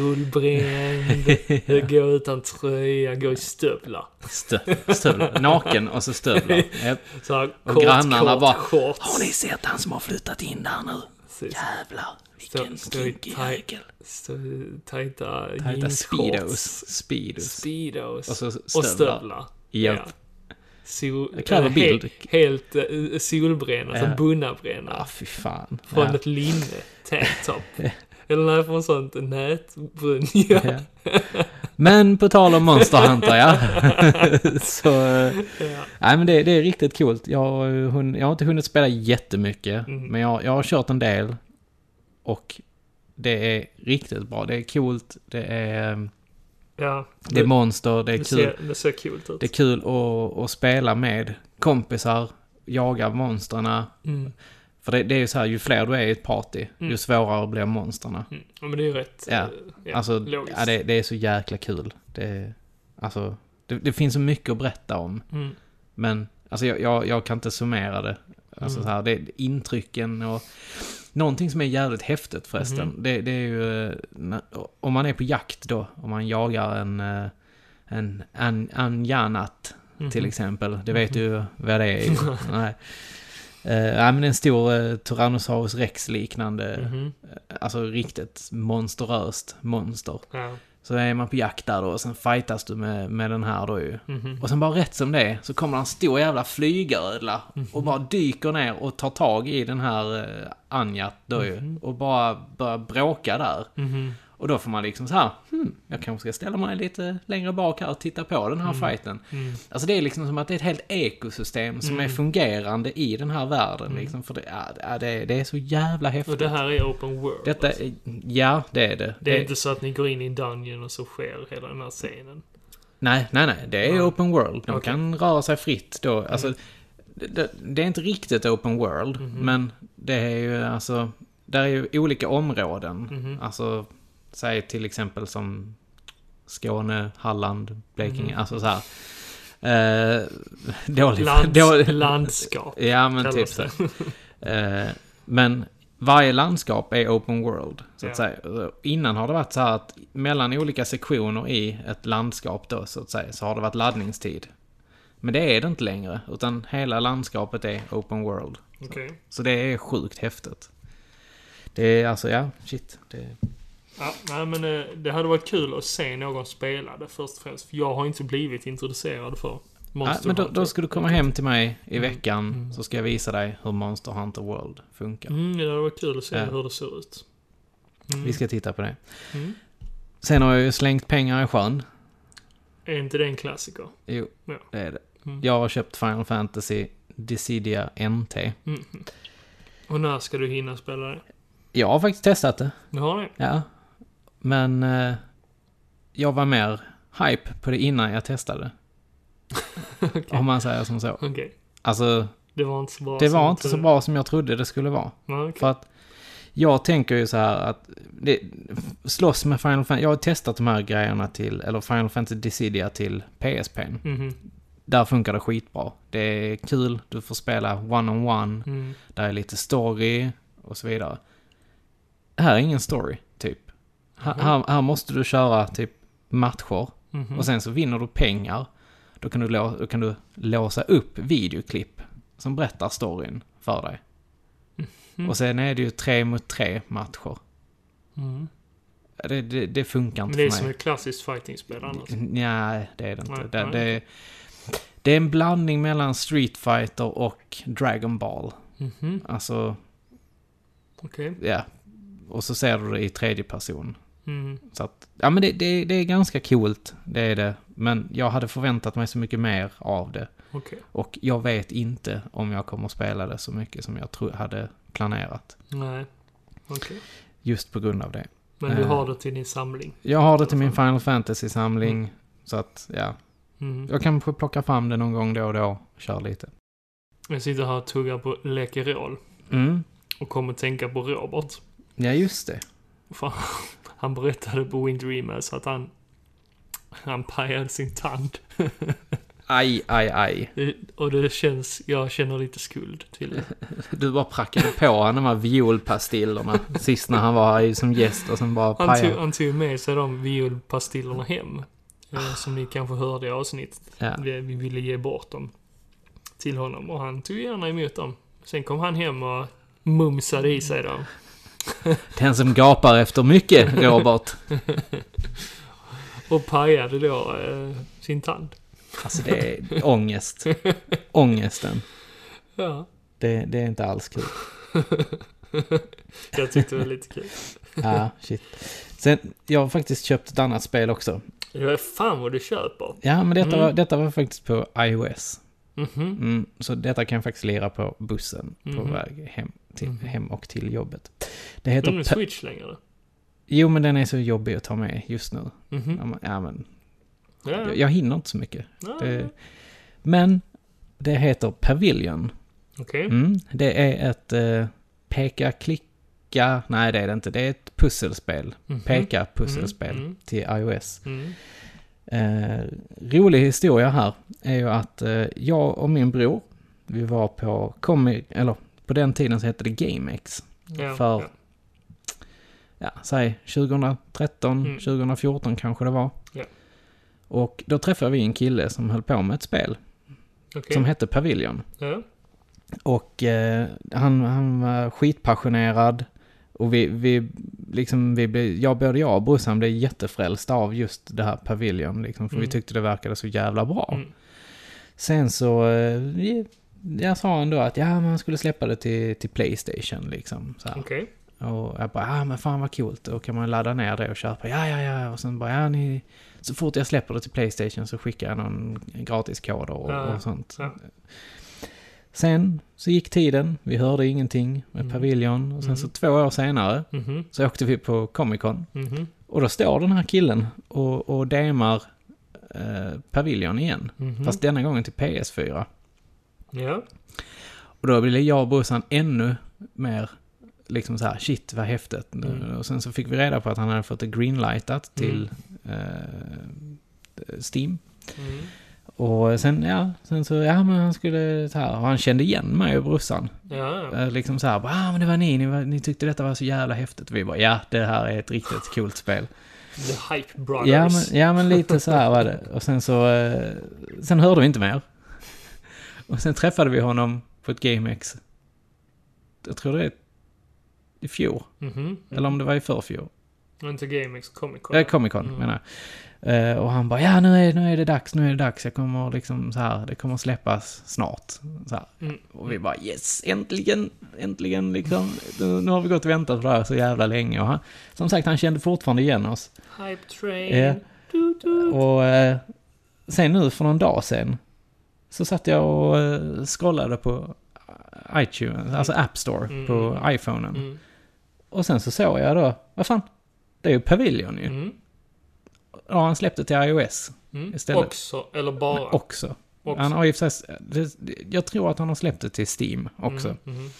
[SPEAKER 1] Solbränd, gå utan tröja, gå i stövlar.
[SPEAKER 2] Stö- stövlar. Naken och så stövlar. Japp.
[SPEAKER 1] Så här,
[SPEAKER 2] Och
[SPEAKER 1] kort,
[SPEAKER 2] grannarna
[SPEAKER 1] kort,
[SPEAKER 2] bara,
[SPEAKER 1] shorts.
[SPEAKER 4] Har ni sett han som har flyttat in där nu?
[SPEAKER 1] Precis.
[SPEAKER 4] Jävlar, vilken
[SPEAKER 1] Stå- stå i
[SPEAKER 4] kinkig
[SPEAKER 1] taj-
[SPEAKER 4] jäkel.
[SPEAKER 1] Stå i tajta
[SPEAKER 2] Tajta
[SPEAKER 1] jeansshorts.
[SPEAKER 2] speedos. Speedos.
[SPEAKER 1] Speedos.
[SPEAKER 2] Och så
[SPEAKER 1] Och
[SPEAKER 2] stövlar.
[SPEAKER 1] stövlar.
[SPEAKER 2] Japp.
[SPEAKER 1] Sol,
[SPEAKER 2] Jag kräver
[SPEAKER 1] eh,
[SPEAKER 2] bild.
[SPEAKER 1] he- Helt uh, solbränna,
[SPEAKER 2] Ja.
[SPEAKER 1] som bunnabränna.
[SPEAKER 2] Ah, fy fan.
[SPEAKER 1] Från
[SPEAKER 2] Ja.
[SPEAKER 1] ett linne, tanktop. Eller nej, från sånt nätbrynja.
[SPEAKER 2] Ja. Men på tal om Monster Hunter, ja. så... eh, Nej, men det, det är riktigt coolt. Jag, har, eh, hunn- jag har inte hunnit spela jättemycket, men jag, jag har kört en del. Och det är riktigt bra. Det är coolt, det är, eh,
[SPEAKER 1] Ja.
[SPEAKER 2] det är monster, det är
[SPEAKER 1] det
[SPEAKER 2] kul.
[SPEAKER 1] ser, det ser kul ut.
[SPEAKER 2] Det är kul att, att spela med kompisar, jaga monsterna.
[SPEAKER 1] Mm.
[SPEAKER 2] För det, det är ju så här, ju fler du är i ett party,
[SPEAKER 1] Mm.
[SPEAKER 2] ju svårare blir monsterna.
[SPEAKER 1] Mm. Ja, men det är ju rätt
[SPEAKER 2] Ja.
[SPEAKER 1] eh, ja,
[SPEAKER 2] alltså,
[SPEAKER 1] logiskt.
[SPEAKER 2] ja, det, det är så jäkla kul. Det, alltså, det, det finns så mycket att berätta om.
[SPEAKER 1] Mm.
[SPEAKER 2] Men alltså, jag, jag, jag kan inte summera det. Alltså,
[SPEAKER 1] Mm.
[SPEAKER 2] så här, det är intrycken och... Någonting som är jävligt häftigt förresten,
[SPEAKER 1] Mhm.
[SPEAKER 2] det, det är ju... eh, när- Om man är på jakt då, om man jagar en... eh, En an, anjanat till
[SPEAKER 1] Mhm.
[SPEAKER 2] exempel. Det vet du ju vad det är. ju. Nej. Eh, nej, men en stor eh, Tyrannosaurus rex-liknande
[SPEAKER 1] Mhm.
[SPEAKER 2] alltså riktigt monsteröst monster.
[SPEAKER 1] Ja.
[SPEAKER 2] Så är man på jakt där då och sen fightas du med, med den här då ju.
[SPEAKER 1] Mhm.
[SPEAKER 2] Och sen bara rätt som det är så kommer en stor jävla flygödla
[SPEAKER 1] Mhm.
[SPEAKER 2] och bara dyker ner och tar tag i den här eh, Anjat då ju. Och bara börjar bråka där.
[SPEAKER 1] Mhm.
[SPEAKER 2] Och då får man liksom så här, hmm, jag kanske ska ställa mig lite längre bak här och titta på den här fighten.
[SPEAKER 1] Mm.
[SPEAKER 2] Alltså det är liksom som att det är ett helt ekosystem som
[SPEAKER 1] Mm.
[SPEAKER 2] är fungerande i den här världen liksom. För det, ja, det, det är så jävla häftigt.
[SPEAKER 1] Och det här är open world.
[SPEAKER 2] Detta, är- ja det är det.
[SPEAKER 1] Det är inte så att ni går in i en dungeon och så sker hela den här scenen.
[SPEAKER 2] Nej, nej, nej. Det är
[SPEAKER 1] Nej.
[SPEAKER 2] open world. De
[SPEAKER 1] Okej. Mm.
[SPEAKER 2] kan röra sig fritt då. Alltså, det- det, det är inte riktigt open world,
[SPEAKER 1] Mhm.
[SPEAKER 2] men det är ju alltså... Där är ju olika områden.
[SPEAKER 1] Mhm.
[SPEAKER 2] Alltså, säg till exempel som Skåne, Halland, Blekinge,
[SPEAKER 1] Mhm.
[SPEAKER 2] alltså så här. Eh, dålig,
[SPEAKER 1] Lands,
[SPEAKER 2] dålig,
[SPEAKER 1] landskap.
[SPEAKER 2] Ja, men
[SPEAKER 1] kallas
[SPEAKER 2] typ så.
[SPEAKER 1] det.
[SPEAKER 2] Eh, men varje landskap är open world, så att
[SPEAKER 1] Ja.
[SPEAKER 2] säga. Och Innan har det varit så här att mellan olika sektioner i ett landskap då, så att säga, så har det varit laddningstid. Men det är det inte längre, utan hela landskapet är open world.
[SPEAKER 1] Okej.
[SPEAKER 2] Så det är sjukt häftigt. Det är alltså, ja, shit. Det,
[SPEAKER 1] Ja, nej, men eh, det hade varit kul att se någon spela det först och främst. För jag har inte blivit introducerad för
[SPEAKER 2] ja,
[SPEAKER 1] Monster
[SPEAKER 2] men då,
[SPEAKER 1] Hunter. Mm.
[SPEAKER 2] då ska du komma hem till mig i veckan, så ska jag visa dig hur Monster Hunter World funkar.
[SPEAKER 1] Mm, det hade varit kul att se
[SPEAKER 2] Ja.
[SPEAKER 1] hur det ser ut. Mm.
[SPEAKER 2] Vi ska titta på det.
[SPEAKER 1] Mm.
[SPEAKER 2] Sen har jag ju slängt pengar i sjön.
[SPEAKER 1] Är inte det en klassiker?
[SPEAKER 2] Jo,
[SPEAKER 1] Ja.
[SPEAKER 2] det är det.
[SPEAKER 1] Mm.
[SPEAKER 2] Jag har köpt Final Fantasy Dissidia NT.
[SPEAKER 1] Mm. Och när ska du hinna spela det?
[SPEAKER 2] Jag har faktiskt testat det,
[SPEAKER 1] Du har det?
[SPEAKER 2] ja. Men eh, jag var mer hype på det innan jag testade. Om man säger som så.
[SPEAKER 1] Okej.
[SPEAKER 2] Alltså,
[SPEAKER 1] Det var inte så bra.
[SPEAKER 2] det
[SPEAKER 1] som
[SPEAKER 2] var
[SPEAKER 1] du
[SPEAKER 2] inte så
[SPEAKER 1] trodde.
[SPEAKER 2] bra som jag trodde det skulle vara.
[SPEAKER 1] Nej, okej.
[SPEAKER 2] För att jag tänker ju så här att det, slåss med Final Fantasy. Jag har testat de här grejerna till, eller Final Fantasy Dissidia till PSP.
[SPEAKER 1] Mhm.
[SPEAKER 2] Där funkar det skitbra. Det är kul, du får spela one-on-one.
[SPEAKER 1] Mm.
[SPEAKER 2] Där är lite story och så vidare. Här är ingen story, typ. Här, här, här måste du köra typ matcher.
[SPEAKER 1] Mhm.
[SPEAKER 2] Och sen så vinner du pengar. Då kan du, lå- då kan du låsa upp videoklipp som berättar storyn för dig.
[SPEAKER 1] Mhm.
[SPEAKER 2] Och sen är det ju tre mot tre matcher.
[SPEAKER 1] Mm.
[SPEAKER 2] Det, det, det funkar
[SPEAKER 1] Men
[SPEAKER 2] inte
[SPEAKER 1] det är
[SPEAKER 2] för
[SPEAKER 1] som
[SPEAKER 2] mig.
[SPEAKER 1] ett klassiskt fightingspel annars.
[SPEAKER 2] Nej, det är det inte.
[SPEAKER 1] Nej,
[SPEAKER 2] det,
[SPEAKER 1] nej.
[SPEAKER 2] Det, är- det är en blandning mellan Street Fighter och Dragon Ball.
[SPEAKER 1] Mhm.
[SPEAKER 2] Alltså,
[SPEAKER 1] Okej.
[SPEAKER 2] ja. Och så ser du det i tredje person.
[SPEAKER 1] Mm.
[SPEAKER 2] Så att, ja men det, det, det är ganska coolt, det är det. Men jag hade förväntat mig så mycket mer av det.
[SPEAKER 1] Okej.
[SPEAKER 2] Och jag vet inte om jag kommer spela det så mycket som jag tro, hade planerat.
[SPEAKER 1] Nej. Okej.
[SPEAKER 2] Just på grund av det.
[SPEAKER 1] Men du
[SPEAKER 2] Eh.
[SPEAKER 1] har det till din samling?
[SPEAKER 2] Jag har det till min Final Fantasy-samling. Så att, ja.
[SPEAKER 1] Mm.
[SPEAKER 2] Jag kanske plockar fram det någon gång då och då. och Kör lite.
[SPEAKER 1] Jag sitter här och tuggar på Läkerol
[SPEAKER 2] Mm.
[SPEAKER 1] och kommer tänka på Robert.
[SPEAKER 2] Ja, just det.
[SPEAKER 1] Fan, han berättade på Wind Dreamers att han, han pajade sin tand.
[SPEAKER 2] Aj, aj, aj.
[SPEAKER 1] Det- Och det känns, jag känner lite skuld till det.
[SPEAKER 2] Du bara prackade på honom de här violpastillerna sist när han var här ju som gäst och sen bara
[SPEAKER 1] Han tog,
[SPEAKER 2] pajade.
[SPEAKER 1] han tog med sig de violpastillerna hem. eh, Som ni kanske hörde i avsnittet.
[SPEAKER 2] Ja.
[SPEAKER 1] Vi, vi ville ge bort dem till honom och han tog gärna emot dem. Sen kom han hem och mumsade i sig dem.
[SPEAKER 2] Den som gapar efter mycket, Robert.
[SPEAKER 1] Och pajade då eh, sin tand.
[SPEAKER 2] Alltså det är ångest. Ångesten.
[SPEAKER 1] Ja.
[SPEAKER 2] Det, det är inte alls kul.
[SPEAKER 1] Jag tyckte det var lite kul.
[SPEAKER 2] Ja, shit. Sen, jag har faktiskt köpt ett annat spel också.
[SPEAKER 1] Ja, fan vad du köper.
[SPEAKER 2] Ja, men detta,
[SPEAKER 1] Mm.
[SPEAKER 2] var, detta var faktiskt på iOS.
[SPEAKER 1] Mhm.
[SPEAKER 2] Mm, så detta kan jag faktiskt lira på bussen på
[SPEAKER 1] Mhm.
[SPEAKER 2] väg hem, till, hem och till jobbet. Det heter...
[SPEAKER 1] Är det en
[SPEAKER 2] Pe-
[SPEAKER 1] switch längre?
[SPEAKER 2] Jo, men den är så jobbig att ta med just nu.
[SPEAKER 1] Mhm.
[SPEAKER 2] Ja, men- Ja, men,
[SPEAKER 1] Ja.
[SPEAKER 2] jag, jag hinner inte så mycket.
[SPEAKER 1] Nej.
[SPEAKER 2] Det, men det heter Pavilion.
[SPEAKER 1] Okej.
[SPEAKER 2] Mm, det är ett eh, peka-klicka... Nej, det är det inte. Det är ett pusselspel.
[SPEAKER 1] Mhm.
[SPEAKER 2] Peka-pusselspel
[SPEAKER 1] Mm, mm.
[SPEAKER 2] till iOS.
[SPEAKER 1] Mm.
[SPEAKER 2] Eh, rolig historia här är ju att eh, jag och min bror, vi var på Comic... Eller på den tiden så hette det GameX.
[SPEAKER 1] Ja,
[SPEAKER 2] för...
[SPEAKER 1] ja.
[SPEAKER 2] Ja. säg 2013,
[SPEAKER 1] Mm.
[SPEAKER 2] 2014 kanske det var.
[SPEAKER 1] Ja.
[SPEAKER 2] Och då träffade vi en kille som höll på med ett spel.
[SPEAKER 1] Okej.
[SPEAKER 2] Som hette Pavilion.
[SPEAKER 1] Ja.
[SPEAKER 2] Och eh, han, han var skitpassionerad. Och vi, vi, liksom, vi blev, jag, både jag och brorsan blev jättefrälsta av just det här Pavilion. Liksom, för
[SPEAKER 1] Mm.
[SPEAKER 2] vi tyckte det verkade så jävla bra.
[SPEAKER 1] Mm.
[SPEAKER 2] Sen så, eh, vi- jag sa ändå att ja, man skulle släppa det till, till Playstation liksom. Så här.
[SPEAKER 1] Okej.
[SPEAKER 2] Och jag bara, ah men fan vad coolt, då kan man ladda ner det och köpa, ja ja ja, och sen bara, ja ni... Så fort jag släpper det till Playstation så skickar jag någon gratiskod och,
[SPEAKER 1] Ja, ja.
[SPEAKER 2] och sånt.
[SPEAKER 1] Ja.
[SPEAKER 2] Sen så gick tiden, vi hörde ingenting med
[SPEAKER 1] Mm.
[SPEAKER 2] Pavilion och sen så
[SPEAKER 1] Mm.
[SPEAKER 2] två år senare
[SPEAKER 1] Mhm.
[SPEAKER 2] så åkte vi på Comic Con.
[SPEAKER 1] Mhm.
[SPEAKER 2] Och då står den här killen och, och DMar eh, Pavilion igen.
[SPEAKER 1] Mhm.
[SPEAKER 2] Fast denna gången till PS4.
[SPEAKER 1] Ja.
[SPEAKER 2] Och då blev jag och brorsan ännu mer liksom så här, shit vad häftigt.
[SPEAKER 1] Mm.
[SPEAKER 2] Och sen så fick vi reda på att han hade fått det greenlightat till eh, Steam.
[SPEAKER 1] Mm.
[SPEAKER 2] Och sen, ja, sen så, ja men han skulle, så här, och han kände igen mig och brorsan.
[SPEAKER 1] Ja.
[SPEAKER 2] Eh, Liksom så här, bara, ah men det var ni, ni, var, ni tyckte detta var så jävla häftigt. Och vi bara, ja det här är ett riktigt coolt spel.
[SPEAKER 1] The Hype Brothers.
[SPEAKER 2] Ja men, ja men lite så här var det. Och sen så, eh, sen hörde vi inte mer. Och sen träffade vi honom på ett GameX. Jag tror det är i fjol.
[SPEAKER 1] Mhm.
[SPEAKER 2] Eller om det var i förrfjol.
[SPEAKER 1] Inte GameX Comic Con.
[SPEAKER 2] Äh, Comic Con
[SPEAKER 1] Mm.
[SPEAKER 2] menar jag. Eh, och han bara, ja nu är, nu är det dags, nu är det dags. Jag kommer liksom så här, det kommer släppas snart. Så här.
[SPEAKER 1] Mm.
[SPEAKER 2] Och vi bara, yes, äntligen, äntligen liksom. Nu, nu har vi gått och väntat på det här så jävla länge. Och han, som sagt, han kände fortfarande igen oss.
[SPEAKER 1] Hype Train.
[SPEAKER 2] Ja. Och eh, sen nu för någon dag sen så satt jag och eh, scrollade på iTunes, alltså App Store
[SPEAKER 1] Mm,
[SPEAKER 2] på
[SPEAKER 1] mm,
[SPEAKER 2] iPhonen.
[SPEAKER 1] Mm.
[SPEAKER 2] Och sen så såg jag då, vad fan, det är ju Pavilion ju.
[SPEAKER 1] Mm.
[SPEAKER 2] Ja, han släppte till iOS
[SPEAKER 1] Mm.
[SPEAKER 2] istället.
[SPEAKER 1] Också, eller bara.
[SPEAKER 2] Också.
[SPEAKER 1] Också.
[SPEAKER 2] Han har ju för sig, det- jag tror att han har släppt det till Steam också.
[SPEAKER 1] Mm, mhm.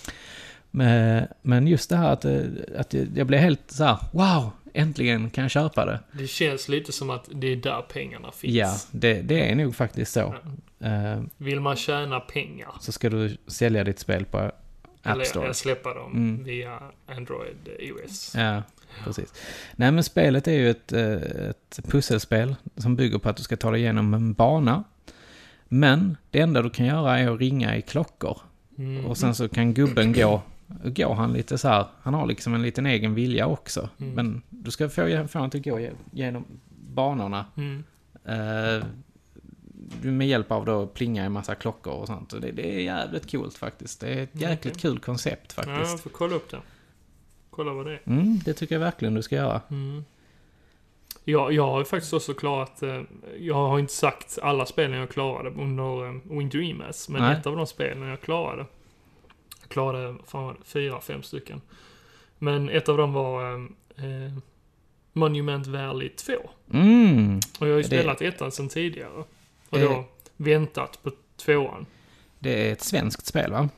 [SPEAKER 2] Men, men just det här att, eh, att jag blev helt så här, wow, äntligen kan jag köpa det.
[SPEAKER 1] Det känns lite som att det är där pengarna finns.
[SPEAKER 2] Ja, det, det är nog faktiskt så. Eh,
[SPEAKER 1] Vill man tjäna pengar.
[SPEAKER 2] så ska du sälja ditt spel på App
[SPEAKER 1] Eller,
[SPEAKER 2] Store.
[SPEAKER 1] eller släppa dem
[SPEAKER 2] Mm.
[SPEAKER 1] via Android eh, iOS.
[SPEAKER 2] Ja, precis. Nej, men spelet är ju ett, eh, ett pusselspel som bygger på att du ska ta dig igenom en bana. Men det enda du kan göra är att ringa i klockor.
[SPEAKER 1] Mm.
[SPEAKER 2] Och sen så kan gubben gå, går han lite så här, han har liksom en liten egen vilja också.
[SPEAKER 1] Mm.
[SPEAKER 2] Men du ska få, få han att gå ge- genom banorna.
[SPEAKER 1] Mm.
[SPEAKER 2] Eh, med hjälp av då plinga i massa klockor och sånt. Och det, det är jävligt coolt faktiskt. Det är ett
[SPEAKER 1] Mm,
[SPEAKER 2] jäkligt
[SPEAKER 1] okej.
[SPEAKER 2] kul koncept
[SPEAKER 1] Ja,
[SPEAKER 2] faktiskt.
[SPEAKER 1] jag får kolla upp det. Kolla vad det är.
[SPEAKER 2] Mm, det tycker jag verkligen du ska göra.
[SPEAKER 1] Mm. Ja, jag har ju faktiskt också klarat... Eh, jag har inte sagt alla spelen jag klarade under eh, Winter Emas. Men
[SPEAKER 2] Nej.
[SPEAKER 1] ett av de spelen jag klarade. Jag klarade fan, vad var det, fyra, fem stycken. Men ett av dem var eh, eh, Monument Valley 2.
[SPEAKER 2] Mm.
[SPEAKER 1] Och jag har ju
[SPEAKER 2] Det-
[SPEAKER 1] spelat ettan sedan tidigare. Och
[SPEAKER 2] Eh.
[SPEAKER 1] då väntat på tvåan.
[SPEAKER 2] Det är ett svenskt spel va?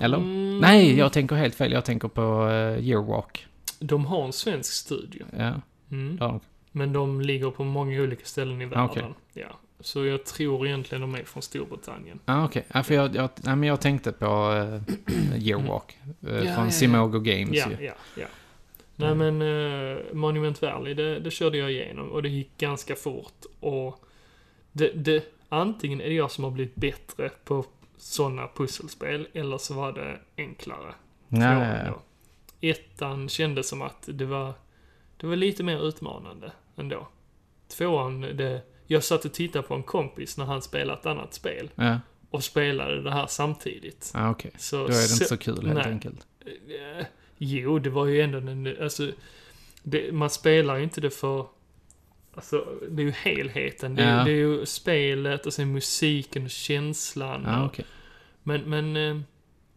[SPEAKER 2] Eller?
[SPEAKER 1] Mm.
[SPEAKER 2] Nej, jag tänker helt fel. Jag tänker på uh, Yearwalk.
[SPEAKER 1] De har en svensk studio.
[SPEAKER 2] Ja.
[SPEAKER 1] Mm.
[SPEAKER 2] Ja.
[SPEAKER 1] Men de ligger på många olika ställen i världen.
[SPEAKER 2] Ah, Okej.
[SPEAKER 1] Ja. Så jag tror egentligen de är från Storbritannien.
[SPEAKER 2] Ja, Ah, okej. Ja, för jag, jag, nej, men jag tänkte på uh, Yearwalk.
[SPEAKER 1] Ja,
[SPEAKER 2] eh, från
[SPEAKER 1] ja, ja.
[SPEAKER 2] Simogo Games
[SPEAKER 1] Ja,
[SPEAKER 2] ju.
[SPEAKER 1] ja, ja. Nej men eh, Monument Valley, det, det körde jag igenom och det gick ganska fort. Och det, det, antingen är det jag som har blivit bättre på sådana pusselspel, eller så var det enklare.
[SPEAKER 2] Ja,
[SPEAKER 1] Tvåan
[SPEAKER 2] ja, ja.
[SPEAKER 1] då. Ettan kändes som att det var, det var lite mer utmanande ändå. Tvåan, det, jag satt och tittade på en kompis när han spelade ett annat spel.
[SPEAKER 2] Ja.
[SPEAKER 1] Och spelade det här samtidigt.
[SPEAKER 2] Ja, ah, okej. Då är det inte så kul, helt
[SPEAKER 1] nej.
[SPEAKER 2] enkelt.
[SPEAKER 1] Eh, Jo, det var ju ändå en... Alltså, det, man spelar ju inte det för... Alltså, det är ju helheten. Det, är
[SPEAKER 2] Ja.
[SPEAKER 1] ju- det är ju spelet och sen musiken och känslan.
[SPEAKER 2] Ja,
[SPEAKER 1] och-
[SPEAKER 2] Ah, okej.
[SPEAKER 1] Men, men... eh,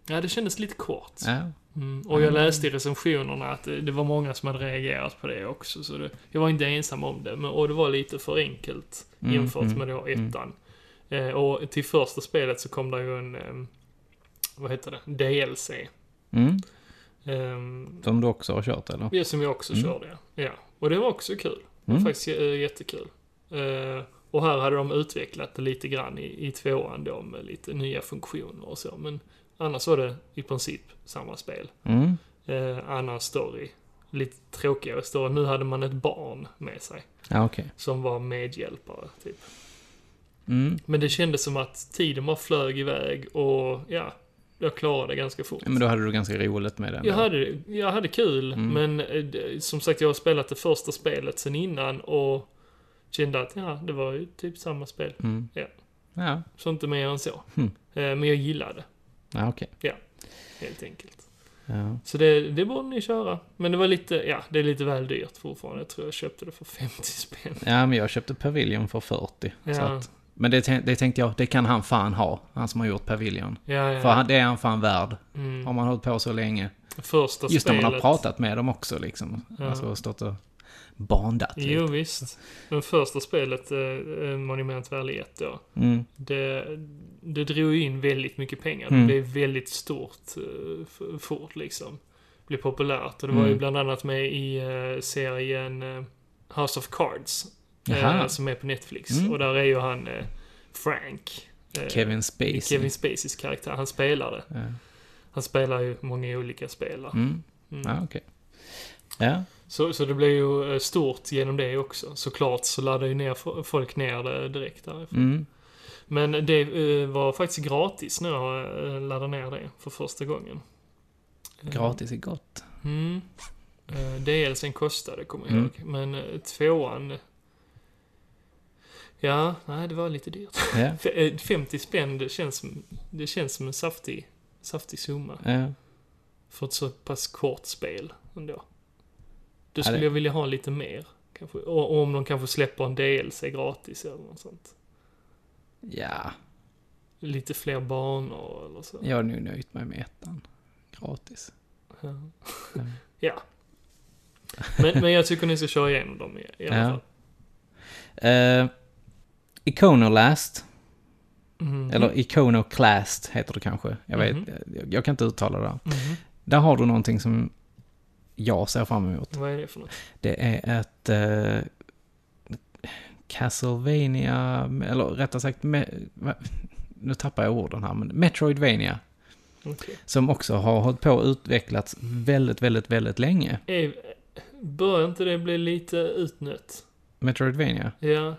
[SPEAKER 1] Ja, det kändes lite kort.
[SPEAKER 2] Ja.
[SPEAKER 1] Mm. Och jag
[SPEAKER 2] Ja.
[SPEAKER 1] läste i recensionerna att det det var många som hade reagerat på det också. Så det, jag var inte ensam om det. Men, och det var lite för enkelt
[SPEAKER 2] Mm,
[SPEAKER 1] jämfört
[SPEAKER 2] mm,
[SPEAKER 1] med då
[SPEAKER 2] mm.
[SPEAKER 1] ettan. Eh, och till första spelet så kom det ju en... Eh, vad heter det? DLC.
[SPEAKER 2] Mm.
[SPEAKER 1] Ehm,
[SPEAKER 2] Som du också har kört, eller?
[SPEAKER 1] Ja, som jag också
[SPEAKER 2] Mm.
[SPEAKER 1] körde, ja. ja. Och det var också kul. Det var
[SPEAKER 2] Mm.
[SPEAKER 1] faktiskt eh, jättekul. Eh, och här hade de utvecklat det lite grann i, i tvåan då med lite nya funktioner och så. Men annars var det i princip samma spel.
[SPEAKER 2] Mm.
[SPEAKER 1] Eh, annan story. Lite tråkigare story. Nu hade man ett barn med sig.
[SPEAKER 2] Ja, okej.
[SPEAKER 1] Som var medhjälpare, typ.
[SPEAKER 2] Mm.
[SPEAKER 1] Men det kändes som att tiden bara flög iväg och ja, jag klarade det ganska fort.
[SPEAKER 2] Ja, Men då hade du ganska roligt med den.
[SPEAKER 1] Jag
[SPEAKER 2] då.
[SPEAKER 1] hade, jag hade kul,
[SPEAKER 2] Mm.
[SPEAKER 1] men eh, d- som sagt jag har spelat det första spelet sen innan och kände att ja, det var ju typ samma spel.
[SPEAKER 2] Mm.
[SPEAKER 1] Ja.
[SPEAKER 2] Ja.
[SPEAKER 1] Så inte mer än så.
[SPEAKER 2] Hmm.
[SPEAKER 1] Eh, Men jag gillade det,
[SPEAKER 2] Ja, okej.
[SPEAKER 1] helt enkelt.
[SPEAKER 2] Ja.
[SPEAKER 1] Så det, det borde ni köra. Men det var lite, ja, det är lite väl dyrt fortfarande. Jag tror jag köpte det för 50 spänn.
[SPEAKER 2] ja, men jag köpte Pavilion för 40. Så
[SPEAKER 1] Ja.
[SPEAKER 2] att, men det, tän- det tänkte jag, det kan han fan ha. Han som har gjort Pavilion.
[SPEAKER 1] Ja, ja.
[SPEAKER 2] För han, det är han fan värd.
[SPEAKER 1] Mm.
[SPEAKER 2] Har man hållit på så länge.
[SPEAKER 1] Första
[SPEAKER 2] Just när man har
[SPEAKER 1] spelet-
[SPEAKER 2] pratat med dem också liksom.
[SPEAKER 1] Ja.
[SPEAKER 2] Alltså stått och bandat lite.
[SPEAKER 1] Jo, visst. Men första spelet, eh, eh, Monument Valley 1 då.
[SPEAKER 2] Mm.
[SPEAKER 1] Det, det drog ju in väldigt mycket pengar. Det
[SPEAKER 2] Mm.
[SPEAKER 1] blev väldigt stort eh, f- fort liksom. Det blev populärt. Och det var
[SPEAKER 2] Mm.
[SPEAKER 1] ju bland annat med i eh, serien eh, House of Cards. eh,
[SPEAKER 2] Jaha.
[SPEAKER 1] Som är på Netflix.
[SPEAKER 2] Mm.
[SPEAKER 1] Och där är ju han eh, Frank. eh,
[SPEAKER 2] Kevin Spacey.
[SPEAKER 1] Kevin Spaceys karaktär. Han spelar det.
[SPEAKER 2] Ja.
[SPEAKER 1] Han spelar ju många olika spelare.
[SPEAKER 2] Mm.
[SPEAKER 1] Mm.
[SPEAKER 2] Ja, okej. Ja.
[SPEAKER 1] Så, så det blev ju eh, stort genom det också. Såklart så laddade ju ner fo- folk ner det direkt därifrån.
[SPEAKER 2] Mm.
[SPEAKER 1] Men det eh, var faktiskt gratis när jag eh, laddade ner det för första gången.
[SPEAKER 2] Gratis är gott.
[SPEAKER 1] Mm. Eh, DLCn kostade, kommer jag
[SPEAKER 2] Mm.
[SPEAKER 1] ihåg. Men eh, tvåan... Ja, nej, det var lite dyrt.
[SPEAKER 2] Ja.
[SPEAKER 1] F- eh, 50 spänn, det känns som, det känns som en saftig, saftig summa.
[SPEAKER 2] Ja.
[SPEAKER 1] För ett så pass kort spel ändå. Då
[SPEAKER 2] Ja,
[SPEAKER 1] skulle
[SPEAKER 2] det-
[SPEAKER 1] jag vilja ha lite mer. Kanske. Och, och om de kanske släpper en DLC gratis eller något sånt.
[SPEAKER 2] Ja,
[SPEAKER 1] Lite fler banor eller så.
[SPEAKER 2] jag har nog nöjt mig med ettan. Gratis.
[SPEAKER 1] Ja.
[SPEAKER 2] Ja.
[SPEAKER 1] ja. Men, men jag tycker ni ska köra igenom dem i, i alla
[SPEAKER 2] Ja.
[SPEAKER 1] fall.
[SPEAKER 2] Eh, Iconolast.
[SPEAKER 1] Mhm.
[SPEAKER 2] Eller Iconoclast heter det kanske. Jag, vet,
[SPEAKER 1] Mhm.
[SPEAKER 2] jag, jag kan inte uttala det.
[SPEAKER 1] Mhm.
[SPEAKER 2] Där har du någonting som jag ser fram emot.
[SPEAKER 1] Vad är det för något?
[SPEAKER 2] Det är ett eh, Castlevania, eller rättare sagt, me, va, nu tappar jag orden här, men Metroidvania.
[SPEAKER 1] Okej.
[SPEAKER 2] Som också har hållit på och utvecklats väldigt, väldigt, väldigt länge.
[SPEAKER 1] Eh, Börjar inte det bli lite utnött?
[SPEAKER 2] Metroidvania.
[SPEAKER 1] Ja.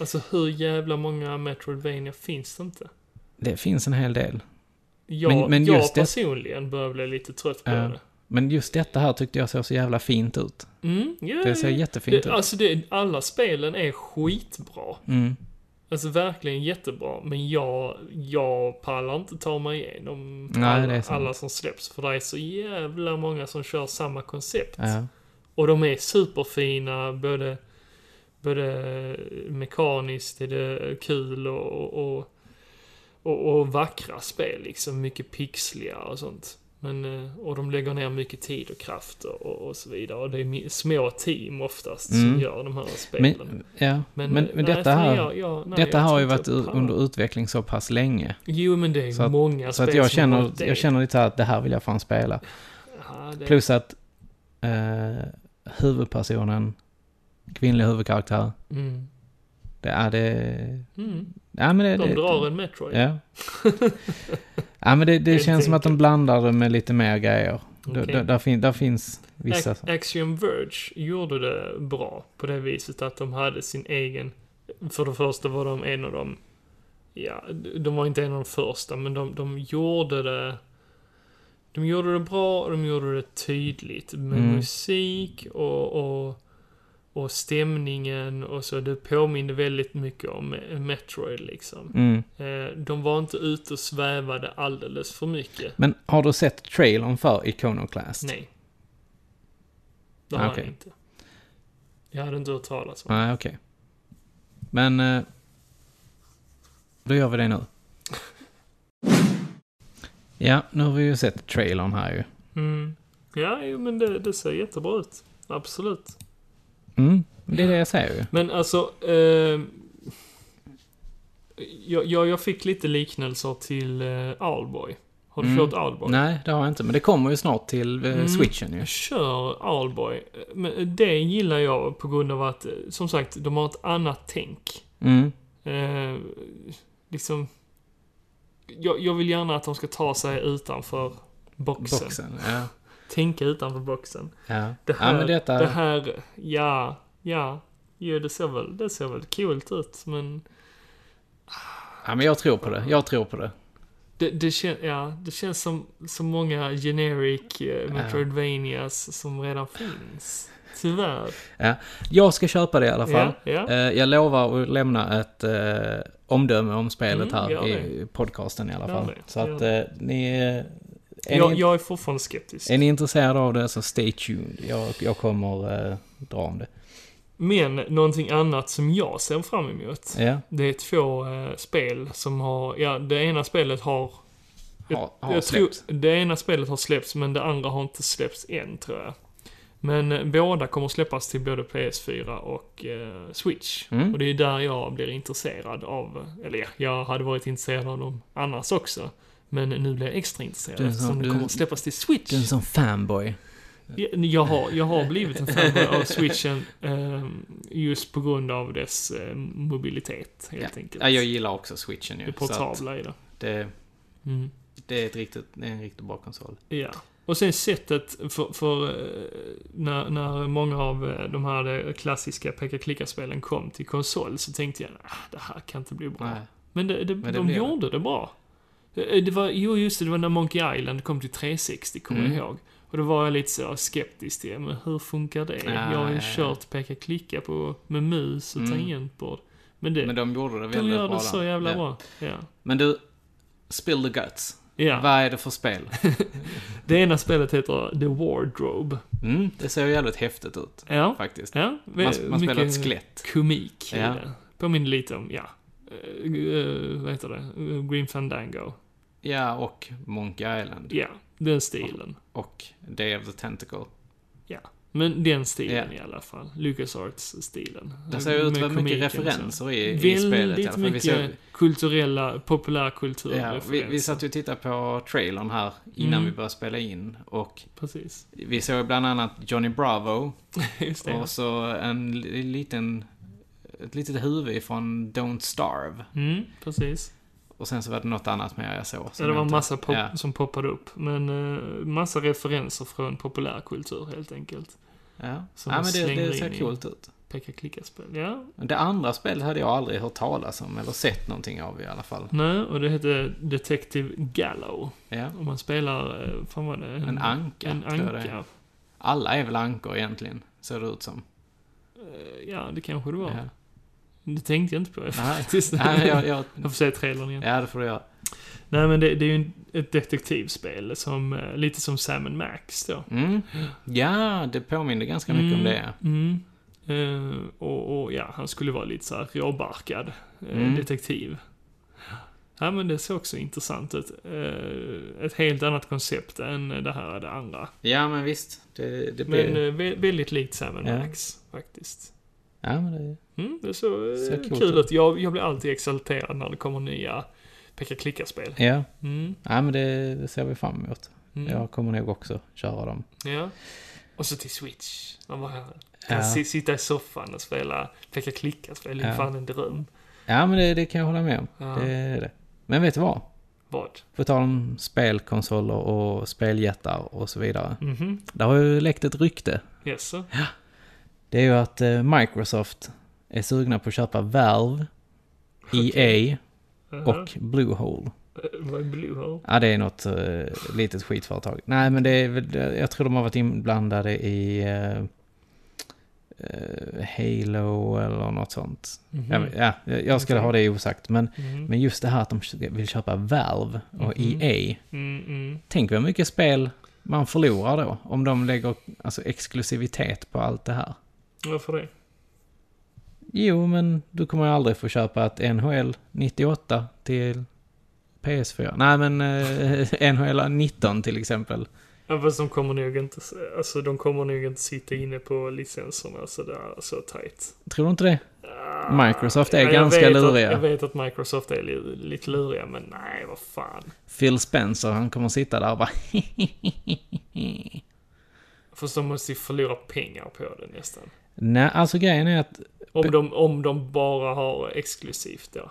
[SPEAKER 1] Alltså hur jävla många Metroidvania finns det inte?
[SPEAKER 2] Det finns en hel del.
[SPEAKER 1] Jag,
[SPEAKER 2] Men- men
[SPEAKER 1] jag
[SPEAKER 2] just det-
[SPEAKER 1] personligen börjar bli lite trött på
[SPEAKER 2] Ja.
[SPEAKER 1] det.
[SPEAKER 2] Eh, Men just detta här tyckte jag såg så jävla fint ut.
[SPEAKER 1] Mm, ja,
[SPEAKER 2] Det ser
[SPEAKER 1] ja.
[SPEAKER 2] jättefint
[SPEAKER 1] det,
[SPEAKER 2] ut.
[SPEAKER 1] Alltså det, alla spelen är skitbra.
[SPEAKER 2] Mm.
[SPEAKER 1] Alltså verkligen jättebra. Men jag, jag pallar inte ta mig igenom
[SPEAKER 2] Nej, det är
[SPEAKER 1] alla,
[SPEAKER 2] sant.
[SPEAKER 1] alla som släpps. För det är så jävla många som kör samma koncept.
[SPEAKER 2] Ja.
[SPEAKER 1] Och de är superfina, både, både mekaniskt är det kul och, och, och, och vackra spel liksom. Mycket pixliga och sånt. Men, eh, och de lägger ner mycket tid och kraft och, och, och så vidare. Och det är mi- små team oftast som
[SPEAKER 2] Mm.
[SPEAKER 1] gör de här spelen.
[SPEAKER 2] Men, ja. men,
[SPEAKER 1] Men, nej,
[SPEAKER 2] men detta
[SPEAKER 1] fan,
[SPEAKER 2] här,
[SPEAKER 1] jag- jag- nej,
[SPEAKER 2] detta
[SPEAKER 1] jag
[SPEAKER 2] har ju
[SPEAKER 1] tror
[SPEAKER 2] varit
[SPEAKER 1] inte jag
[SPEAKER 2] u-
[SPEAKER 1] pallar.
[SPEAKER 2] under utveckling så pass länge.
[SPEAKER 1] Jo, men det är
[SPEAKER 2] Så att-
[SPEAKER 1] många
[SPEAKER 2] Så
[SPEAKER 1] spel
[SPEAKER 2] att jag
[SPEAKER 1] som Eh. har
[SPEAKER 2] känner,
[SPEAKER 1] det.
[SPEAKER 2] jag känner lite så här att det här vill jag fan spela.
[SPEAKER 1] Ja, det-
[SPEAKER 2] Plus att eh, huvudpersonen, kvinnlig huvudkaraktär,
[SPEAKER 1] Mm.
[SPEAKER 2] Det är det...
[SPEAKER 1] Mm.
[SPEAKER 2] Ja, men det,
[SPEAKER 1] De
[SPEAKER 2] det,
[SPEAKER 1] drar en Metroid.
[SPEAKER 2] Ja. ja, men det, det
[SPEAKER 1] Helt
[SPEAKER 2] känns som att de blandar det med lite mer grejer.
[SPEAKER 1] Okej.
[SPEAKER 2] Där, där, fin, där finns vissa...
[SPEAKER 1] Ac- Axiom Verge gjorde det bra på det viset att de hade sin egen... För det första var de en av de... Ja, de var inte en av de första, men de, de gjorde det... De gjorde det bra och de gjorde det tydligt med
[SPEAKER 2] Mm.
[SPEAKER 1] musik och, och, och stämningen och så. Det påminde väldigt mycket om eh, Metroid liksom.
[SPEAKER 2] Mm.
[SPEAKER 1] Eh, De var inte ute och svävade alldeles för mycket.
[SPEAKER 2] Men har du sett trailern för Iconoclast?
[SPEAKER 1] Nej. Det har
[SPEAKER 2] Okej.
[SPEAKER 1] jag inte. Jag hade inte hört talas om.
[SPEAKER 2] Nej, okej. Men... eh, Då gör vi det nu. Ja, nu har vi ju sett trailern här ju.
[SPEAKER 1] Mm. Ja, jo, men det, det ser jättebra ut. Absolut.
[SPEAKER 2] Mm, det är det jag säger ju.
[SPEAKER 1] Men alltså... Eh, jag, jag, jag fick lite liknelser till eh, Alboy. Har du
[SPEAKER 2] Mm.
[SPEAKER 1] kört Alboy?
[SPEAKER 2] Nej, det har jag inte. Men det kommer ju snart till eh,
[SPEAKER 1] Mm.
[SPEAKER 2] switchen ju.
[SPEAKER 1] Jag kör Alboy. Men det gillar jag på grund av att, eh, som sagt, de har ett annat tänk.
[SPEAKER 2] Mm.
[SPEAKER 1] Eh, liksom... Jag, jag vill gärna att de ska ta sig utanför boxen.
[SPEAKER 2] Boxen, ja.
[SPEAKER 1] Tänka utanför boxen.
[SPEAKER 2] Ja.
[SPEAKER 1] Det här,
[SPEAKER 2] ja, men detta...
[SPEAKER 1] det här, ja, ja. Jo, det ser väl, det ser väl coolt ut, men
[SPEAKER 2] Ja, men jag tror på det. Jag tror på det.
[SPEAKER 1] det, det, kän, ja, det känns som så många generic eh, Metroidvanias som redan finns. Tyvärr.
[SPEAKER 2] Ja. Jag ska köpa det i alla fall.
[SPEAKER 1] Ja, ja.
[SPEAKER 2] Eh, Jag lovar att lämna ett eh, omdöme om spelet
[SPEAKER 1] Mm,
[SPEAKER 2] här
[SPEAKER 1] gör
[SPEAKER 2] i podcasten i alla
[SPEAKER 1] Gör
[SPEAKER 2] fall.
[SPEAKER 1] det,
[SPEAKER 2] Så
[SPEAKER 1] gör
[SPEAKER 2] att
[SPEAKER 1] det.
[SPEAKER 2] eh, ni... eh, Är
[SPEAKER 1] Jag,
[SPEAKER 2] ni,
[SPEAKER 1] jag är fortfarande skeptisk.
[SPEAKER 2] är ni intresserade av det så stay tuned. Jag, jag kommer eh, dra om det.
[SPEAKER 1] Men någonting annat som jag ser fram emot.
[SPEAKER 2] Ja.
[SPEAKER 1] Det är två eh, spel som har, ja det ena spelet har...
[SPEAKER 2] Har- har släppts.
[SPEAKER 1] tror, det ena spelet har släppts men det andra har inte släppts än tror jag. Men eh, båda kommer släppas till både PS4 och eh, Switch.
[SPEAKER 2] Mm.
[SPEAKER 1] Och det är ju där jag blir intresserad av, eller ja, jag hade varit intresserad av dem annars också. Men nu blir jag extra intresserad
[SPEAKER 2] Du är en sån-
[SPEAKER 1] eftersom det
[SPEAKER 2] du-
[SPEAKER 1] kommer att släppas till Switch.
[SPEAKER 2] Du är en sån fanboy.
[SPEAKER 1] Ja, Jag har, jag har blivit en fanboy av switchen ehm, just på grund av dess eh, mobilitet helt enkelt.
[SPEAKER 2] Ja, jag gillar också switchen ju.
[SPEAKER 1] det
[SPEAKER 2] så att
[SPEAKER 1] portabla i det.
[SPEAKER 2] det,
[SPEAKER 1] Mm.
[SPEAKER 2] det, är ett riktigt, det är en riktigt bra konsol.
[SPEAKER 1] Ja. Och sen sättet för, för eh, när, när många av eh, de här eh, klassiska peka-klicka-spelen kom till konsol så tänkte jag ah, det här kan inte bli bra.
[SPEAKER 2] Nej.
[SPEAKER 1] Men, det, det,
[SPEAKER 2] Men det
[SPEAKER 1] de
[SPEAKER 2] blev det.
[SPEAKER 1] gjorde det bra. Eh, Det var, jo, just det, det var när Monkey Island kom till 360, kommer
[SPEAKER 2] Mm.
[SPEAKER 1] jag ihåg. Och då var jag lite så skeptisk till, men hur funkar det?
[SPEAKER 2] Ja,
[SPEAKER 1] jag har ju
[SPEAKER 2] ja, ja.
[SPEAKER 1] kört peka-klicka på, med mus och
[SPEAKER 2] Mm.
[SPEAKER 1] tangentbord. Men det,
[SPEAKER 2] Men de gjorde det
[SPEAKER 1] de
[SPEAKER 2] väldigt
[SPEAKER 1] gör
[SPEAKER 2] bra.
[SPEAKER 1] det så
[SPEAKER 2] där.
[SPEAKER 1] jävla
[SPEAKER 2] Ja.
[SPEAKER 1] bra. Ja.
[SPEAKER 2] Men du, spill the guts.
[SPEAKER 1] Ja.
[SPEAKER 2] Vad är det för spel?
[SPEAKER 1] Det ena spelet heter The Wardrobe.
[SPEAKER 2] Mm, det ser ju jävligt häftigt ut.
[SPEAKER 1] Ja.
[SPEAKER 2] Faktiskt.
[SPEAKER 1] Ja,
[SPEAKER 2] Man- man spelar
[SPEAKER 1] mycket
[SPEAKER 2] ett skelett.
[SPEAKER 1] Komik i
[SPEAKER 2] Ja.
[SPEAKER 1] det. Påminner lite om, ja. eh, eh, vad heter det? Eh, Green Fandango.
[SPEAKER 2] Ja, och Monkey Island.
[SPEAKER 1] Ja, den stilen.
[SPEAKER 2] Och Day of the Tentacle.
[SPEAKER 1] Ja. Men den stilen
[SPEAKER 2] Ja.
[SPEAKER 1] i alla fall. LucasArts-stilen.
[SPEAKER 2] Det ser ut att vara mycket
[SPEAKER 1] komiken och så.
[SPEAKER 2] referenser i, i
[SPEAKER 1] Väldigt
[SPEAKER 2] spelet i alla fall. Vi,
[SPEAKER 1] mycket
[SPEAKER 2] såg,
[SPEAKER 1] kulturella, populärkulturreferenser.
[SPEAKER 2] ja, vi, vi satt ju och tittade på trailern här innan
[SPEAKER 1] Mm.
[SPEAKER 2] vi började spela in. Och
[SPEAKER 1] Precis.
[SPEAKER 2] vi såg ju bland annat Johnny Bravo.
[SPEAKER 1] Just det.
[SPEAKER 2] Och så en li- liten... Ett litet huvud från Don't Starve.
[SPEAKER 1] Mm, precis.
[SPEAKER 2] Och sen så var det något annat mer jag såg. som
[SPEAKER 1] Ja, det
[SPEAKER 2] jag
[SPEAKER 1] var
[SPEAKER 2] inte-
[SPEAKER 1] massa pop
[SPEAKER 2] Ja.
[SPEAKER 1] som poppade upp. Men eh, massa referenser från populärkultur helt enkelt.
[SPEAKER 2] Ja,
[SPEAKER 1] som
[SPEAKER 2] ja
[SPEAKER 1] de
[SPEAKER 2] men det,
[SPEAKER 1] slängde
[SPEAKER 2] det
[SPEAKER 1] in
[SPEAKER 2] ser
[SPEAKER 1] i-
[SPEAKER 2] coolt ut.
[SPEAKER 1] Peka-klicka-spel. Ja,
[SPEAKER 2] Det andra spelet hade jag aldrig hört talas om eller sett någonting av i alla fall.
[SPEAKER 1] Nej, och det hette Detective Gallow.
[SPEAKER 2] Ja.
[SPEAKER 1] Och man spelar, eh, fan var det?
[SPEAKER 2] En anka,
[SPEAKER 1] En
[SPEAKER 2] tror jag det
[SPEAKER 1] anka.
[SPEAKER 2] Alla är väl ankor egentligen, ser det ut som.
[SPEAKER 1] Eh, Ja, det kanske det var.
[SPEAKER 2] Ja.
[SPEAKER 1] Det tänkte jag inte på
[SPEAKER 2] Nej,
[SPEAKER 1] faktiskt.
[SPEAKER 2] nej, jag, jag,
[SPEAKER 1] Jag får se trailern igen.
[SPEAKER 2] ja, det får du göra.
[SPEAKER 1] Nej, men det, det är ju en- ett detektivspel som, eh, lite som Sam and Max då.
[SPEAKER 2] Mm. Ja, det påminner ganska mycket om det.
[SPEAKER 1] Mm. Eh, och, och ja, han skulle vara lite så här råbarkad eh,
[SPEAKER 2] Mm.
[SPEAKER 1] detektiv. Ja, men det såg också intressant ut. Eh, ett helt annat koncept än det här det andra.
[SPEAKER 2] Ja, men visst. Det, det blir...
[SPEAKER 1] Men eh, vä- väldigt likt Sam and
[SPEAKER 2] Ja.
[SPEAKER 1] Max, faktiskt.
[SPEAKER 2] ja, men det...
[SPEAKER 1] Mm, det såg
[SPEAKER 2] Ser
[SPEAKER 1] så
[SPEAKER 2] coolt
[SPEAKER 1] kul
[SPEAKER 2] ut.
[SPEAKER 1] ut. Jag, jag blir alltid exalterad när det kommer nya peka-klicka-spel.
[SPEAKER 2] Ja.
[SPEAKER 1] Mm,
[SPEAKER 2] ja, men det, det ser vi fram emot.
[SPEAKER 1] mm, ja.
[SPEAKER 2] Jag kommer nog också köra dem.
[SPEAKER 1] Och så till Switch. Ja, vad här. Kan
[SPEAKER 2] Ja.
[SPEAKER 1] si- sitta i soffan och spela Peka Klicka-spel, det är
[SPEAKER 2] Ja.
[SPEAKER 1] fan en dröm.
[SPEAKER 2] Ja, men det, det kan jag hålla med om.
[SPEAKER 1] Ja.
[SPEAKER 2] Det är det. Men vet du vad?
[SPEAKER 1] Vad?
[SPEAKER 2] På tal om spelkonsoler och speljättar och så vidare.
[SPEAKER 1] Mhm.
[SPEAKER 2] Det har ju läckt ett rykte.
[SPEAKER 1] Yes, sir.
[SPEAKER 2] Det är ju att eh, Microsoft är sugna på att köpa Valve, EA och Bluehole.
[SPEAKER 1] Eh, Vad är Bluehole?
[SPEAKER 2] Ja, det är något uh, litet skitföretag. Nej, men det är väl, det- jag tror de har varit inblandade i eh, eh, Halo eller något sånt.
[SPEAKER 1] Mhm.
[SPEAKER 2] Jag- Ja, jag, jag skulle
[SPEAKER 1] Okej.
[SPEAKER 2] ha det osagt, men,
[SPEAKER 1] Mhm.
[SPEAKER 2] men just det här att de kö- vill köpa Valve och
[SPEAKER 1] Mhm.
[SPEAKER 2] EA.
[SPEAKER 1] Mm, mm.
[SPEAKER 2] Tänk vad mycket spel man förlorar då, om de lägger alltså, exklusivitet på allt det här.
[SPEAKER 1] Varför det?
[SPEAKER 2] Jo, men du kommer ju aldrig få köpa ett NHL 98 till PS4. Nej, men eh, NHL 19 till exempel.
[SPEAKER 1] Ja, fast de kommer nog inte, alltså de kommer nog inte sitta inne på licenserna sådär så tight.
[SPEAKER 2] Tror du inte det? Microsoft är
[SPEAKER 1] Ah, Ja, jag
[SPEAKER 2] ganska
[SPEAKER 1] vet att-
[SPEAKER 2] luriga.
[SPEAKER 1] Jag vet att Microsoft är li- lite luriga, men nej, vad fan.
[SPEAKER 2] Phil Spencer, han kommer sitta där och bara
[SPEAKER 1] Fast de måste ju förlora pengar på det nästan.
[SPEAKER 2] Nej, alltså grejen är att
[SPEAKER 1] Om de, om de bara har exklusivt då.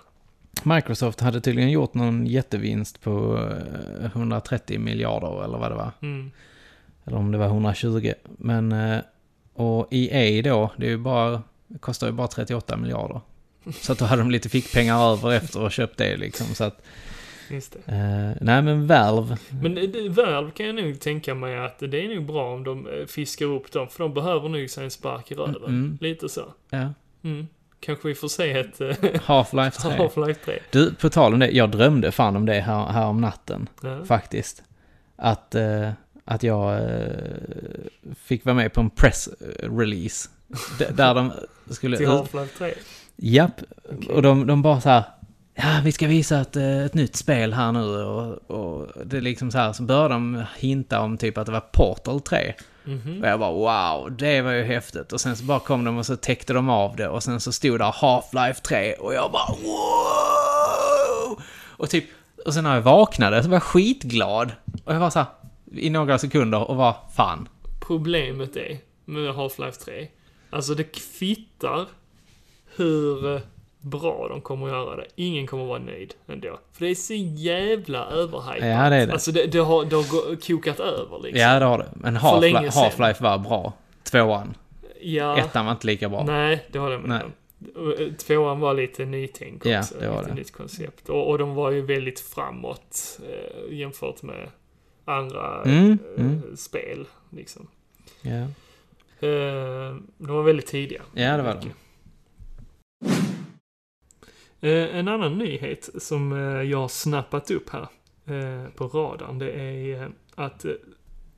[SPEAKER 2] Microsoft hade tydligen gjort någon jättevinst på eh, 130 miljarder eller vad det var.
[SPEAKER 1] Mm.
[SPEAKER 2] Eller om det var 120. Men, eh, och EA då, det är ju bara, det kostar ju bara 38 miljarder. Så att då hade de lite fickpengar över efter och köpt det liksom. Så att,
[SPEAKER 1] Just det.
[SPEAKER 2] eh, nej men Valve,
[SPEAKER 1] Men det- det- Valve kan jag nog tänka mig att det är nog bra om de eh, fiskar upp dem, för de behöver nog sig en spark i röven.
[SPEAKER 2] Mm.
[SPEAKER 1] Lite så.
[SPEAKER 2] ja,
[SPEAKER 1] Mm. Kanske vi får se ett... eh,
[SPEAKER 2] Half-Life 3.
[SPEAKER 1] Half-Life 3.
[SPEAKER 2] Du, på tal om det, jag drömde fan om det här, här om natten.
[SPEAKER 1] Ja.
[SPEAKER 2] Faktiskt. Att, eh, att jag eh, fick vara med på en press eh, release. D- där de skulle...
[SPEAKER 1] Till Half-Life 3.
[SPEAKER 2] Japp. Och de, de bara så här... Ja, vi ska visa ett, eh, ett nytt spel här nu och, och det är liksom så här, så började de hinta om typ att det var Portal 3.
[SPEAKER 1] Mhm.
[SPEAKER 2] Och jag bara wow, det var ju häftigt. Och sen så bara kom de och så täckte de av det och sen så stod där Half-Life 3 och jag bara wow! Och typ, och sen när jag vaknade så var jag skitglad. Och jag var så här, i några sekunder och var fan.
[SPEAKER 1] problemet är med Half-Life 3. Alltså det kvittar hur eh, bra de kommer att göra det. Ingen kommer att vara nöjd ändå. För det är så jävla överhypat.
[SPEAKER 2] Ja, det är det.
[SPEAKER 1] Alltså det, det, har, det har gå- kokat över liksom.
[SPEAKER 2] Ja, det har det. Men
[SPEAKER 1] För länge
[SPEAKER 2] Half-Li-
[SPEAKER 1] sedan.
[SPEAKER 2] Half-Life var bra. Tvåan.
[SPEAKER 1] Ja.
[SPEAKER 2] Ettan var inte lika bra.
[SPEAKER 1] Nej, det håller jag med
[SPEAKER 2] Nej.
[SPEAKER 1] om. Och, eh, Tvåan var lite nytänk
[SPEAKER 2] Ja,
[SPEAKER 1] också.
[SPEAKER 2] det var
[SPEAKER 1] lite
[SPEAKER 2] det.
[SPEAKER 1] nytt koncept. Och, och de var ju väldigt framåt eh, jämfört med andra
[SPEAKER 2] Mm,
[SPEAKER 1] eh,
[SPEAKER 2] mm.
[SPEAKER 1] spel. Liksom.
[SPEAKER 2] Ja.
[SPEAKER 1] Eh, de var väldigt tidiga.
[SPEAKER 2] ja, det var det.
[SPEAKER 1] Eh, en annan nyhet som eh, jag har snappat upp här eh, på radarn, det är eh, att eh,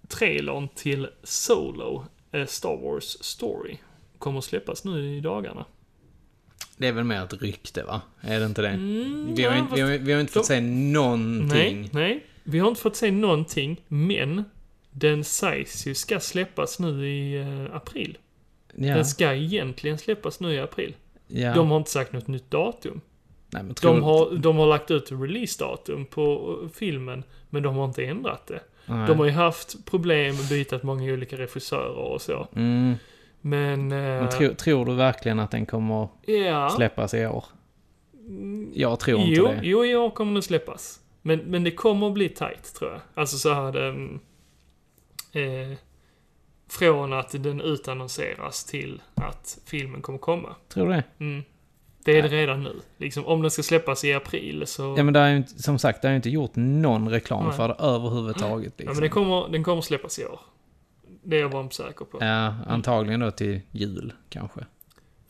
[SPEAKER 1] trailern till Solo, eh, Star Wars Story, kommer att släppas nu i dagarna.
[SPEAKER 2] Det är väl mer ett rykte, va? Är det inte det?
[SPEAKER 1] Mm,
[SPEAKER 2] vi, har
[SPEAKER 1] ja,
[SPEAKER 2] inte, vi, har, vi har inte fått
[SPEAKER 1] de-
[SPEAKER 2] se någonting.
[SPEAKER 1] Nej, nej. Vi har inte fått se någonting, men den sägs ju ska släppas nu i eh, april.
[SPEAKER 2] Ja.
[SPEAKER 1] Den ska egentligen släppas nu i april.
[SPEAKER 2] Ja.
[SPEAKER 1] De har inte sagt något nytt datum.
[SPEAKER 2] Nej, men tror-
[SPEAKER 1] De har, de har lagt ut releasedatum på eh, filmen, men de har inte ändrat det.
[SPEAKER 2] Nej.
[SPEAKER 1] De har ju haft problem, bytt många olika regissörer och så.
[SPEAKER 2] Mm.
[SPEAKER 1] Men... eh,
[SPEAKER 2] Men tro, tror du verkligen att den kommer
[SPEAKER 1] Ja. Mm.
[SPEAKER 2] släppas i år? Jag tror inte
[SPEAKER 1] jo,
[SPEAKER 2] det.
[SPEAKER 1] Jo, i år kommer den släppas. Men, men det kommer att bli tight, tror jag. Alltså så här det... mm, Eh, från att den utannonseras till att filmen kommer komma.
[SPEAKER 2] Tror du det?
[SPEAKER 1] Mm. Det är det redan nu. Liksom, om den ska släppas i april så...
[SPEAKER 2] Ja men det är ju inte, som sagt, det har ju inte gjort någon reklam
[SPEAKER 1] Nej.
[SPEAKER 2] för det överhuvudtaget. Liksom.
[SPEAKER 1] Ja, men den kommer, den kommer släppas i år. Det är jag bombsäker på.
[SPEAKER 2] Ja, antagligen då till jul kanske.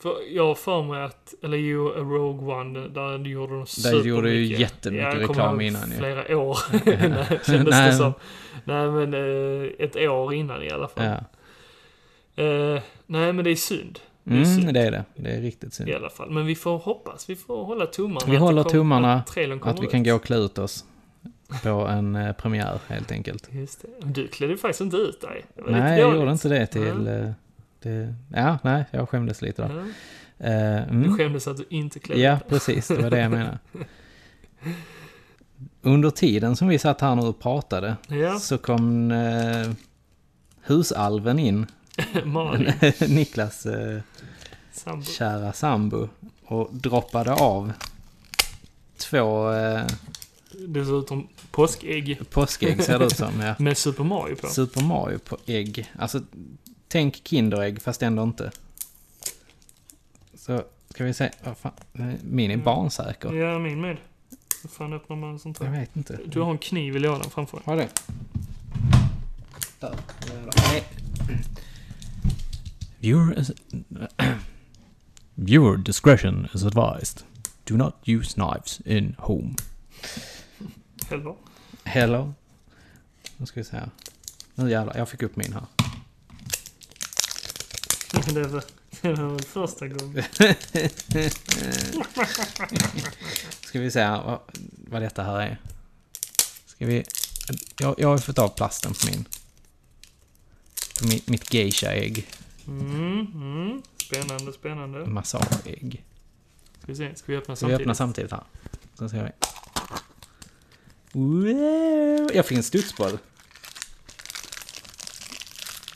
[SPEAKER 1] För jag har för mig att, eller ju Rogue One, där- där gjorde de
[SPEAKER 2] Där
[SPEAKER 1] supermycket.
[SPEAKER 2] gjorde du ju jättemycket
[SPEAKER 1] jag kommer
[SPEAKER 2] reklam
[SPEAKER 1] ihåg
[SPEAKER 2] innan ju.
[SPEAKER 1] flera år
[SPEAKER 2] Ja.
[SPEAKER 1] innan, kändes det
[SPEAKER 2] Nej.
[SPEAKER 1] som. Nej men eh, ett år innan i alla fall.
[SPEAKER 2] Ja.
[SPEAKER 1] Eh, nej men det är synd. Det är synd
[SPEAKER 2] Mm, det är det. Det är riktigt synd.
[SPEAKER 1] i alla fall. Men vi får hoppas, vi får hålla tummarna.
[SPEAKER 2] Vi
[SPEAKER 1] att det
[SPEAKER 2] håller
[SPEAKER 1] kom-
[SPEAKER 2] tummarna
[SPEAKER 1] att trailern kommer
[SPEAKER 2] att vi kan
[SPEAKER 1] ut.
[SPEAKER 2] gå och klä ut oss på en eh, premiär helt enkelt.
[SPEAKER 1] Just det. Du klädde faktiskt inte ut dig. Det var lite
[SPEAKER 2] Nej, jag
[SPEAKER 1] dåligt. Mm.
[SPEAKER 2] gjorde inte det till...
[SPEAKER 1] Ja.
[SPEAKER 2] eh, Det, ja, nej, jag skämdes lite där.
[SPEAKER 1] Ja.
[SPEAKER 2] Eh, mm.
[SPEAKER 1] Du skämdes att du inte klädde
[SPEAKER 2] Ja,
[SPEAKER 1] ut dig.
[SPEAKER 2] precis. Det var det jag menade. Under tiden som vi satt här nu och pratade
[SPEAKER 1] Ja.
[SPEAKER 2] så kom eh, husalven in
[SPEAKER 1] Malin.
[SPEAKER 2] Niklas eh,
[SPEAKER 1] Sambo.
[SPEAKER 2] kära sambo. Och droppade av två eh,
[SPEAKER 1] Dessutom påskägg.
[SPEAKER 2] påskägg ser det ut som. Ja.
[SPEAKER 1] Med Super Mario på.
[SPEAKER 2] Super Mario på ägg. Alltså, tänk Kinderägg fast ändå inte. Så ska vi se. Vad fan? Min är barnsäker.
[SPEAKER 1] Mm. Ja, min med. Hur fan öppnar man sånt här?
[SPEAKER 2] Jag vet inte.
[SPEAKER 1] Du har en kniv i lådan framför dig.
[SPEAKER 2] Har det? Äh, Viewer, is, viewer discretion is advised. Do not use knives in home.
[SPEAKER 1] Hello.
[SPEAKER 2] Hello. Nu ska vi se här. Nu jävlar, jag fick upp min här.
[SPEAKER 1] Det var, det var väl första gången.
[SPEAKER 2] Ska vi se här vad, vad detta här är. Ska vi... Jag, jag har ju fått av plasten på min... På mitt, mitt geisha-ägg.
[SPEAKER 1] Mm, mm. Spännande, spännande.
[SPEAKER 2] Massage-ägg.
[SPEAKER 1] Ska vi se, ska vi öppna
[SPEAKER 2] Ska vi
[SPEAKER 1] samtidigt?
[SPEAKER 2] öppna samtidigt här? Så ser vi. Wow! Jag fick en studsboll.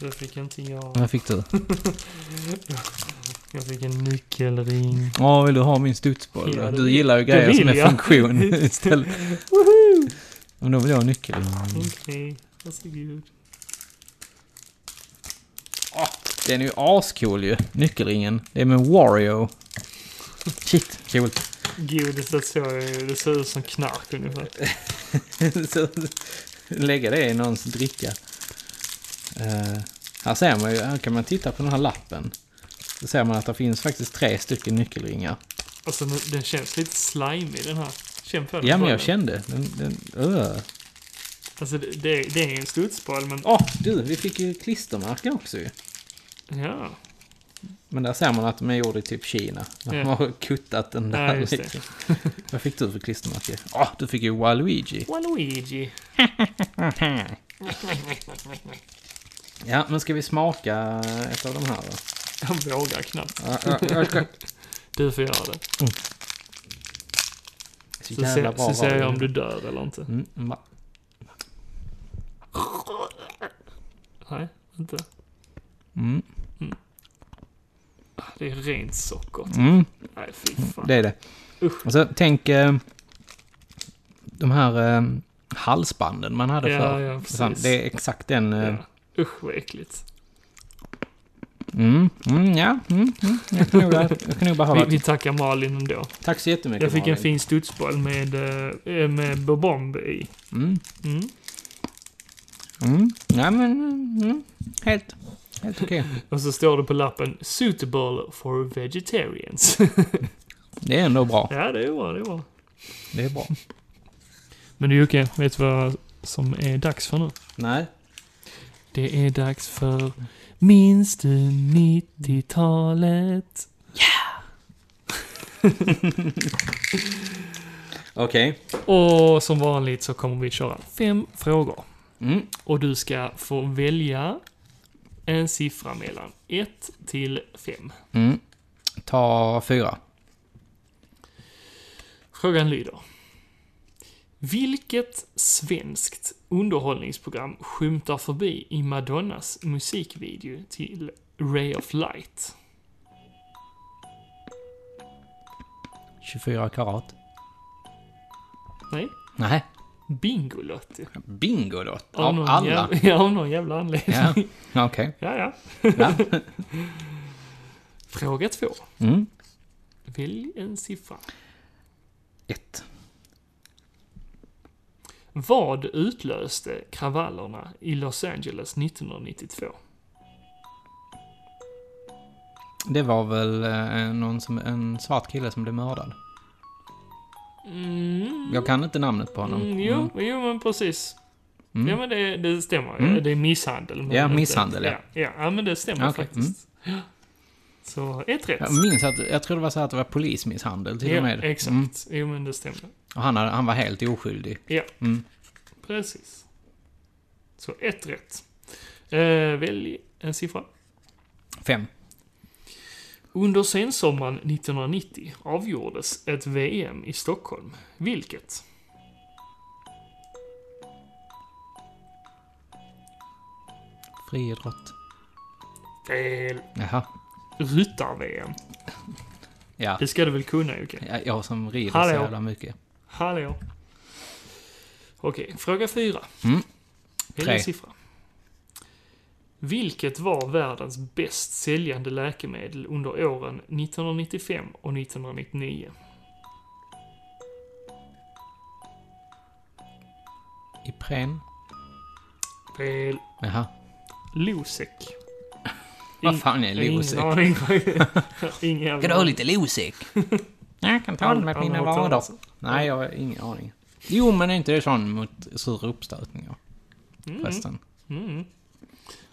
[SPEAKER 1] Det fick inte jag.
[SPEAKER 2] Vad fick du?
[SPEAKER 1] Jag fick en nyckelring.
[SPEAKER 2] Ja, vill du ha min studsboll?
[SPEAKER 1] Ja, det
[SPEAKER 2] du
[SPEAKER 1] vill-
[SPEAKER 2] gillar ju
[SPEAKER 1] det
[SPEAKER 2] grejer
[SPEAKER 1] vill
[SPEAKER 2] som är
[SPEAKER 1] jag.
[SPEAKER 2] funktion istället. Men då vill jag ha en nyckel.
[SPEAKER 1] Okej, varsågod.
[SPEAKER 2] Den är ju ascool ju. Nyckelringen. Det är med Wario. Shit, coolt.
[SPEAKER 1] Godis, det såg jag ju. Det ser ut som knark ungefär.
[SPEAKER 2] Så, lägga det i någons dricka. Eh, här ser man ju, här kan man titta på den här lappen. Då ser man att det finns faktiskt tre stycken nyckelringar.
[SPEAKER 1] Alltså den, den känns lite slimy den här. Känn på den.
[SPEAKER 2] Ja, men
[SPEAKER 1] bollen.
[SPEAKER 2] jag kände. Den, den, öh.
[SPEAKER 1] Alltså det, det, det är en studsboll men...
[SPEAKER 2] Åh, du, vi fick ju klistermärken också ju.
[SPEAKER 1] Ja.
[SPEAKER 2] Men där ser man att de är gjorda i typ Kina. De
[SPEAKER 1] Ja.
[SPEAKER 2] har kuttat den där.
[SPEAKER 1] Mm. Ja, just det.
[SPEAKER 2] liksom. Vad fick du för klistermärke? Åh, du fick ju Waluigi.
[SPEAKER 1] Waluigi.
[SPEAKER 2] Ja, men ska vi smaka ett av de här då?
[SPEAKER 1] Jag vågar knappt.
[SPEAKER 2] Ja, ja, jag ska-
[SPEAKER 1] Du får göra det.
[SPEAKER 2] Så
[SPEAKER 1] Så,
[SPEAKER 2] jävla
[SPEAKER 1] se,
[SPEAKER 2] bra
[SPEAKER 1] så
[SPEAKER 2] var
[SPEAKER 1] ser
[SPEAKER 2] det.
[SPEAKER 1] jag om du dör eller inte.
[SPEAKER 2] Mm, va?
[SPEAKER 1] Nej, inte.
[SPEAKER 2] Mm.
[SPEAKER 1] Ah, Det är rent socker. typ.
[SPEAKER 2] Mm.
[SPEAKER 1] Nej, fy fan.
[SPEAKER 2] Det är det.
[SPEAKER 1] Usch.
[SPEAKER 2] Och så tänk eh, de här eh, halsbanden man hade
[SPEAKER 1] Ja,
[SPEAKER 2] förr.
[SPEAKER 1] ja, precis.
[SPEAKER 2] Sam- det är exakt den... Eh,
[SPEAKER 1] Usch vad äckligt.
[SPEAKER 2] mm, mm, ja, mm, mm, jag kan nog, jag kan nog behöva...
[SPEAKER 1] Vi, vi tackar Malin ändå.
[SPEAKER 2] Tack så jättemycket
[SPEAKER 1] Jag fick en
[SPEAKER 2] Malin.
[SPEAKER 1] fin studsboll med, eh, med bobomb i.
[SPEAKER 2] Mm,
[SPEAKER 1] Mm.
[SPEAKER 2] mm, ja, men, mm, mm, helt, helt okej.
[SPEAKER 1] Och så står det på lappen “Suitable for vegetarians”.
[SPEAKER 2] Det är ändå bra.
[SPEAKER 1] ja, det är bra, det är bra.
[SPEAKER 2] Det är bra.
[SPEAKER 1] Men du Jocke, vet du vad som är dags för nu?
[SPEAKER 2] Nej.
[SPEAKER 1] Det är dags för Minns du 90-talet?
[SPEAKER 2] Okej.
[SPEAKER 1] Och som vanligt så kommer vi köra fem frågor.
[SPEAKER 2] Mm.
[SPEAKER 1] Och du ska få välja en siffra mellan 1 till 5.
[SPEAKER 2] Mm. Ta fyra.
[SPEAKER 1] Frågan lyder. Vilket svenskt underhållningsprogram skymtar förbi i Madonnas musikvideo till Ray of Light?
[SPEAKER 2] 24 karat.
[SPEAKER 1] Nej,
[SPEAKER 2] Nej.
[SPEAKER 1] Bingolotto.
[SPEAKER 2] Bingo då.
[SPEAKER 1] Av
[SPEAKER 2] Av
[SPEAKER 1] någon
[SPEAKER 2] alla.
[SPEAKER 1] jäv- Ja, av någon jävla anledning.
[SPEAKER 2] Ja,
[SPEAKER 1] Ja,
[SPEAKER 2] okej.
[SPEAKER 1] ja.
[SPEAKER 2] Ja.
[SPEAKER 1] Fråga två.
[SPEAKER 2] Mm.
[SPEAKER 1] Välj en siffra.
[SPEAKER 2] Ett.
[SPEAKER 1] Vad utlöste kravallerna i Los Angeles 1992?
[SPEAKER 2] Det var väl eh, någon som, en svart kille som blev mördad.
[SPEAKER 1] Mm.
[SPEAKER 2] Jag kan inte namnet på honom.
[SPEAKER 1] Mm, jo, jo, men precis.
[SPEAKER 2] Mm.
[SPEAKER 1] Ja, men det, det stämmer.
[SPEAKER 2] Mm.
[SPEAKER 1] Det är misshandel. men
[SPEAKER 2] Ja,
[SPEAKER 1] inte-
[SPEAKER 2] misshandel, ja.
[SPEAKER 1] ja. Ja, ja, men det stämmer
[SPEAKER 2] Ja, okej, mm.
[SPEAKER 1] faktiskt. Ja. Så ett rätt.
[SPEAKER 2] Jag minns att, jag tror det var så att det var polismisshandel till och med.
[SPEAKER 1] exakt.
[SPEAKER 2] Mm.
[SPEAKER 1] Jo, men det stämmer.
[SPEAKER 2] Och han, hade- han var helt oskyldig.
[SPEAKER 1] Ja,
[SPEAKER 2] Mm.
[SPEAKER 1] precis. Så ett rätt. Eh, välj en siffra.
[SPEAKER 2] Fem.
[SPEAKER 1] Under sensommaren 1990 avgjordes ett VM i Stockholm. Vilket?
[SPEAKER 2] Friidrott.
[SPEAKER 1] Fel.
[SPEAKER 2] Jaha.
[SPEAKER 1] Ryttar-VM.
[SPEAKER 2] Ja.
[SPEAKER 1] Det ska du väl kunna Jocke?
[SPEAKER 2] Ja, Jag som rider så
[SPEAKER 1] Hallå.
[SPEAKER 2] jävla mycket.
[SPEAKER 1] Hallå. Okej, fråga fyra.
[SPEAKER 2] Mm.
[SPEAKER 1] Välj en
[SPEAKER 2] Tre.
[SPEAKER 1] siffra. Vilket var världens bäst säljande läkemedel under åren 1995 och 1999?
[SPEAKER 2] Ipren?
[SPEAKER 1] Fel.
[SPEAKER 2] Jaha.
[SPEAKER 1] Losec.
[SPEAKER 2] Vad fan är Losec?
[SPEAKER 1] Ingen aning. Ingen jävla
[SPEAKER 2] Ska du ha
[SPEAKER 1] aning.
[SPEAKER 2] lite Losec? Jag kan ta
[SPEAKER 1] All-
[SPEAKER 2] det med
[SPEAKER 1] alla
[SPEAKER 2] mina
[SPEAKER 1] har hört
[SPEAKER 2] vader.
[SPEAKER 1] talas om.
[SPEAKER 2] Nej, jag har ingen aning. Jo, men är inte det sån mot sura uppstötningar?
[SPEAKER 1] Mm.
[SPEAKER 2] Förresten.
[SPEAKER 1] Mm.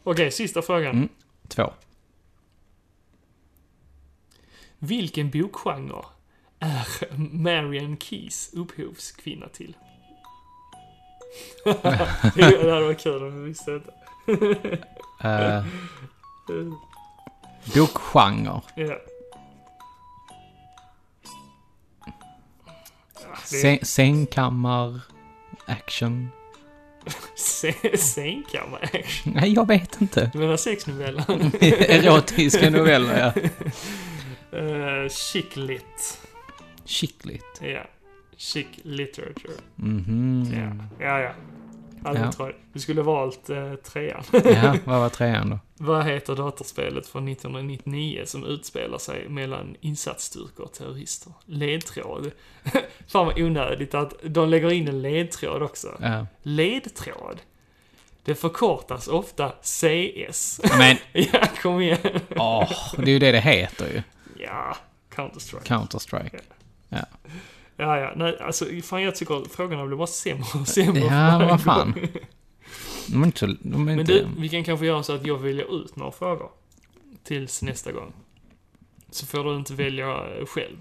[SPEAKER 1] Okej, sista frågan.
[SPEAKER 2] Mm. Två.
[SPEAKER 1] Vilken bokgenre är Marian Keys upphovskvinna till? det hade varit kul om vi visste detta.
[SPEAKER 2] Uh, bokgenre.
[SPEAKER 1] ja. Ah, Alltså,
[SPEAKER 2] Säng, sängkammar. Action.
[SPEAKER 1] Se- Sängkammare action.
[SPEAKER 2] Nej, jag vet inte.
[SPEAKER 1] Du menar sexnoveller?
[SPEAKER 2] Erotiska noveller, ja.
[SPEAKER 1] Eh, chick lit.
[SPEAKER 2] Chicklit.
[SPEAKER 1] Ja. Chick literature.
[SPEAKER 2] Mhm.
[SPEAKER 1] Ja, ja. ja. Hade
[SPEAKER 2] Ja.
[SPEAKER 1] inte varit- Du skulle valt eh, trean.
[SPEAKER 2] Ja, vad var trean då?
[SPEAKER 1] Vad heter datorspelet från 1999 som utspelar sig mellan insatsstyrkor och terrorister? Ledtråd. Fan vad onödigt att de lägger in en ledtråd också.
[SPEAKER 2] Ja.
[SPEAKER 1] Ledtråd. Det förkortas ofta CS.
[SPEAKER 2] Men-
[SPEAKER 1] ja, kom igen.
[SPEAKER 2] Åh, det är ju det det heter ju.
[SPEAKER 1] Ja, Counter-Strike.
[SPEAKER 2] Counter-Strike. Ja.
[SPEAKER 1] Ja, ja. Nej, alltså fan jag tycker att frågorna blir bara sämre och sämre. för
[SPEAKER 2] Ja,
[SPEAKER 1] varje
[SPEAKER 2] vad fan.
[SPEAKER 1] gång.
[SPEAKER 2] De är inte så... De är
[SPEAKER 1] Men
[SPEAKER 2] inte...
[SPEAKER 1] du, vi kan kanske göra så att jag väljer ut några frågor. Tills nästa gång. Så får du inte välja eh, själv.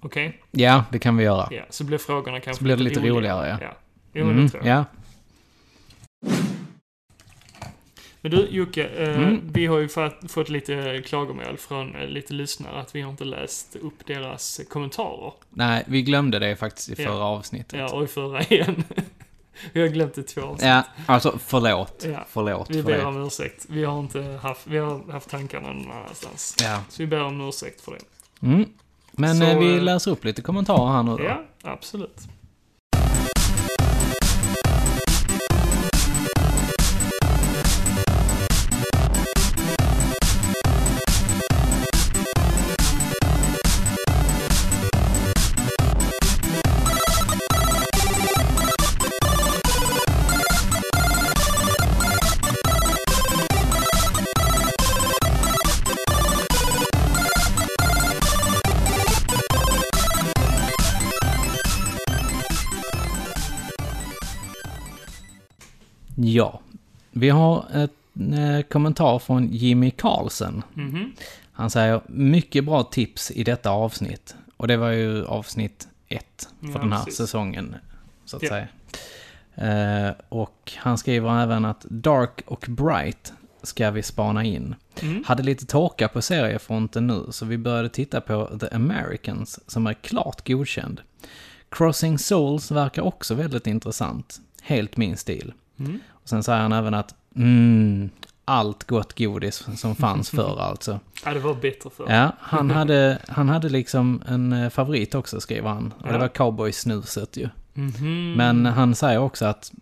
[SPEAKER 1] Okej?
[SPEAKER 2] Ja, det kan vi göra.
[SPEAKER 1] Ja, så blir frågorna kanske
[SPEAKER 2] Så blir det lite roligare, ja.
[SPEAKER 1] ja. Jo, men
[SPEAKER 2] Mm,
[SPEAKER 1] det tror jag.
[SPEAKER 2] ja.
[SPEAKER 1] Men du, Jocke, eh,
[SPEAKER 2] Mm.
[SPEAKER 1] vi har ju fatt, fått lite klagomål från eh, lite lyssnare att vi har inte läst upp deras kommentarer.
[SPEAKER 2] Nej, vi glömde det faktiskt i
[SPEAKER 1] Ja.
[SPEAKER 2] förra avsnittet.
[SPEAKER 1] Ja, och i förra igen. vi har glömt det i två avsnitt.
[SPEAKER 2] Ja, alltså förlåt.
[SPEAKER 1] Ja.
[SPEAKER 2] Förlåt
[SPEAKER 1] Vi
[SPEAKER 2] för
[SPEAKER 1] ber
[SPEAKER 2] det.
[SPEAKER 1] om ursäkt. Vi har inte haft, vi har haft tankarna någon annanstans.
[SPEAKER 2] Ja.
[SPEAKER 1] Så vi ber om ursäkt för det.
[SPEAKER 2] Mm. Men
[SPEAKER 1] Så,
[SPEAKER 2] eh, vi
[SPEAKER 1] eh,
[SPEAKER 2] läser upp lite kommentarer här nu då.
[SPEAKER 1] Ja, absolut.
[SPEAKER 2] Ja. Vi har en eh, kommentar från Jimmy Carlsen.
[SPEAKER 1] Mhm.
[SPEAKER 2] Han säger mycket bra tips i detta avsnitt. Och det var ju avsnitt ett för
[SPEAKER 1] Ja,
[SPEAKER 2] den här
[SPEAKER 1] precis.
[SPEAKER 2] säsongen. Så att
[SPEAKER 1] Ja.
[SPEAKER 2] säga. Eh, och han skriver även att Dark och Bright ska vi spana in.
[SPEAKER 1] Mm.
[SPEAKER 2] Hade lite torka på seriefronten nu, så vi började titta på The Americans, som är klart godkänd. Crossing Souls verkar också väldigt intressant. Helt min stil.
[SPEAKER 1] Mm.
[SPEAKER 2] Och sen säger han även att mm, allt gott godis som fanns förr alltså.
[SPEAKER 1] Ja, det var bättre förr.
[SPEAKER 2] Ja, han hade, han hade liksom en eh, favorit också, skriver han. Och
[SPEAKER 1] Ja.
[SPEAKER 2] det var cowboysnuset ju.
[SPEAKER 1] Mhm.
[SPEAKER 2] Men han säger också att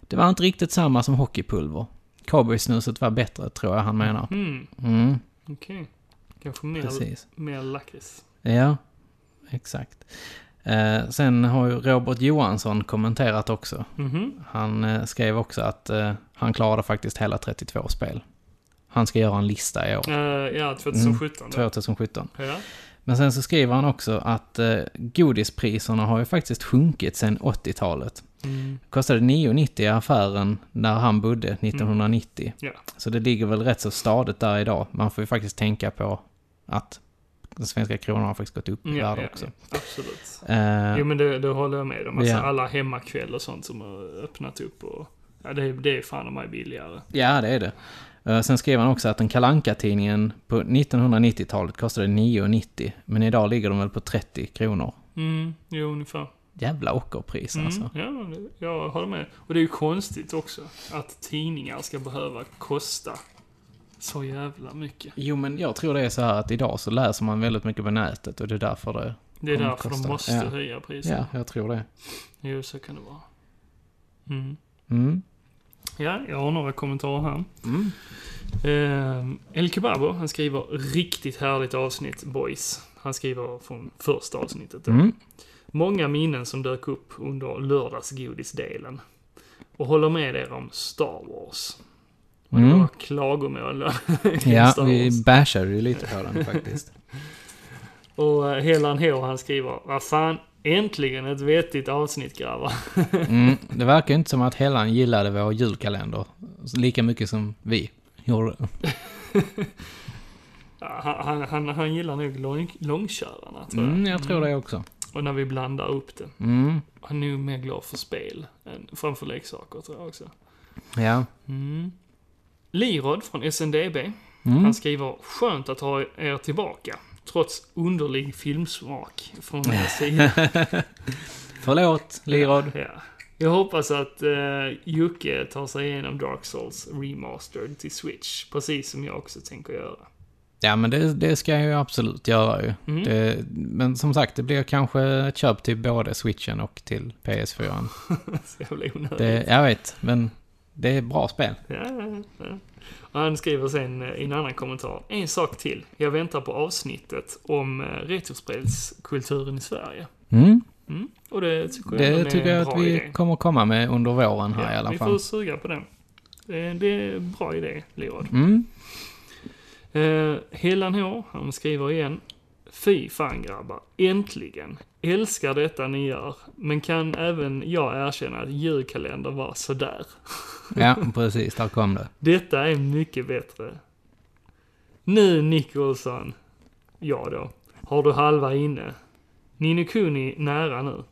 [SPEAKER 2] det var inte riktigt samma som hockeypulver. Cowboysnuset var bättre, tror jag han menar.
[SPEAKER 1] Mhm.
[SPEAKER 2] Mm,
[SPEAKER 1] Okej. Kanske mer,
[SPEAKER 2] precis.
[SPEAKER 1] mer lakrits.
[SPEAKER 2] Ja, exakt. Eh, sen har ju Robert Johansson kommenterat också.
[SPEAKER 1] Mhm.
[SPEAKER 2] Han eh, skrev också att eh, han klarade faktiskt hela 32 spel. Han ska göra en lista i år.
[SPEAKER 1] Eh, ja, 2017
[SPEAKER 2] Mm,
[SPEAKER 1] då.
[SPEAKER 2] 2017.
[SPEAKER 1] Ja.
[SPEAKER 2] Men sen så skriver han också att eh, godispriserna har ju faktiskt sjunkit sedan 80-talet.
[SPEAKER 1] Mm.
[SPEAKER 2] Kostade 9,90 i affären när han bodde 1990.
[SPEAKER 1] Ja.
[SPEAKER 2] Så det ligger väl rätt så stadigt där idag. Man får ju faktiskt tänka på att den svenska kronan har faktiskt gått upp i
[SPEAKER 1] Ja,
[SPEAKER 2] värde
[SPEAKER 1] ja,
[SPEAKER 2] också.
[SPEAKER 1] ja, absolut.
[SPEAKER 2] Eh,
[SPEAKER 1] Jo, men det, det håller jag med om. Alltså,
[SPEAKER 2] Ja.
[SPEAKER 1] Alla hemmakväll och sånt som har öppnat upp och... Ja, det, är- det är fan om mig billigare.
[SPEAKER 2] Ja, det är det. Eh, Sen skrev han också att den kalanka tidningen på 1990-talet kostade 9,90 men idag ligger de väl på 30 kronor.
[SPEAKER 1] Mm, jo, ungefär.
[SPEAKER 2] Jävla ockerpris
[SPEAKER 1] Mm,
[SPEAKER 2] alltså.
[SPEAKER 1] ja, men det- jag håller med. Och det är ju konstigt också att tidningar ska behöva kosta Så jävla mycket.
[SPEAKER 2] Jo, men jag tror det är så här att idag så läser man väldigt mycket på nätet och det är därför det
[SPEAKER 1] Det är
[SPEAKER 2] kommer
[SPEAKER 1] därför de
[SPEAKER 2] kosta.
[SPEAKER 1] måste
[SPEAKER 2] ja.
[SPEAKER 1] höja priserna.
[SPEAKER 2] Ja, jag tror det.
[SPEAKER 1] Jo, så kan det vara. Mm.
[SPEAKER 2] Mm.
[SPEAKER 1] Ja, jag har några kommentarer här. Ehm, El Kebabo, han skriver riktigt härligt avsnitt, boys. Han skriver från första avsnittet. då.
[SPEAKER 2] Mm.
[SPEAKER 1] Många minnen som dök upp under lördagsgodisdelen. Och håller med er om Star Wars. Och det
[SPEAKER 2] Mm.
[SPEAKER 1] var klagomål kring
[SPEAKER 2] Ja,
[SPEAKER 1] Star Wars.
[SPEAKER 2] vi bashade ju lite på den faktiskt.
[SPEAKER 1] Och eh, Helan H, han skriver Vad fan, äntligen ett vettigt avsnitt grabbar.
[SPEAKER 2] Mm. Det verkar ju inte som att Hellan gillade vår julkalender lika mycket som vi gjorde.
[SPEAKER 1] Ja, han, han- han, han gillar nog lång, långkörarna tror jag.
[SPEAKER 2] Mm, jag tror det också.
[SPEAKER 1] Och när vi blandar upp det.
[SPEAKER 2] Mm.
[SPEAKER 1] Han är nog mer glad för spel än framför leksaker tror jag också.
[SPEAKER 2] Ja.
[SPEAKER 1] Mm. Lirod från SNDB.
[SPEAKER 2] Mm.
[SPEAKER 1] Han skriver “Skönt att ha er tillbaka, trots underlig filmsmak från er sida”.
[SPEAKER 2] Förlåt, Lirod.
[SPEAKER 1] Ja. Jag hoppas att eh, Jocke tar sig igenom Dark Souls Remastered till Switch, precis som jag också tänker göra.
[SPEAKER 2] Ja, men det, det ska jag ju absolut göra ju.
[SPEAKER 1] Mm.
[SPEAKER 2] Det, men som sagt, det blir kanske ett köp till både switchen och till PS4.
[SPEAKER 1] Så jävla onödigt.
[SPEAKER 2] Det, jag vet, men det är bra spel.
[SPEAKER 1] Ja, ja, ja. Och han skriver sen eh, i en annan kommentar. En sak till. Jag väntar på avsnittet om eh, retrospelskulturen i Sverige.
[SPEAKER 2] Mm.
[SPEAKER 1] Mm. Och det tycker jag ändå
[SPEAKER 2] Det
[SPEAKER 1] är
[SPEAKER 2] tycker
[SPEAKER 1] en
[SPEAKER 2] jag
[SPEAKER 1] bra
[SPEAKER 2] att vi
[SPEAKER 1] idé.
[SPEAKER 2] kommer komma med under våren här i alla
[SPEAKER 1] Vi
[SPEAKER 2] fall.
[SPEAKER 1] får suga på den. Eh, Det är en bra idé, Lirod.
[SPEAKER 2] Mm.
[SPEAKER 1] Eh, Helan H, han skriver igen. Fy fan grabbar, äntligen. Älskar detta ni gör, men kan även jag erkänna att julkalender var sådär.
[SPEAKER 2] Ja, precis. Där kom det.
[SPEAKER 1] Detta är mycket bättre. Nu Nicholson, ja då, har du halva inne. Nino Kuni nära nu.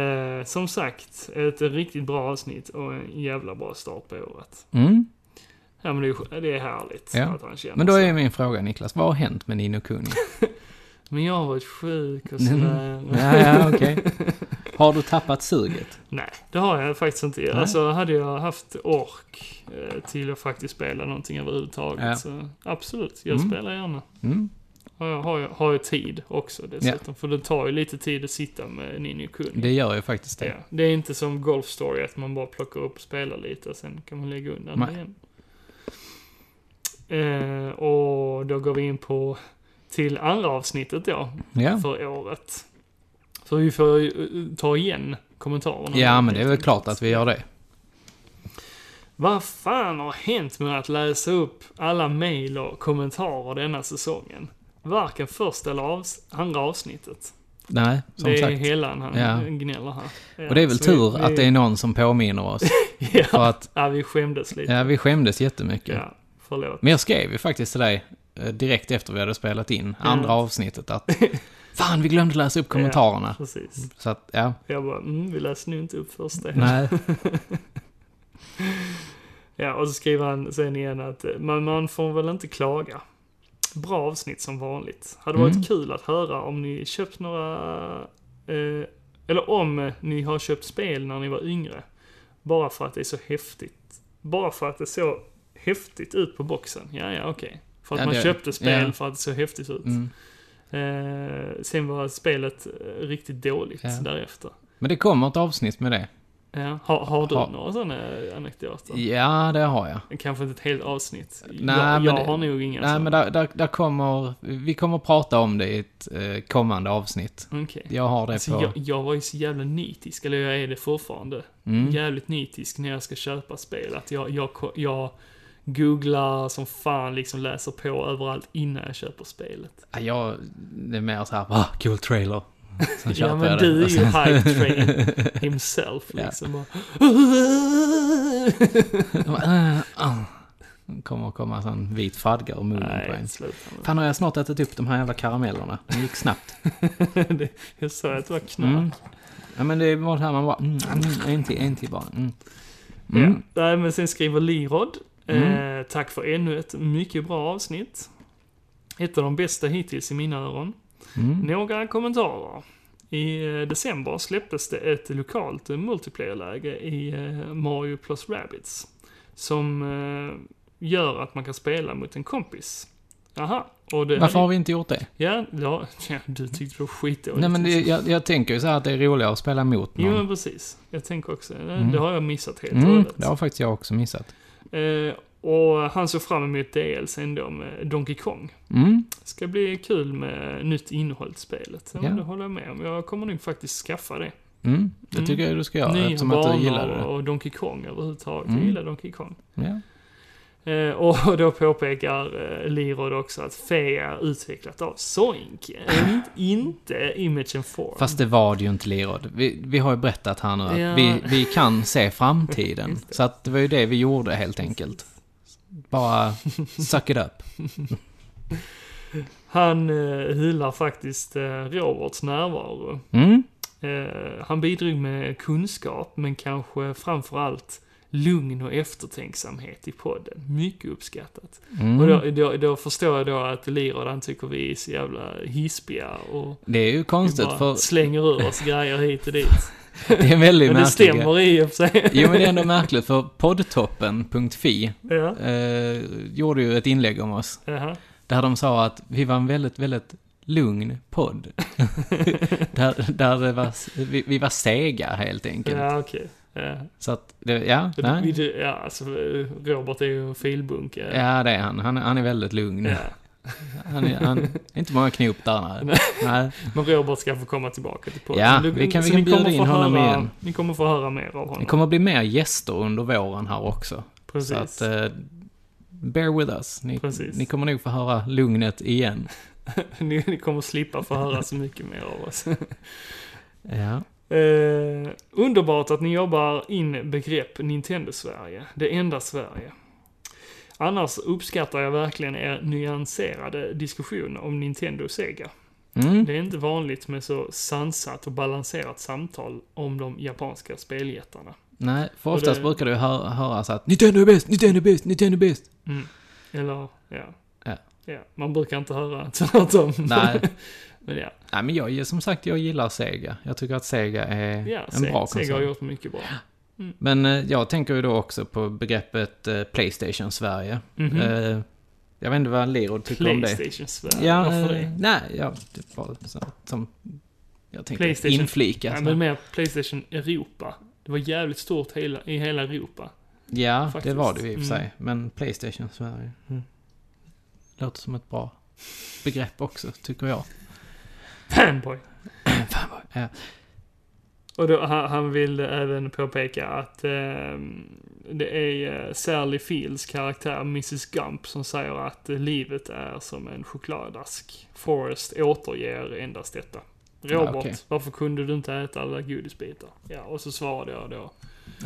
[SPEAKER 1] Eh, som sagt, ett riktigt bra avsnitt och en jävla bra start på året.
[SPEAKER 2] Mm.
[SPEAKER 1] Ja men det är, det är härligt
[SPEAKER 2] Ja.
[SPEAKER 1] att han känner
[SPEAKER 2] Men då
[SPEAKER 1] så.
[SPEAKER 2] är min fråga, Niklas. Vad har hänt med Nino Kuni?
[SPEAKER 1] Men jag har varit sjuk och sådär.
[SPEAKER 2] Mm. Ja, ja, okej. Har du tappat suget?
[SPEAKER 1] Nej, det har jag faktiskt inte.
[SPEAKER 2] Nej.
[SPEAKER 1] Alltså hade jag haft ork eh, till att faktiskt spela någonting överhuvudtaget
[SPEAKER 2] Ja.
[SPEAKER 1] så absolut, jag
[SPEAKER 2] Mm.
[SPEAKER 1] spelar gärna.
[SPEAKER 2] Mm.
[SPEAKER 1] Har jag, har, jag, har jag tid också dessutom. För det tar ju lite tid att sitta med Ninjo Kuni.
[SPEAKER 2] Det gör ju faktiskt
[SPEAKER 1] Ja.
[SPEAKER 2] det.
[SPEAKER 1] Det är inte som Golf Story att man bara plockar upp och spelar lite och sen kan man lägga undan
[SPEAKER 2] Nej.
[SPEAKER 1] det igen. Eh, och då går vi in på till andra avsnittet då.
[SPEAKER 2] Ja.
[SPEAKER 1] För året. För vi får ju eh, ta igen kommentarerna.
[SPEAKER 2] Ja, men det är väl klart att vi gör det.
[SPEAKER 1] Vad fan har hänt med att läsa upp alla mejl och kommentarer denna säsongen? Varken första eller avs- andra avsnittet.
[SPEAKER 2] Nej, som
[SPEAKER 1] det är
[SPEAKER 2] sagt.
[SPEAKER 1] Helan han
[SPEAKER 2] Ja.
[SPEAKER 1] gnäller här. Ja,
[SPEAKER 2] Och det är väl
[SPEAKER 1] så vi-
[SPEAKER 2] tur
[SPEAKER 1] vi-
[SPEAKER 2] att det är någon som påminner oss.
[SPEAKER 1] ja,
[SPEAKER 2] För att
[SPEAKER 1] ja, vi skämdes lite.
[SPEAKER 2] ja, vi skämdes jättemycket.
[SPEAKER 1] Ja, förlåt.
[SPEAKER 2] Men jag skrev ju faktiskt till dig eh, direkt efter vi hade spelat in andra
[SPEAKER 1] Ja.
[SPEAKER 2] avsnittet att Fan, vi glömde läsa upp kommentarerna.
[SPEAKER 1] Ja, precis.
[SPEAKER 2] Så att, ja.
[SPEAKER 1] Jag bara, mm, vi läser nu inte upp första.
[SPEAKER 2] Nej.
[SPEAKER 1] ja, och så skriver han sen igen att eh, man, man får väl inte klaga. Bra avsnitt som vanligt. Hade varit
[SPEAKER 2] Mm.
[SPEAKER 1] kul att höra om ni köpt några... Eh, eller om eh, ni har köpt spel när ni var yngre. Bara för att det är så häftigt. Bara för att det så häftigt ut på boxen. Ja, ja, okej. För att
[SPEAKER 2] Ja,
[SPEAKER 1] man
[SPEAKER 2] det-
[SPEAKER 1] köpte spel
[SPEAKER 2] ja.
[SPEAKER 1] för att det så häftigt ut.
[SPEAKER 2] Mm.
[SPEAKER 1] Eh, sen var spelet eh, riktigt dåligt
[SPEAKER 2] Ja.
[SPEAKER 1] därefter.
[SPEAKER 2] Men det kommer ett avsnitt med det.
[SPEAKER 1] Ja. Har, har du
[SPEAKER 2] Har-
[SPEAKER 1] några sådana anekdoter?
[SPEAKER 2] Ja, det har jag.
[SPEAKER 1] Kanske inte ett helt avsnitt.
[SPEAKER 2] Nej,
[SPEAKER 1] jag jag
[SPEAKER 2] men-
[SPEAKER 1] har nog inga
[SPEAKER 2] Nej, men där, där, där kommer... Vi kommer prata om det i ett eh, kommande avsnitt.
[SPEAKER 1] Okej.
[SPEAKER 2] Jag har det
[SPEAKER 1] Alltså,
[SPEAKER 2] på...
[SPEAKER 1] jag, jag var ju så jävla nitisk, eller jag är det fortfarande.
[SPEAKER 2] Mm.
[SPEAKER 1] Jävligt nitisk när jag ska köpa spel. Att jag, jag, ko- jag googlar som fan, liksom läser på överallt innan jag köper spelet.
[SPEAKER 2] Ja, Jag, det är mer så här, ah, cool trailer. Sen
[SPEAKER 1] Ja
[SPEAKER 2] köper
[SPEAKER 1] men
[SPEAKER 2] jag den.
[SPEAKER 1] du är
[SPEAKER 2] Och
[SPEAKER 1] ju
[SPEAKER 2] sen-
[SPEAKER 1] hype train himself
[SPEAKER 2] Ja.
[SPEAKER 1] liksom. Bara,
[SPEAKER 2] De bara, "Ah, ah." Det kommer komma en sån vit fadga ur munnen på
[SPEAKER 1] Nej,
[SPEAKER 2] en.
[SPEAKER 1] sluta nu.
[SPEAKER 2] Fan, har jag snart ätit upp de här jävla karamellerna? Det gick snabbt.
[SPEAKER 1] Det- Jag sa att det var knark.
[SPEAKER 2] Mm. Ja, men det var så här man bara, mm, mm, en till, en till bara. Mm.
[SPEAKER 1] Ja.
[SPEAKER 2] Mm.
[SPEAKER 1] Nej, men sen skriver Lirod.
[SPEAKER 2] Mm.
[SPEAKER 1] Eh, tack för ännu ett mycket bra avsnitt. Ett av de bästa hittills i mina öron.
[SPEAKER 2] Mm.
[SPEAKER 1] Några kommentarer. I eh, december släpptes det ett lokalt eh, multiplayer-läge i eh, Mario plus Rabbids. Som eh, gör att man kan spela mot en kompis. Aha. Och det
[SPEAKER 2] Varför har vi inte gjort det?
[SPEAKER 1] Ja, ja, ja du tyckte det var skitdåligt.
[SPEAKER 2] Nej, men det, jag, jag tänker ju så här att det är roligare att spela mot
[SPEAKER 1] Jo,
[SPEAKER 2] någon.
[SPEAKER 1] men precis. Jag tänker också, det,
[SPEAKER 2] Mm.
[SPEAKER 1] det har jag missat helt och
[SPEAKER 2] Mm,
[SPEAKER 1] hållet.
[SPEAKER 2] det har faktiskt jag också missat.
[SPEAKER 1] Eh, och han såg fram emot DLC ändå med Donkey Kong.
[SPEAKER 2] Mm.
[SPEAKER 1] Ska bli kul med nytt innehåll till spelet. Ja,
[SPEAKER 2] Ja.
[SPEAKER 1] Det håller jag med om. Jag kommer nog faktiskt skaffa det.
[SPEAKER 2] Mm, det tycker jag du ska göra,
[SPEAKER 1] Nya
[SPEAKER 2] eftersom att du
[SPEAKER 1] banor
[SPEAKER 2] gillar det.
[SPEAKER 1] och Donkey Kong överhuvudtaget.
[SPEAKER 2] Mm.
[SPEAKER 1] Jag gillar Donkey Kong.
[SPEAKER 2] Ja.
[SPEAKER 1] Eh, och då påpekar eh, Lirod också att Fea utvecklat av Soink. In, inte Image and Form.
[SPEAKER 2] Fast det var det ju inte Lirod. Vi, vi har ju berättat här nu att
[SPEAKER 1] Ja.
[SPEAKER 2] vi, vi kan se framtiden. så att det var ju det vi gjorde helt enkelt. Bara suck it up.
[SPEAKER 1] Han eh, hyllar faktiskt eh, Roberts närvaro.
[SPEAKER 2] Mm.
[SPEAKER 1] Eh, han bidrog med kunskap, men kanske framförallt lugn och eftertänksamhet i podden. Mycket uppskattat.
[SPEAKER 2] Mm.
[SPEAKER 1] Och då, då, då förstår jag då att Lirod han tycker vi är så jävla hispiga och
[SPEAKER 2] Det är ju konstigt
[SPEAKER 1] vi bara
[SPEAKER 2] för...
[SPEAKER 1] slänger ur oss grejer hit och dit.
[SPEAKER 2] Det är väldigt
[SPEAKER 1] Men det
[SPEAKER 2] märkligt.
[SPEAKER 1] stämmer i och för sig.
[SPEAKER 2] Jo, men det är ändå märkligt för poddtoppen.fi
[SPEAKER 1] Ja.
[SPEAKER 2] eh, gjorde ju ett inlägg om oss.
[SPEAKER 1] Jaha.
[SPEAKER 2] Där de sa att vi var en väldigt, väldigt lugn podd. där, där det var, vi, vi var sega helt enkelt.
[SPEAKER 1] Ja, okej. Ja.
[SPEAKER 2] Så att, det, ja, nej.
[SPEAKER 1] Vi- ja, alltså, eh, Robert är ju en filbunk. eh.
[SPEAKER 2] Ja, det är han. Han, han är väldigt lugn.
[SPEAKER 1] Ja.
[SPEAKER 2] Han, är, han är inte många knop där. Nej. Nej.
[SPEAKER 1] Men Robert ska få komma tillbaka till podden.
[SPEAKER 2] Ja,
[SPEAKER 1] Du-
[SPEAKER 2] vi kan-
[SPEAKER 1] så
[SPEAKER 2] vi kan
[SPEAKER 1] ni kommer
[SPEAKER 2] bjuda
[SPEAKER 1] få
[SPEAKER 2] in honom
[SPEAKER 1] höra,
[SPEAKER 2] igen.
[SPEAKER 1] Ni kommer få höra mer av honom.
[SPEAKER 2] Det kommer att bli mer gäster under våren här också.
[SPEAKER 1] Precis.
[SPEAKER 2] Så att, eh, bear with us. Ni,
[SPEAKER 1] Precis.
[SPEAKER 2] ni kommer nog få höra lugnet igen.
[SPEAKER 1] ni, ni kommer slippa få höra så mycket mer av oss.
[SPEAKER 2] Ja.
[SPEAKER 1] Eh, underbart att ni jobbar in begrepp Nintendo-Sverige. Det enda Sverige. Annars uppskattar jag verkligen er nyanserade diskussion om Nintendo och Sega.
[SPEAKER 2] Mm.
[SPEAKER 1] Det är inte vanligt med så sansat och balanserat samtal om de japanska speljättarna.
[SPEAKER 2] Nej, för
[SPEAKER 1] Och
[SPEAKER 2] oftast
[SPEAKER 1] det-
[SPEAKER 2] brukar du hö- höra så att Nintendo är bäst, Nintendo är bäst, Nintendo är bäst.
[SPEAKER 1] Mm. Eller, ja.
[SPEAKER 2] Ja.
[SPEAKER 1] Man brukar inte höra tvärtom.
[SPEAKER 2] Nej.
[SPEAKER 1] Men ja,
[SPEAKER 2] Nej, men jag, som sagt, jag gillar Sega. Jag tycker att Sega är
[SPEAKER 1] ja
[SPEAKER 2] en bra
[SPEAKER 1] Se-
[SPEAKER 2] konsol.
[SPEAKER 1] Sega har gjort mycket bra.
[SPEAKER 2] Men eh, jag tänker ju då också på begreppet eh, Playstation Sverige.
[SPEAKER 1] Mhm.
[SPEAKER 2] Eh, jag vet inte vad Lirod tycker om det.
[SPEAKER 1] Playstation Sverige,
[SPEAKER 2] Ja,
[SPEAKER 1] varför
[SPEAKER 2] eh,
[SPEAKER 1] det?
[SPEAKER 2] Nej, ja, det var så, som jag tänkte
[SPEAKER 1] Playstation.
[SPEAKER 2] inflika.
[SPEAKER 1] Ja,
[SPEAKER 2] så.
[SPEAKER 1] men mer Playstation Europa. Det var jävligt stort hela, i hela Europa.
[SPEAKER 2] ja
[SPEAKER 1] faktiskt.
[SPEAKER 2] det var det ju i och för sig.
[SPEAKER 1] Mm.
[SPEAKER 2] Men Playstation Sverige. Mm. Låter som ett bra begrepp också, tycker jag. Eh,
[SPEAKER 1] Fanboy.
[SPEAKER 2] Fanboy, ja.
[SPEAKER 1] Och då, han, han vill även påpeka att eh, det är eh, Sally Fields karaktär Mrs Gump som säger att eh, livet är som en chokladask. Forrest återger endast detta. Robert,
[SPEAKER 2] Ja, okej.
[SPEAKER 1] varför kunde du inte äta alla godisbitar? Ja, och så svarade jag då.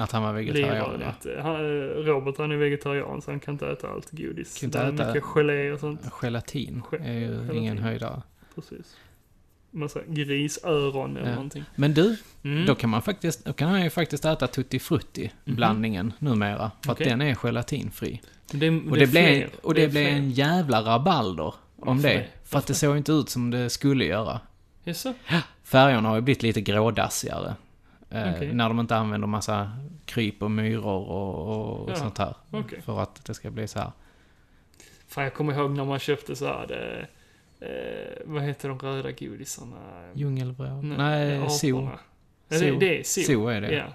[SPEAKER 2] Att han var vegetarian.
[SPEAKER 1] Lever
[SPEAKER 2] ja.
[SPEAKER 1] att, eh, han, eh, Robert han är vegetarian så han kan inte äta allt godis.
[SPEAKER 2] Kan inte
[SPEAKER 1] Det är
[SPEAKER 2] äta-
[SPEAKER 1] mycket gelé och sånt.
[SPEAKER 2] Gelatin
[SPEAKER 1] Ge-
[SPEAKER 2] är ju
[SPEAKER 1] gelatin.
[SPEAKER 2] ingen höjdare.
[SPEAKER 1] Precis. Massa grisöron eller
[SPEAKER 2] Ja.
[SPEAKER 1] någonting.
[SPEAKER 2] Men du,
[SPEAKER 1] Mm. Mhm.
[SPEAKER 2] då kan man faktiskt, då kan han ju faktiskt äta Tutti Frutti-blandningen numera. För
[SPEAKER 1] Okej.
[SPEAKER 2] att den är gelatinfri.
[SPEAKER 1] Men det-
[SPEAKER 2] och
[SPEAKER 1] det är
[SPEAKER 2] det, blev,
[SPEAKER 1] fler.
[SPEAKER 2] och
[SPEAKER 1] Det
[SPEAKER 2] det
[SPEAKER 1] är
[SPEAKER 2] blev
[SPEAKER 1] fler.
[SPEAKER 2] en jävla rabalder om
[SPEAKER 1] Varför
[SPEAKER 2] det.
[SPEAKER 1] det?
[SPEAKER 2] För att det såg ju inte ut som det skulle göra.
[SPEAKER 1] Jaså?
[SPEAKER 2] Färgerna har ju blivit lite grådassigare. Eh,
[SPEAKER 1] Okej.
[SPEAKER 2] När de inte använder massa kryp och myror och, och
[SPEAKER 1] Ja,
[SPEAKER 2] sånt här.
[SPEAKER 1] okej.
[SPEAKER 2] För att det ska bli så här.
[SPEAKER 1] Fan, jag kommer ihåg när man köpte så här, det, eh, vad heter de röda godisarna?
[SPEAKER 2] Djungelvrål?
[SPEAKER 1] Nej,
[SPEAKER 2] Nej,
[SPEAKER 1] aporna.
[SPEAKER 2] zoo.
[SPEAKER 1] Ja, det,
[SPEAKER 2] Zoo.
[SPEAKER 1] det är zoo.
[SPEAKER 2] Zoo är det.
[SPEAKER 1] Ja.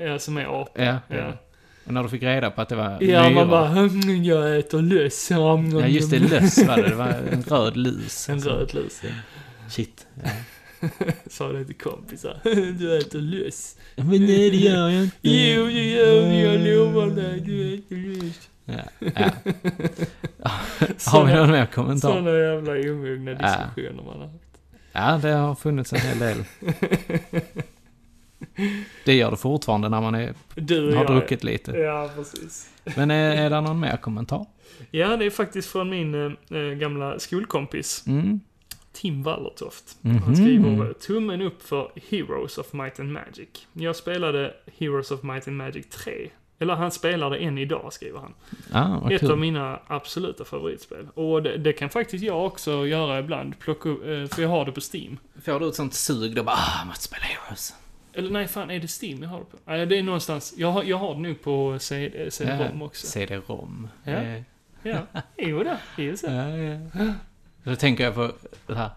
[SPEAKER 1] Ja, som är apor.
[SPEAKER 2] Ja,
[SPEAKER 1] Ja.
[SPEAKER 2] ja. Och när du fick reda på att det var
[SPEAKER 1] Ja,
[SPEAKER 2] myror.
[SPEAKER 1] man bara, "Hm, jag äter löss.
[SPEAKER 2] Ja, just det, löss var det. Det var en röd lus.
[SPEAKER 1] En röd lus, ja.
[SPEAKER 2] Shit.
[SPEAKER 1] Sa det till kompisar. Du äter löss.
[SPEAKER 2] Men nej, det gör jag inte.
[SPEAKER 1] Jo, det gör du. Jag lovar dig. Du äter löss.
[SPEAKER 2] Ja, ja. Har vi någon mer kommentar?
[SPEAKER 1] Sådana jävla omogna
[SPEAKER 2] Ja.
[SPEAKER 1] diskussioner man har.
[SPEAKER 2] Ja, det har funnits en hel del. Det gör det fortfarande när man är,
[SPEAKER 1] Du och
[SPEAKER 2] har
[SPEAKER 1] jag.
[SPEAKER 2] druckit lite.
[SPEAKER 1] Ja, precis.
[SPEAKER 2] Men är, är det någon mer kommentar?
[SPEAKER 1] Ja, det är faktiskt från min eh, gamla skolkompis.
[SPEAKER 2] Mm.
[SPEAKER 1] Tim Wallertoft.
[SPEAKER 2] Mhm.
[SPEAKER 1] Han skriver tummen upp för Heroes of Might and Magic. Jag spelade Heroes of Might and Magic 3. Eller han spelar det än idag, skriver han.
[SPEAKER 2] Ah, vad
[SPEAKER 1] Ett
[SPEAKER 2] kul.
[SPEAKER 1] av mina absoluta favoritspel. Och det, det kan faktiskt jag också göra ibland, plocka upp, eh, för jag har det på Steam.
[SPEAKER 2] Får du ett sånt sug då bara ah, måste spela Heroes.
[SPEAKER 1] Eller nej, fan, är det Steam jag har det på? Nej, det är någonstans. Jag har, jag har det nu på CD- CD-ROM
[SPEAKER 2] Ja,
[SPEAKER 1] också.
[SPEAKER 2] CD-ROM.
[SPEAKER 1] Ja.
[SPEAKER 2] Eh,
[SPEAKER 1] Ja, jo då. Det är ju så.
[SPEAKER 2] Då tänker jag på det här.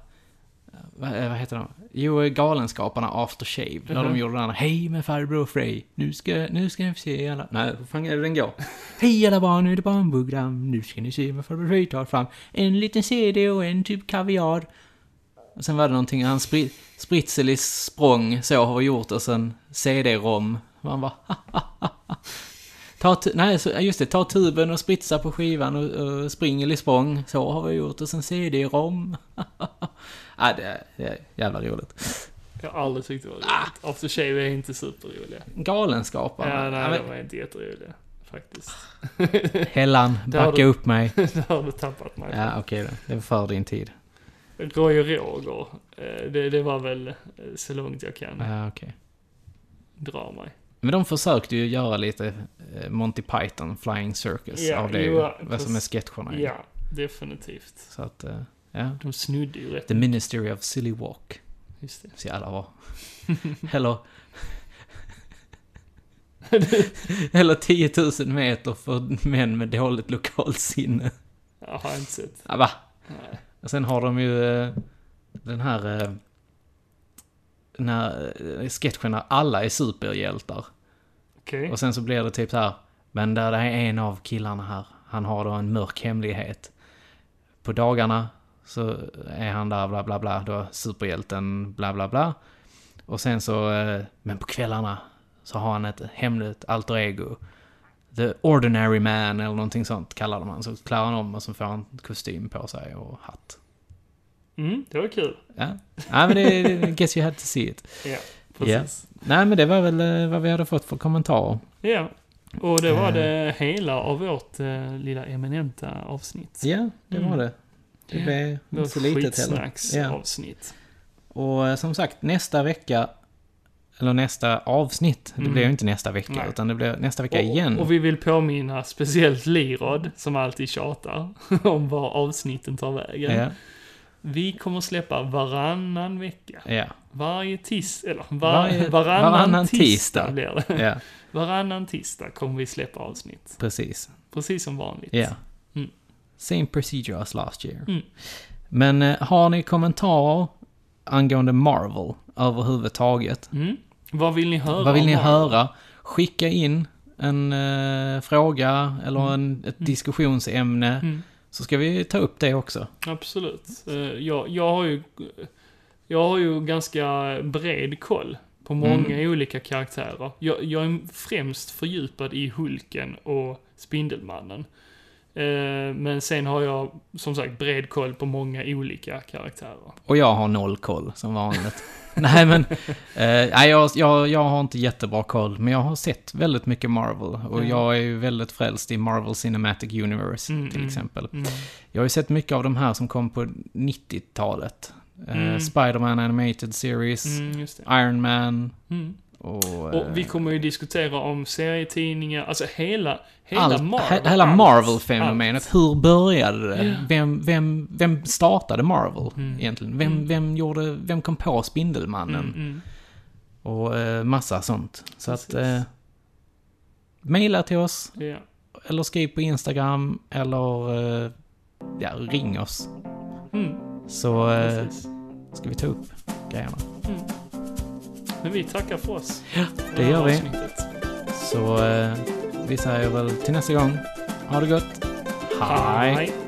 [SPEAKER 2] Vad, eh, vad heter de? Jo, Galenskaparna After Shave. När
[SPEAKER 1] Mhm.
[SPEAKER 2] de gjorde den här Hej med farbror Frey. Nu ska, nu ska ni få se alla... Nej, hur fan är det den går? Hej alla barn, nu är det barnprogram. Nu ska ni se vad farbror Frey tar fram. En liten CD och en typ kaviar. Och sen var det någonting, han spri, Spritzelis språng så har vi gjort och sen CD-ROM. Man bara Ta tu- nej, så, just det. Ta tuben och spritsa på skivan och, och spring eller språng. Så har vi gjort och sen CD-ROM. ja, det är, det är jävla roligt.
[SPEAKER 1] Jag har aldrig tyckt det
[SPEAKER 2] Ah!
[SPEAKER 1] var roligt. After Shave är inte superroliga.
[SPEAKER 2] Galenskaparna.
[SPEAKER 1] Ja,
[SPEAKER 2] Ja,
[SPEAKER 1] nej,
[SPEAKER 2] men-
[SPEAKER 1] de är inte jätteroliga. Faktiskt.
[SPEAKER 2] Hellan,
[SPEAKER 1] Där har
[SPEAKER 2] backa
[SPEAKER 1] du-
[SPEAKER 2] upp mig.
[SPEAKER 1] Där har du tappat mig.
[SPEAKER 2] Ja, okej då. Det var för din tid.
[SPEAKER 1] Roy och Roger. eh, Det, det var väl eh, så långt jag kan
[SPEAKER 2] Ja, okej.
[SPEAKER 1] dra mig.
[SPEAKER 2] Men de försökte ju göra lite eh, Monty Python, Flying Circus av det.
[SPEAKER 1] jo,
[SPEAKER 2] ju, vad
[SPEAKER 1] fast-
[SPEAKER 2] som är sketcherna. ju.
[SPEAKER 1] Ja, definitivt.
[SPEAKER 2] Så att, eh, ja.
[SPEAKER 1] De snudde ju rätt.
[SPEAKER 2] The Ministry of Silly Walk.
[SPEAKER 1] Just det.
[SPEAKER 2] Så jävla bra. Eller... Eller 10 000 meter för män med dåligt lokalsinne.
[SPEAKER 1] Jag har inte sett.
[SPEAKER 2] Ja, va?
[SPEAKER 1] Nej.
[SPEAKER 2] Och sen har de ju eh, den här... eh, Den här eh, sketchen där alla är superhjältar.
[SPEAKER 1] Okej.
[SPEAKER 2] Och sen så blir det typ så här. Men där det är en av killarna här. Han har då en mörk hemlighet. På dagarna så är han där bla bla bla. Då superhjälten bla bla bla. Och sen så. eh, Men på kvällarna så har han ett hemligt alter ego. The Ordinary Man eller någonting sånt kallar de han. Så klär han om och så får han kostym på sig och hatt.
[SPEAKER 1] Mm, det var kul.
[SPEAKER 2] Ja, ja men det det- guess you had to see it.
[SPEAKER 1] Ja,
[SPEAKER 2] Ja.
[SPEAKER 1] precis.
[SPEAKER 2] Nej men det var väl eh, vad vi hade fått för kommentarer.
[SPEAKER 1] Ja. Och det var
[SPEAKER 2] Eh.
[SPEAKER 1] det hela av vårt eh, lilla eminenta avsnitt.
[SPEAKER 2] Ja, det var
[SPEAKER 1] Mm.
[SPEAKER 2] det. Det
[SPEAKER 1] Ja.
[SPEAKER 2] blev
[SPEAKER 1] Det var
[SPEAKER 2] inte så litet heller. Ja.
[SPEAKER 1] skitsnacksavsnitt.
[SPEAKER 2] Och eh, som sagt, nästa vecka, eller nästa avsnitt, det
[SPEAKER 1] Mm.
[SPEAKER 2] blir ju inte nästa vecka,
[SPEAKER 1] Nej.
[SPEAKER 2] utan det blir nästa vecka igen.
[SPEAKER 1] Och vi vill påminna speciellt Lirod, som alltid tjatar, om var avsnitten tar vägen.
[SPEAKER 2] Ja.
[SPEAKER 1] Vi kommer släppa varannan vecka.
[SPEAKER 2] Ja.
[SPEAKER 1] Varje tisdag, eller var,
[SPEAKER 2] Varje-
[SPEAKER 1] varannan,
[SPEAKER 2] varannan
[SPEAKER 1] tisdag,
[SPEAKER 2] tisdag.
[SPEAKER 1] blir det.
[SPEAKER 2] Ja.
[SPEAKER 1] Varannan tisdag kommer vi släppa avsnitt.
[SPEAKER 2] Precis.
[SPEAKER 1] Precis som vanligt.
[SPEAKER 2] Ja.
[SPEAKER 1] Mm.
[SPEAKER 2] Same procedure as last year.
[SPEAKER 1] Mm.
[SPEAKER 2] Men eh, har ni kommentarer angående Marvel överhuvudtaget?
[SPEAKER 1] Mm. Vad vill ni höra?
[SPEAKER 2] Vad vill ni
[SPEAKER 1] om?
[SPEAKER 2] höra? Skicka in en eh, fråga eller en, ett diskussionsämne.
[SPEAKER 1] Mm.
[SPEAKER 2] Så ska vi ta upp det också.
[SPEAKER 1] Absolut. Eh, Jag, jag, har ju, jag har ju ganska bred koll på många
[SPEAKER 2] Mm.
[SPEAKER 1] olika karaktärer. Jag, jag är främst fördjupad i Hulken och Spindelmannen. Eh, Men sen har jag som sagt bred koll på många olika karaktärer.
[SPEAKER 2] Och jag har noll koll, som vanligt. nej, men... Eh, nej, jag, jag, jag har inte jättebra koll, men jag har sett väldigt mycket Marvel. Och
[SPEAKER 1] Ja.
[SPEAKER 2] jag är ju väldigt frälst i Marvel Cinematic Universe,
[SPEAKER 1] Mm,
[SPEAKER 2] till
[SPEAKER 1] mm,
[SPEAKER 2] exempel.
[SPEAKER 1] mm.
[SPEAKER 2] Jag har ju sett mycket av de här som kom på 90-talet. Eh,
[SPEAKER 1] Mm.
[SPEAKER 2] Spider-Man Animated Series,
[SPEAKER 1] Mm, just det.
[SPEAKER 2] Iron Man
[SPEAKER 1] Mm.
[SPEAKER 2] och... eh,
[SPEAKER 1] Och vi kommer ju diskutera om serietidningar, alltså hela, hela
[SPEAKER 2] allt-
[SPEAKER 1] Marvel.
[SPEAKER 2] he- hela
[SPEAKER 1] allt,
[SPEAKER 2] Marvel-fenomenet. Hur började det?
[SPEAKER 1] Ja.
[SPEAKER 2] Vem, vem, vem startade Marvel
[SPEAKER 1] Mm.
[SPEAKER 2] egentligen? Vem,
[SPEAKER 1] Mm.
[SPEAKER 2] vem, gjorde, vem kom på
[SPEAKER 1] allt.
[SPEAKER 2] Spindelmannen?
[SPEAKER 1] Mm, mm.
[SPEAKER 2] Och eh, massa sånt. Så
[SPEAKER 1] Precis.
[SPEAKER 2] att... Eh, maila till oss,
[SPEAKER 1] Ja.
[SPEAKER 2] eller skriv på Instagram, eller... Eh, ja, ring oss.
[SPEAKER 1] Mm,
[SPEAKER 2] Så eh,
[SPEAKER 1] precis.
[SPEAKER 2] ska vi ta upp grejerna.
[SPEAKER 1] Men vi tackar för oss.
[SPEAKER 2] det
[SPEAKER 1] här
[SPEAKER 2] gör vi.
[SPEAKER 1] avsnittet.
[SPEAKER 2] Så eh, vi säger väl till nästa gång. Ha det gott. Hej.
[SPEAKER 1] Hej.